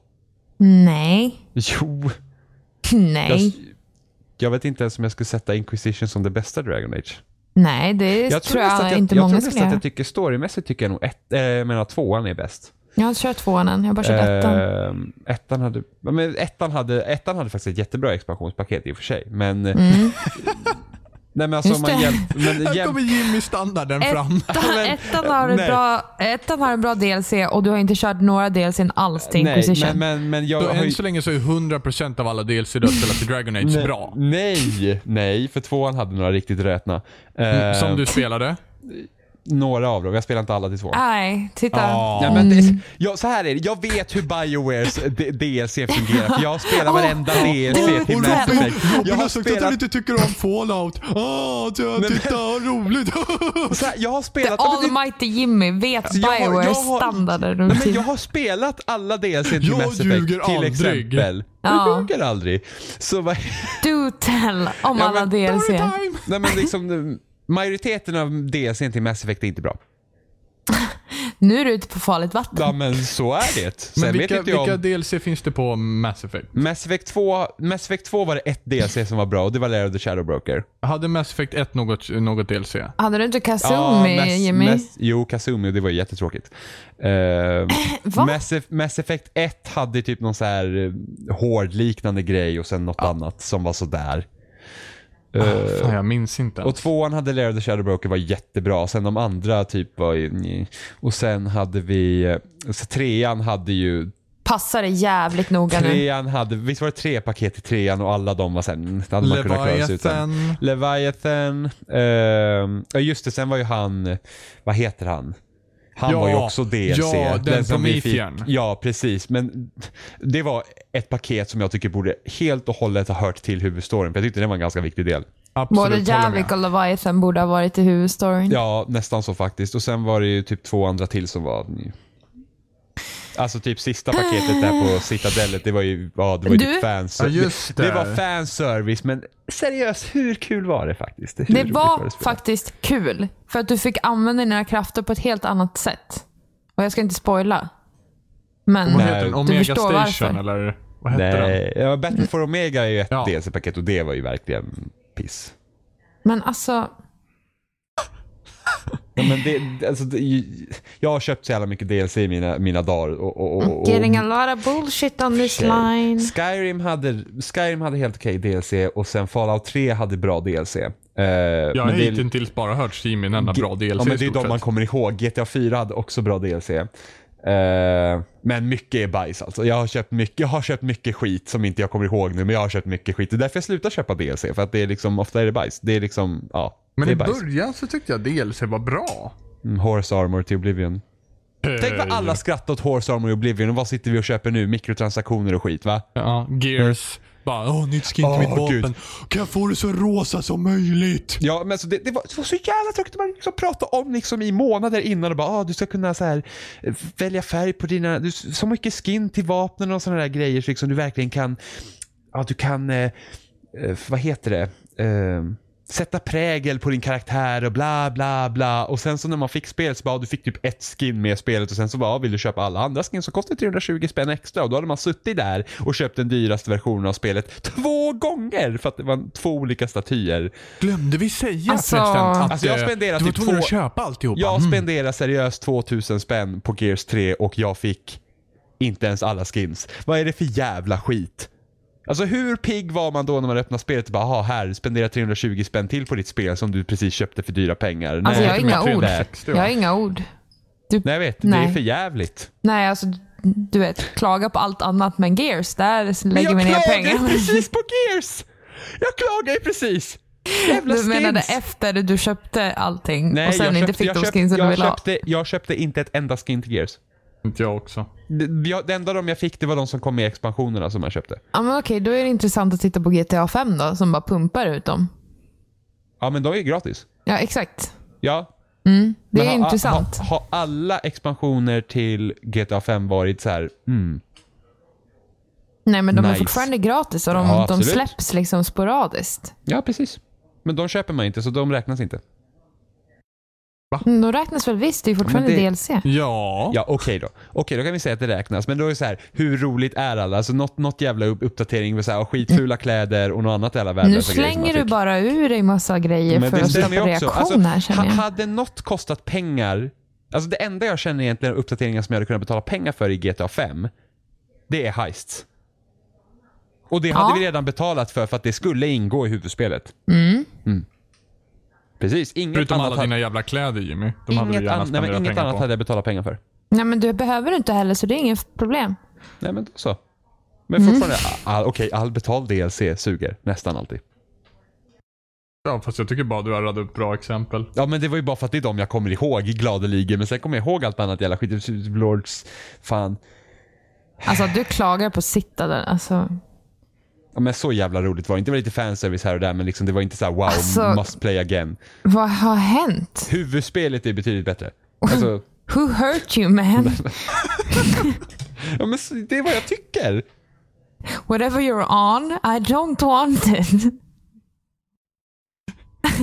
Speaker 3: Nej.
Speaker 4: Jo. Jag,
Speaker 3: Nej.
Speaker 4: jag vet inte ens om jag skulle sätta Inquisition som det bästa Dragon Age.
Speaker 3: Nej, det
Speaker 4: Jag
Speaker 3: tror jag,
Speaker 4: nästan att jag,
Speaker 3: inte
Speaker 4: jag
Speaker 3: många
Speaker 4: tror nästan
Speaker 3: skulle
Speaker 4: att
Speaker 3: göra.
Speaker 4: jag tycker storymässigt tycker jag nog ett, eh, menar tvåan är bäst.
Speaker 3: Jag har inte kört tvåan än. Jag har bara kört ettan.
Speaker 4: Ehm, ettan, hade, ja, men ettan, hade, ettan hade faktiskt ett jättebra expansionspaket i och för sig. Men, nej, men alltså, om
Speaker 3: Mm. Just
Speaker 4: man
Speaker 3: det.
Speaker 4: jämf- men
Speaker 1: Här
Speaker 4: jämf-
Speaker 1: kommer Jimmy-standarden fram.
Speaker 3: Ettan,
Speaker 4: Men-
Speaker 3: ettan, har ett
Speaker 4: Nej.
Speaker 3: bra, ettan har en bra DLC och du har inte kört några DLC n alls till Inquisition.
Speaker 4: Nej, men, men, men jag
Speaker 1: Så
Speaker 4: har
Speaker 1: än
Speaker 4: ju...
Speaker 1: så länge så är 100% av alla DLC du har spelat till Dragon Age
Speaker 4: Nej,
Speaker 1: bra.
Speaker 4: Nej, nej, för tvåan hade några riktigt rötna. Ehm,
Speaker 1: Mm, Som du spelade.
Speaker 4: Några av dem, jag spelar inte alla till tvåan.
Speaker 3: Nej, titta.
Speaker 1: Ja.
Speaker 4: Nej, men det, jag, så här är det, jag vet hur Biowares D- DLC fungerar för jag
Speaker 3: Ah.
Speaker 4: spelar varenda DLC till
Speaker 3: Robin-
Speaker 4: Mass Effect. Jag har spelat,
Speaker 1: inte tycker om Fallout. Åh, oh, titta vad roligt.
Speaker 4: så här, jag har spelat... ja, men det-
Speaker 3: Almighty Jimmy vet
Speaker 4: jag har- jag
Speaker 3: Biowares
Speaker 4: har-
Speaker 3: standarder.
Speaker 4: Nej, men jag har spelat alla DLC till
Speaker 1: Jag
Speaker 4: Mass Effect
Speaker 1: ljuger
Speaker 4: till
Speaker 1: aldrig.
Speaker 4: exempel.
Speaker 3: Ja.
Speaker 4: Jag ljuger aldrig. Så vad...
Speaker 3: Do tell om
Speaker 4: Ja,
Speaker 3: alla
Speaker 4: men-
Speaker 3: DLC.
Speaker 1: Storytime!
Speaker 4: Nej men liksom, majoriteten av DLC till Mass Effect är inte bra.
Speaker 3: Nu är du ute på farligt vatten.
Speaker 4: Ja men så är det. Sen
Speaker 1: Men
Speaker 4: vet
Speaker 1: vilka,
Speaker 4: inte jag
Speaker 1: vilka
Speaker 4: om...
Speaker 1: DLC finns det på Mass Effect?
Speaker 4: Mass Effect 2, Mass Effect 2 var det ett DLC som var bra och det var Lair of the Shadow Broker.
Speaker 1: Hade Mass Effect 1 något, något DLC?
Speaker 4: Eh,
Speaker 3: Hade du inte Kazumi,
Speaker 4: Mass-
Speaker 3: Jimmy?
Speaker 4: Mass- jo, Kazumi, det var ju jättetråkigt. Eh,
Speaker 3: Va?
Speaker 4: Mass, Eff- Mass Effect 1 hade typ någon så här eh, hårdliknande grej och sen något annat som var sådär. Uh,
Speaker 1: Fan, jag minns inte.
Speaker 4: och tvåan hade Lair of the Shadow Broker var jättebra. Sen de andra typ var ju... nj. Och sen hade vi... eh, Så trean hade ju...
Speaker 3: Passar det jävligt noga nu.
Speaker 4: Trean hade... Visst var det tre paket i trean och alla de var sen... Hade man kunnat klara sig utan.
Speaker 1: Leviathan.
Speaker 4: Leviathan. ehm, Ja just det, sen var ju han, vad heter han? Han
Speaker 1: Ja,
Speaker 4: var ju också DLC.
Speaker 1: ja, den Promethean.
Speaker 4: Ja, precis. Men det var ett paket som jag tycker borde helt och hållet ha hört till huvudstoryn. För jag tyckte det var en ganska viktig del.
Speaker 1: Absolut,
Speaker 3: Både
Speaker 1: håller med.
Speaker 3: Javik och Leviathan borde ha varit i huvudstoryn.
Speaker 4: Ja, nästan så faktiskt. Och sen var det ju typ två andra till som var... Alltså typ sista paketet där på Citadellet, det var ju, ja, det var ju
Speaker 3: Ah. Du?
Speaker 4: typ fanservice.
Speaker 1: Ja, just
Speaker 4: det
Speaker 1: det.
Speaker 4: var fanservice, men seriöst, hur kul var det faktiskt? Hur
Speaker 3: Det
Speaker 4: roligt
Speaker 3: var
Speaker 4: att spela?
Speaker 3: faktiskt kul. För att du fick använda dina krafter på ett helt annat sätt. Och jag ska inte spoila. Men
Speaker 1: Vad heter den?
Speaker 4: Du
Speaker 1: Omega
Speaker 3: förstår
Speaker 1: Station
Speaker 3: varför.
Speaker 1: eller? Vad hette den?
Speaker 4: Eh, Nej, ja, Battle for Omega är ju ett
Speaker 1: Ja.
Speaker 4: DLC-paket och det var ju verkligen piss.
Speaker 3: Men alltså,
Speaker 4: Ja, men det, alltså, det, jag har köpt så jävla mycket DLC i mina, mina dagar. Och, och, och, och,
Speaker 3: getting a lot of bullshit on this
Speaker 4: Okej.
Speaker 3: line.
Speaker 4: Skyrim hade, Skyrim hade helt okej DLC och sen Fallout 3 hade bra DLC. Eh,
Speaker 1: Jag har
Speaker 4: men det-
Speaker 1: hittills bara hört Steam i en enda bra DLC
Speaker 4: Ja, men det är
Speaker 1: i stort
Speaker 4: de man
Speaker 1: sett.
Speaker 4: kommer ihåg. GTA 4 hade också bra DLC. Eh, men mycket är bajs alltså. Jag har, köpt mycket, jag har köpt mycket skit som inte jag kommer ihåg nu, men jag har köpt mycket skit. Det är därför jag slutar köpa DLC, för att det är liksom, ofta är det bajs. Det är liksom, ja.
Speaker 1: Men
Speaker 4: det
Speaker 1: i
Speaker 4: är bajs.
Speaker 1: början så tyckte jag DLC var bra.
Speaker 4: Mm, Horse Armor till Oblivion. Tänk
Speaker 1: Eh,
Speaker 4: vad alla skrattar åt Horse Armor och Oblivion och vad sitter vi och köper nu? Mikrotransaktioner och skit va?
Speaker 1: Eh, Ja, Gears. Bara, åh, nytt skin till
Speaker 4: Åh,
Speaker 1: mitt vapen.
Speaker 4: gud.
Speaker 1: Kan jag få det så rosa som möjligt?
Speaker 4: Ja, men så det, det, var, det var så jävla tråkigt att man liksom pratade om liksom i månader innan och bara ah, du ska kunna så här, eh, välja färg på dina, du, så mycket skin till vapnen och sådana där grejer så liksom du verkligen kan, ja du kan, eh, eh, vad heter det, eh, sätta prägel på din karaktär och bla bla bla och sen så när man fick spelet så bara ah, du fick typ ett skin med i spelet och sen så bara ah, vill du köpa alla andra skin så kostar det 320 spänn extra och då hade man suttit där och köpt den dyraste versionen av spelet två gånger för att det var två olika statyer.
Speaker 1: Glömde vi säga
Speaker 3: Alltså-
Speaker 1: förresten att
Speaker 4: Alltså, jag
Speaker 1: eh,
Speaker 4: spenderar
Speaker 1: du var
Speaker 4: typ
Speaker 1: tvungen att
Speaker 4: två-
Speaker 1: köpa alltihopa?
Speaker 4: Jag
Speaker 1: Mm.
Speaker 4: spenderade seriöst 2000 spänn på Gears 3 och jag fick inte ens alla skins. Vad är det för jävla skit? Alltså hur pigg var man då när man öppnade spelet och bara, aha, här, spendera 320 spänn till på ditt spel som du precis köpte för dyra pengar.
Speaker 3: Alltså, jag har
Speaker 4: det
Speaker 3: inga
Speaker 4: var inte
Speaker 3: ord.
Speaker 4: det.
Speaker 3: Jag har inga ord.
Speaker 4: Nej, jag vet. Det är
Speaker 3: Nej.
Speaker 4: för jävligt.
Speaker 3: Nej, alltså du vet, klaga på allt annat men Gears, där
Speaker 4: Men
Speaker 3: lägger
Speaker 4: jag
Speaker 3: vi ner
Speaker 4: klagar ju
Speaker 3: pengar.
Speaker 4: precis på Gears! Jag klagar ju precis! Jävla
Speaker 3: Du menade
Speaker 4: skins.
Speaker 3: efter du köpte allting
Speaker 4: Nej,
Speaker 3: och sen
Speaker 4: jag
Speaker 3: inte
Speaker 4: köpte-
Speaker 3: fick
Speaker 4: jag
Speaker 3: de
Speaker 4: köpte-
Speaker 3: skinsen du
Speaker 4: jag
Speaker 3: ville ha?
Speaker 4: köpte, jag köpte inte ett enda skin till Gears.
Speaker 1: Inte jag också.
Speaker 4: Det, jag, det enda de jag fick det var de som kom med i expansionerna som jag köpte.
Speaker 3: Ja, men okej, då är det intressant att titta på GTA 5 då, som bara pumpar ut dem.
Speaker 4: Ja men de är ju gratis.
Speaker 3: Ja, exakt.
Speaker 4: Ja.
Speaker 3: Det
Speaker 4: men
Speaker 3: är
Speaker 4: har-
Speaker 3: intressant.
Speaker 4: Har, har alla expansioner till GTA 5 varit så här, mm,
Speaker 3: Nej, men de är
Speaker 4: Nice.
Speaker 3: fortfarande gratis och de,
Speaker 4: Ja,
Speaker 3: de
Speaker 4: absolut.
Speaker 3: släpps liksom sporadiskt.
Speaker 4: ja precis. Men de köper man inte så de räknas inte.
Speaker 3: Mm, De räknas väl visst, det är ju fortfarande
Speaker 4: det-
Speaker 3: DLC.
Speaker 1: Ja.
Speaker 4: Ja, okej då. Okej, då kan vi säga att det räknas. Men då är det så här, hur roligt är alla? Alltså något, något jävla upp- uppdatering med så här, skitfula kläder och något annat jävla värdelösa
Speaker 3: Mm. Nu
Speaker 4: grejer som man
Speaker 3: slänger du
Speaker 4: fick.
Speaker 3: bara ur dig massa grejer
Speaker 4: Men
Speaker 3: för
Speaker 4: det
Speaker 3: att
Speaker 4: stämmer
Speaker 3: skapa
Speaker 4: ju också. Alltså,
Speaker 3: reaktion här känner
Speaker 4: ha-
Speaker 3: jag.
Speaker 4: hade något kostat pengar, alltså det enda jag känner egentligen är uppdateringar som jag hade kunnat betala pengar för i GTA 5, det är heists. Och det hade
Speaker 3: Ja.
Speaker 4: vi redan betalat för för att det skulle ingå i huvudspelet. Mm. Precis. Inget
Speaker 1: Förutom
Speaker 4: annat,
Speaker 1: alla dina jävla kläder Jimmy. De
Speaker 4: hade,
Speaker 1: hade du
Speaker 4: inget,
Speaker 1: gärna
Speaker 4: an, nej, men
Speaker 1: spenderat
Speaker 4: inget
Speaker 1: pengar
Speaker 4: annat
Speaker 1: på.
Speaker 4: hade jag betalat pengar för.
Speaker 3: Nej, men du behöver inte heller, så det är inget problem.
Speaker 4: Nej men då så. Men
Speaker 3: Mm.
Speaker 4: fortfarande, all, okej, all betald DLC suger nästan alltid.
Speaker 1: Ja, fast jag tycker bara du har radat upp bra exempel.
Speaker 4: Ja men det var ju bara för att det är de jag kommer ihåg gladeligen, men sen kommer jag ihåg allt annat jävla skit. Typ Lords, fan.
Speaker 3: Alltså du klagar på Citadel. Alltså,
Speaker 4: Ja, men så jävla roligt var det inte. Det var lite fanservice här och där men liksom, det var inte så här wow,
Speaker 3: Alltså-
Speaker 4: must play again.
Speaker 3: vad har hänt?
Speaker 4: Huvudspelet är betydligt bättre. Alltså,
Speaker 3: Who hurt you man?
Speaker 4: ja, men så- det är vad jag tycker.
Speaker 3: Whatever you're on, I don't want it.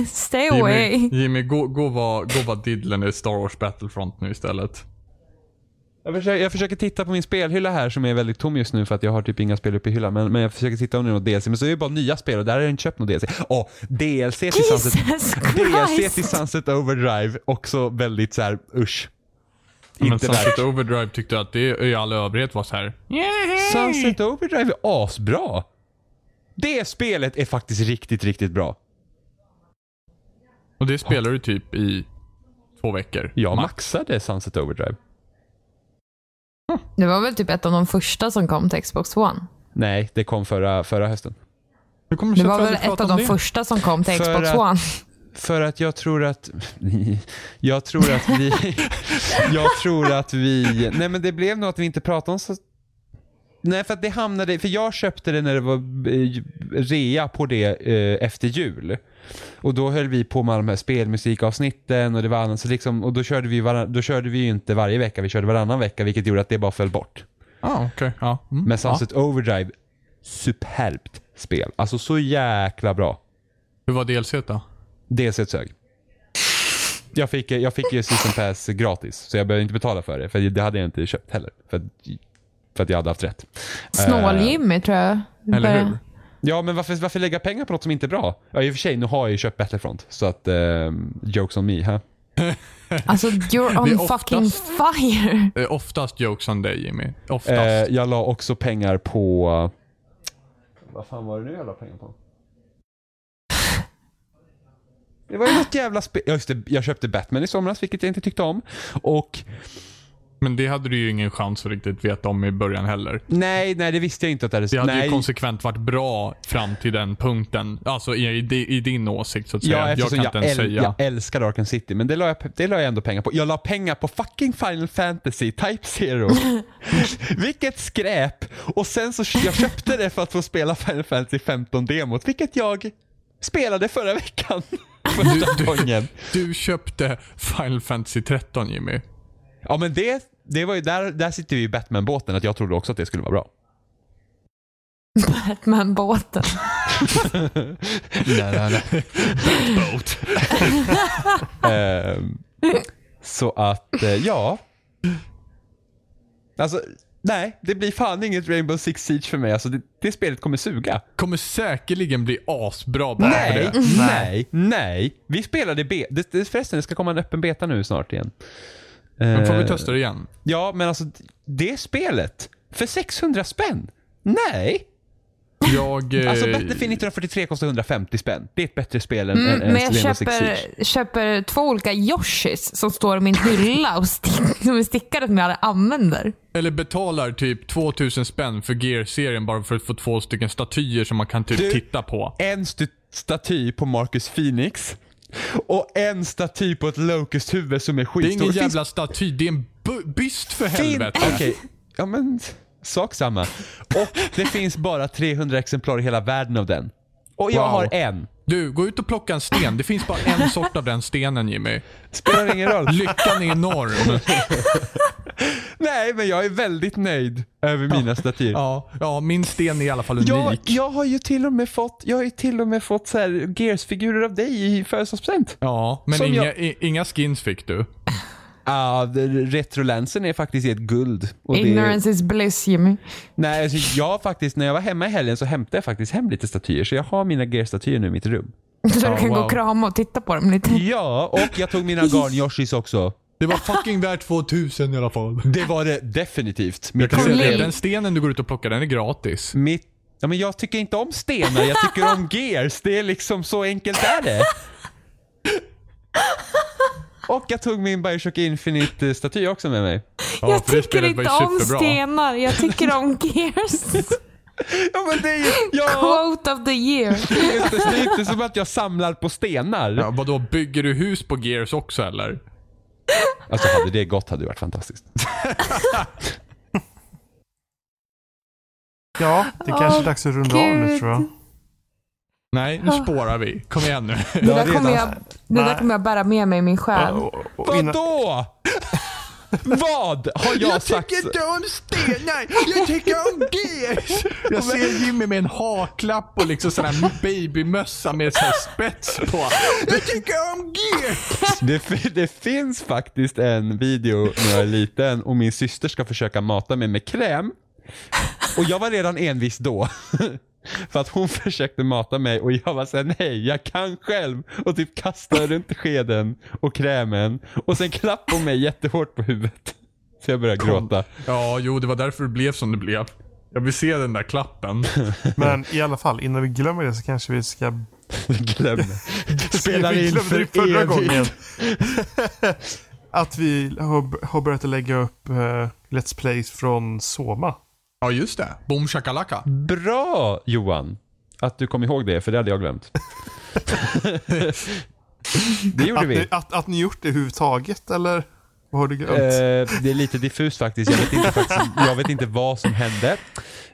Speaker 3: Stay
Speaker 1: Jimmy,
Speaker 3: away.
Speaker 1: Jimmy gå, gå och var, gå och var diddlen i Star Wars Battlefront nu istället.
Speaker 4: Jag försöker, jag försöker titta på min spelhylla här som är väldigt tom just nu för att jag har typ inga spel uppe i hyllan. Men, men jag försöker titta om det är något DLC. Men så är det bara nya spel och där har jag inte köpt något DLC. Åh, DLC till
Speaker 3: Jesus
Speaker 4: Sunset, DLC till
Speaker 3: Christ.
Speaker 4: Sunset Overdrive. Också väldigt så här, usch.
Speaker 1: Men
Speaker 4: Inte värt.
Speaker 1: Sunset Overdrive tyckte att det i all övrighet var så här.
Speaker 4: Sunset Overdrive är asbra. Det spelet är faktiskt riktigt, riktigt bra.
Speaker 1: Och det spelar du typ i två veckor.
Speaker 4: Jag maxade Sunset Overdrive.
Speaker 3: Det var väl typ ett av de första som kom till Xbox One.
Speaker 4: Nej, det kom förra, förra hösten.
Speaker 1: Hur kommer
Speaker 3: Det
Speaker 1: sig
Speaker 3: var
Speaker 1: att vi
Speaker 3: väl
Speaker 1: aldrig
Speaker 3: ett av
Speaker 1: pratat om det?
Speaker 3: de
Speaker 1: Eh,
Speaker 3: första som kom till
Speaker 4: För
Speaker 3: Xbox
Speaker 4: att-
Speaker 3: One.
Speaker 4: För att jag tror att... Jag tror att vi... Jag tror att vi... Nej men det blev nog att vi inte pratade om så... Nej för att det hamnade... För jag köpte det när det var eh, rea på det eh, efter jul. Och då höll vi på med alla de här spelmusikavsnitten och det var annat. Så liksom, och då körde, vi varann, då körde vi ju inte varje vecka, vi körde varannan vecka vilket gjorde att det bara föll bort.
Speaker 1: Ah, okej. Ja, mm.
Speaker 4: Men Sunset Overdrive, superbt spel. Alltså så jäkla bra.
Speaker 1: Hur var DLC t då?
Speaker 4: DLC ett sög. Jag fick, jag fick ju season pass gratis, så jag behövde inte betala för det. För det hade jag inte köpt heller. För, att- för att jag hade haft rätt.
Speaker 3: Snål-Jimmy tror jag.
Speaker 1: Eller hur?
Speaker 4: Ja, men varför, varför lägga pengar på något som inte är bra? Ja, i och för sig, nu har jag ju köpt Battlefront. Så att, ehm, jokes on me. Huh?
Speaker 3: Alltså, you're
Speaker 1: Det är
Speaker 3: on
Speaker 1: oftast-
Speaker 3: fucking fire.
Speaker 1: Eh, oftast jokes on dig Jimmy. Oftast.
Speaker 4: Eh, jag la också pengar på... Vad fan var det nu jag la pengar på? Det var ju något jävla spel. Just det, jag köpte Batman i somras, vilket jag inte tyckte om. Och
Speaker 1: Men det hade du ju ingen chans att riktigt veta om i början heller.
Speaker 4: nej, nej, det visste jag inte att det hade...
Speaker 1: Det hade
Speaker 4: nej.
Speaker 1: ju konsekvent varit bra fram till den punkten. Alltså i, i, di- i din åsikt så att säga.
Speaker 4: Ja,
Speaker 1: jag
Speaker 4: eftersom
Speaker 1: kan
Speaker 4: jag,
Speaker 1: inte ens
Speaker 4: äl-
Speaker 1: säga.
Speaker 4: jag älskar Arkham City, men det la, jag, det la jag ändå pengar på. Jag la pengar på fucking Final Fantasy Type Zero. vilket skräp! Och sen så jag köpte det för att få spela Final Fantasy 15-demot, vilket jag spelade förra veckan. Första gången.
Speaker 1: Du köpte Final Fantasy 13 Jimmy.
Speaker 4: Ja men det, det var ju där, där sitter vi i Batman-båten, att jag trodde också att det skulle vara bra.
Speaker 3: Batman-båten.
Speaker 1: Boat.
Speaker 4: Ehm, så att, eh, ja. Alltså, nej. Det blir fan inget Rainbow Six Siege för mig. Alltså, det, det spelet kommer suga.
Speaker 1: Kommer säkerligen bli asbra bara för
Speaker 4: Nej, Mm.
Speaker 1: det.
Speaker 4: nej, nej. Vi spelade B. Det, det, förresten, det ska komma en öppen beta nu snart igen.
Speaker 1: Men får vi
Speaker 4: Eh,
Speaker 1: testa det igen?
Speaker 4: Ja, men alltså det spelet. För 600 spänn? Nej.
Speaker 1: Jag... eh,
Speaker 4: Alltså Battlefield 1943 kostar 150 spänn. Det är ett bättre spel än än-
Speaker 3: Mm,
Speaker 4: än
Speaker 3: men jag
Speaker 4: Stellenbosch
Speaker 3: köper,
Speaker 4: Siege.
Speaker 3: köper två olika Yoshis som står i min hylla och stick, som är stickade som jag aldrig använder.
Speaker 1: Eller betalar typ 2000 spänn för Gear-serien bara för att få två stycken statyer som man kan typ
Speaker 4: Du-
Speaker 1: titta på.
Speaker 4: En stu- staty på Marcus Phoenix och en staty på ett Locust-huvud som
Speaker 1: Det
Speaker 4: är
Speaker 1: är
Speaker 4: skitstor.
Speaker 1: ingen
Speaker 4: Finns-
Speaker 1: jävla staty, det är en bu- byst för
Speaker 4: Fin-
Speaker 1: helvete.
Speaker 4: Okej, ja men sak samma. Och det finns bara 300 exemplar i hela världen av den. Och jag
Speaker 1: Wow.
Speaker 4: har en.
Speaker 1: Du, gå ut och plocka en sten. Det finns bara en sort av den stenen Jimmy.
Speaker 4: Spelar ingen roll.
Speaker 1: Lyckan är enorm.
Speaker 4: Nej, men jag är väldigt nöjd över mina statyer.
Speaker 1: Ja, ja min sten är i alla fall unik.
Speaker 4: Jag, jag har ju till och med fått, jag har ju till och med fått så här Gears-figurer av dig i födelsedagspresent.
Speaker 1: Ja, men
Speaker 4: Som
Speaker 1: inga,
Speaker 4: jag-
Speaker 1: i, inga skins fick du.
Speaker 4: Ja, det- Retrolansen är faktiskt ett guld. Och det-
Speaker 3: Ignorance is bliss Jimmy.
Speaker 4: Nej, alltså jag har faktiskt, när jag var hemma i helgen så hämtade jag faktiskt hem lite statyer. Så jag har mina Gear-statyer nu i mitt rum.
Speaker 3: Så
Speaker 1: Ja,
Speaker 3: du kan gå
Speaker 1: wow.
Speaker 3: och krama och titta på dem lite.
Speaker 4: Ja, och jag tog mina Garn-Yoshis också.
Speaker 1: Det var fucking värt 2000 i alla fall.
Speaker 4: Det var det definitivt.
Speaker 1: Jag
Speaker 4: Mitt,
Speaker 1: kan säga det,
Speaker 3: Colin.
Speaker 1: den stenen du går ut och plockar, den är gratis.
Speaker 4: mitt, ja, men jag tycker inte om stenar, jag tycker om gears. Det är liksom så enkelt är det. Och jag tog min Bioshock Infinite-staty också med mig.
Speaker 1: Ja,
Speaker 3: jag
Speaker 1: för det
Speaker 3: tycker
Speaker 1: spelet var ju
Speaker 3: inte om
Speaker 1: superbra.
Speaker 3: stenar, jag tycker om gears.
Speaker 4: Ja, men det är ju... Ja,
Speaker 3: Quote of the year.
Speaker 4: det är inte- det är inte som att jag samlar på stenar.
Speaker 1: Ja, vadå, bygger du hus på Gears också eller?
Speaker 4: Alltså hade det gått hade det varit fantastiskt.
Speaker 2: Ja, det kanske är
Speaker 3: Åh,
Speaker 2: dags att runda av nu
Speaker 3: Gud.
Speaker 2: tror jag.
Speaker 1: Nej,
Speaker 3: Ah.
Speaker 1: nu spårar vi. Kom igen nu.
Speaker 3: Det
Speaker 4: det är
Speaker 3: där kommer jag, det
Speaker 2: Nej.
Speaker 3: där kommer jag bära med mig i min själ.
Speaker 2: Och- och- och innan-
Speaker 4: Vadå? Vad har jag, sagt?
Speaker 1: om stenar, jag tycker om Gears. Jag ser Jimmy med en haklapp och liksom sån här babymössa med sån här spets på. Jag tycker om Gears.
Speaker 4: Det, fi- det finns faktiskt en video när jag är liten och min syster ska försöka mata mig med kräm. Och jag var redan envis då. För att hon försökte mata mig och jag var såhär, nej jag kan själv. Och typ kastade runt skeden och krämen. Och sen klappade hon mig jättehårt på huvudet. Så jag började gråta.
Speaker 1: Ja, jo, det var därför det blev som det blev. Jag vill se den där klappen.
Speaker 2: Men i alla fall, innan vi glömmer det så kanske vi ska...
Speaker 4: Glöm Spelar
Speaker 2: vi
Speaker 4: in
Speaker 2: glömde
Speaker 4: för
Speaker 2: det förra
Speaker 4: evigt.
Speaker 2: gången. att vi har, har börjat att lägga upp eh, Let's Plays från Soma.
Speaker 1: Ja, just det. Boom shakalaka.
Speaker 4: Bra Johan! Att du kom ihåg det, för det hade jag glömt. det gjorde
Speaker 2: Att
Speaker 4: vi.
Speaker 2: ni, att, att ni gjort det överhuvudtaget eller? Vad har du glömt?
Speaker 4: Eh, det är lite diffust faktiskt. Jag vet, inte faktiskt. jag vet inte vad som hände.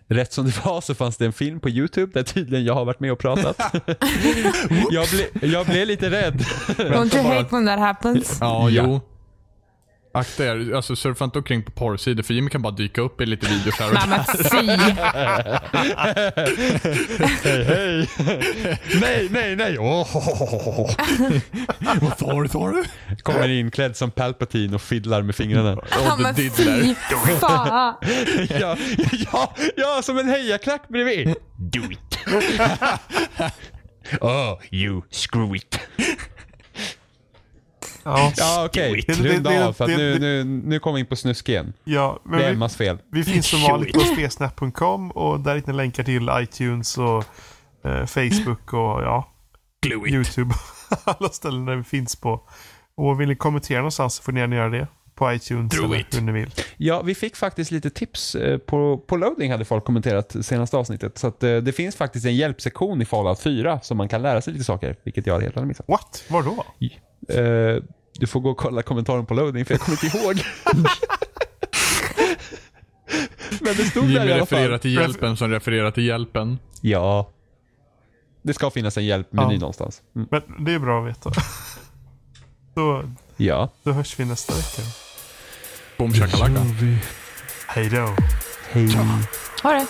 Speaker 4: Rätt som det var så fanns det en film på YouTube där tydligen jag har varit med och pratat. jag, ble, jag blev lite rädd.
Speaker 3: Don't you hate when that happens?
Speaker 1: Ja,
Speaker 4: Ja.
Speaker 1: jo. Akta er, alltså surfa inte omkring på porrsidor för Jimmy kan bara dyka upp i lite videos här och
Speaker 3: Nej men fy.
Speaker 4: Hej, hej. nej, nej, nej. Oh.
Speaker 1: Vad sa du, sa du?
Speaker 4: Kommer inklädd som Palpatine och fiddlar med fingrarna.
Speaker 3: Ja
Speaker 1: the
Speaker 3: men
Speaker 1: diddler.
Speaker 3: fy fan.
Speaker 4: ja, ja, ja, som en hejaklack bredvid. Do it. oh, you screw it.
Speaker 2: ja.
Speaker 4: Ja, okej.
Speaker 2: Do it.
Speaker 4: Runda
Speaker 2: Det- det-
Speaker 4: av, för att
Speaker 2: det-
Speaker 4: nu,
Speaker 2: det-
Speaker 4: nu, nu kom vi in på snusk igen.
Speaker 2: ja, men
Speaker 4: Det
Speaker 2: vi-
Speaker 4: är Emmas fel.
Speaker 2: Vi finns som vanligt på spesnap.com och där hittar ni länkar till iTunes och eh, Facebook och ja,
Speaker 1: Glue it.
Speaker 2: YouTube. Alla ställen där vi finns på. Och vill ni kommentera någonstans så får ni gärna göra det. På iTunes
Speaker 1: Do
Speaker 2: eller
Speaker 1: it.
Speaker 2: hur ni vill.
Speaker 4: Ja, vi fick faktiskt lite tips eh, på, på loading hade folk kommenterat senaste avsnittet. Så att, eh, det finns faktiskt en hjälpsektion i Fallout 4 som man kan lära sig lite saker, vilket jag hade helt hade missat.
Speaker 2: What? Var då?
Speaker 1: Mm.
Speaker 4: Eh, du får gå och kolla kommentaren på loading för jag kommer inte ihåg. Men det stod där i
Speaker 1: Jimmy
Speaker 4: alla
Speaker 1: refererar
Speaker 4: fall.
Speaker 1: till hjälpen som refererar till hjälpen.
Speaker 4: Ja. Det ska finnas en hjälpmeny
Speaker 2: Ja.
Speaker 4: någonstans. Mm.
Speaker 2: Men det är bra att veta. Då,
Speaker 4: Ja.
Speaker 2: då hörs vi nästa vecka.
Speaker 1: Boom shakalaka.
Speaker 2: Hej då.
Speaker 3: Ha det.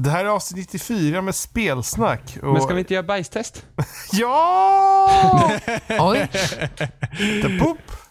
Speaker 2: Det här är avsnitt 94 med spelsnack. Och...
Speaker 4: Men ska vi inte göra bajstest?
Speaker 2: Ja!
Speaker 3: Oj.
Speaker 2: The poop!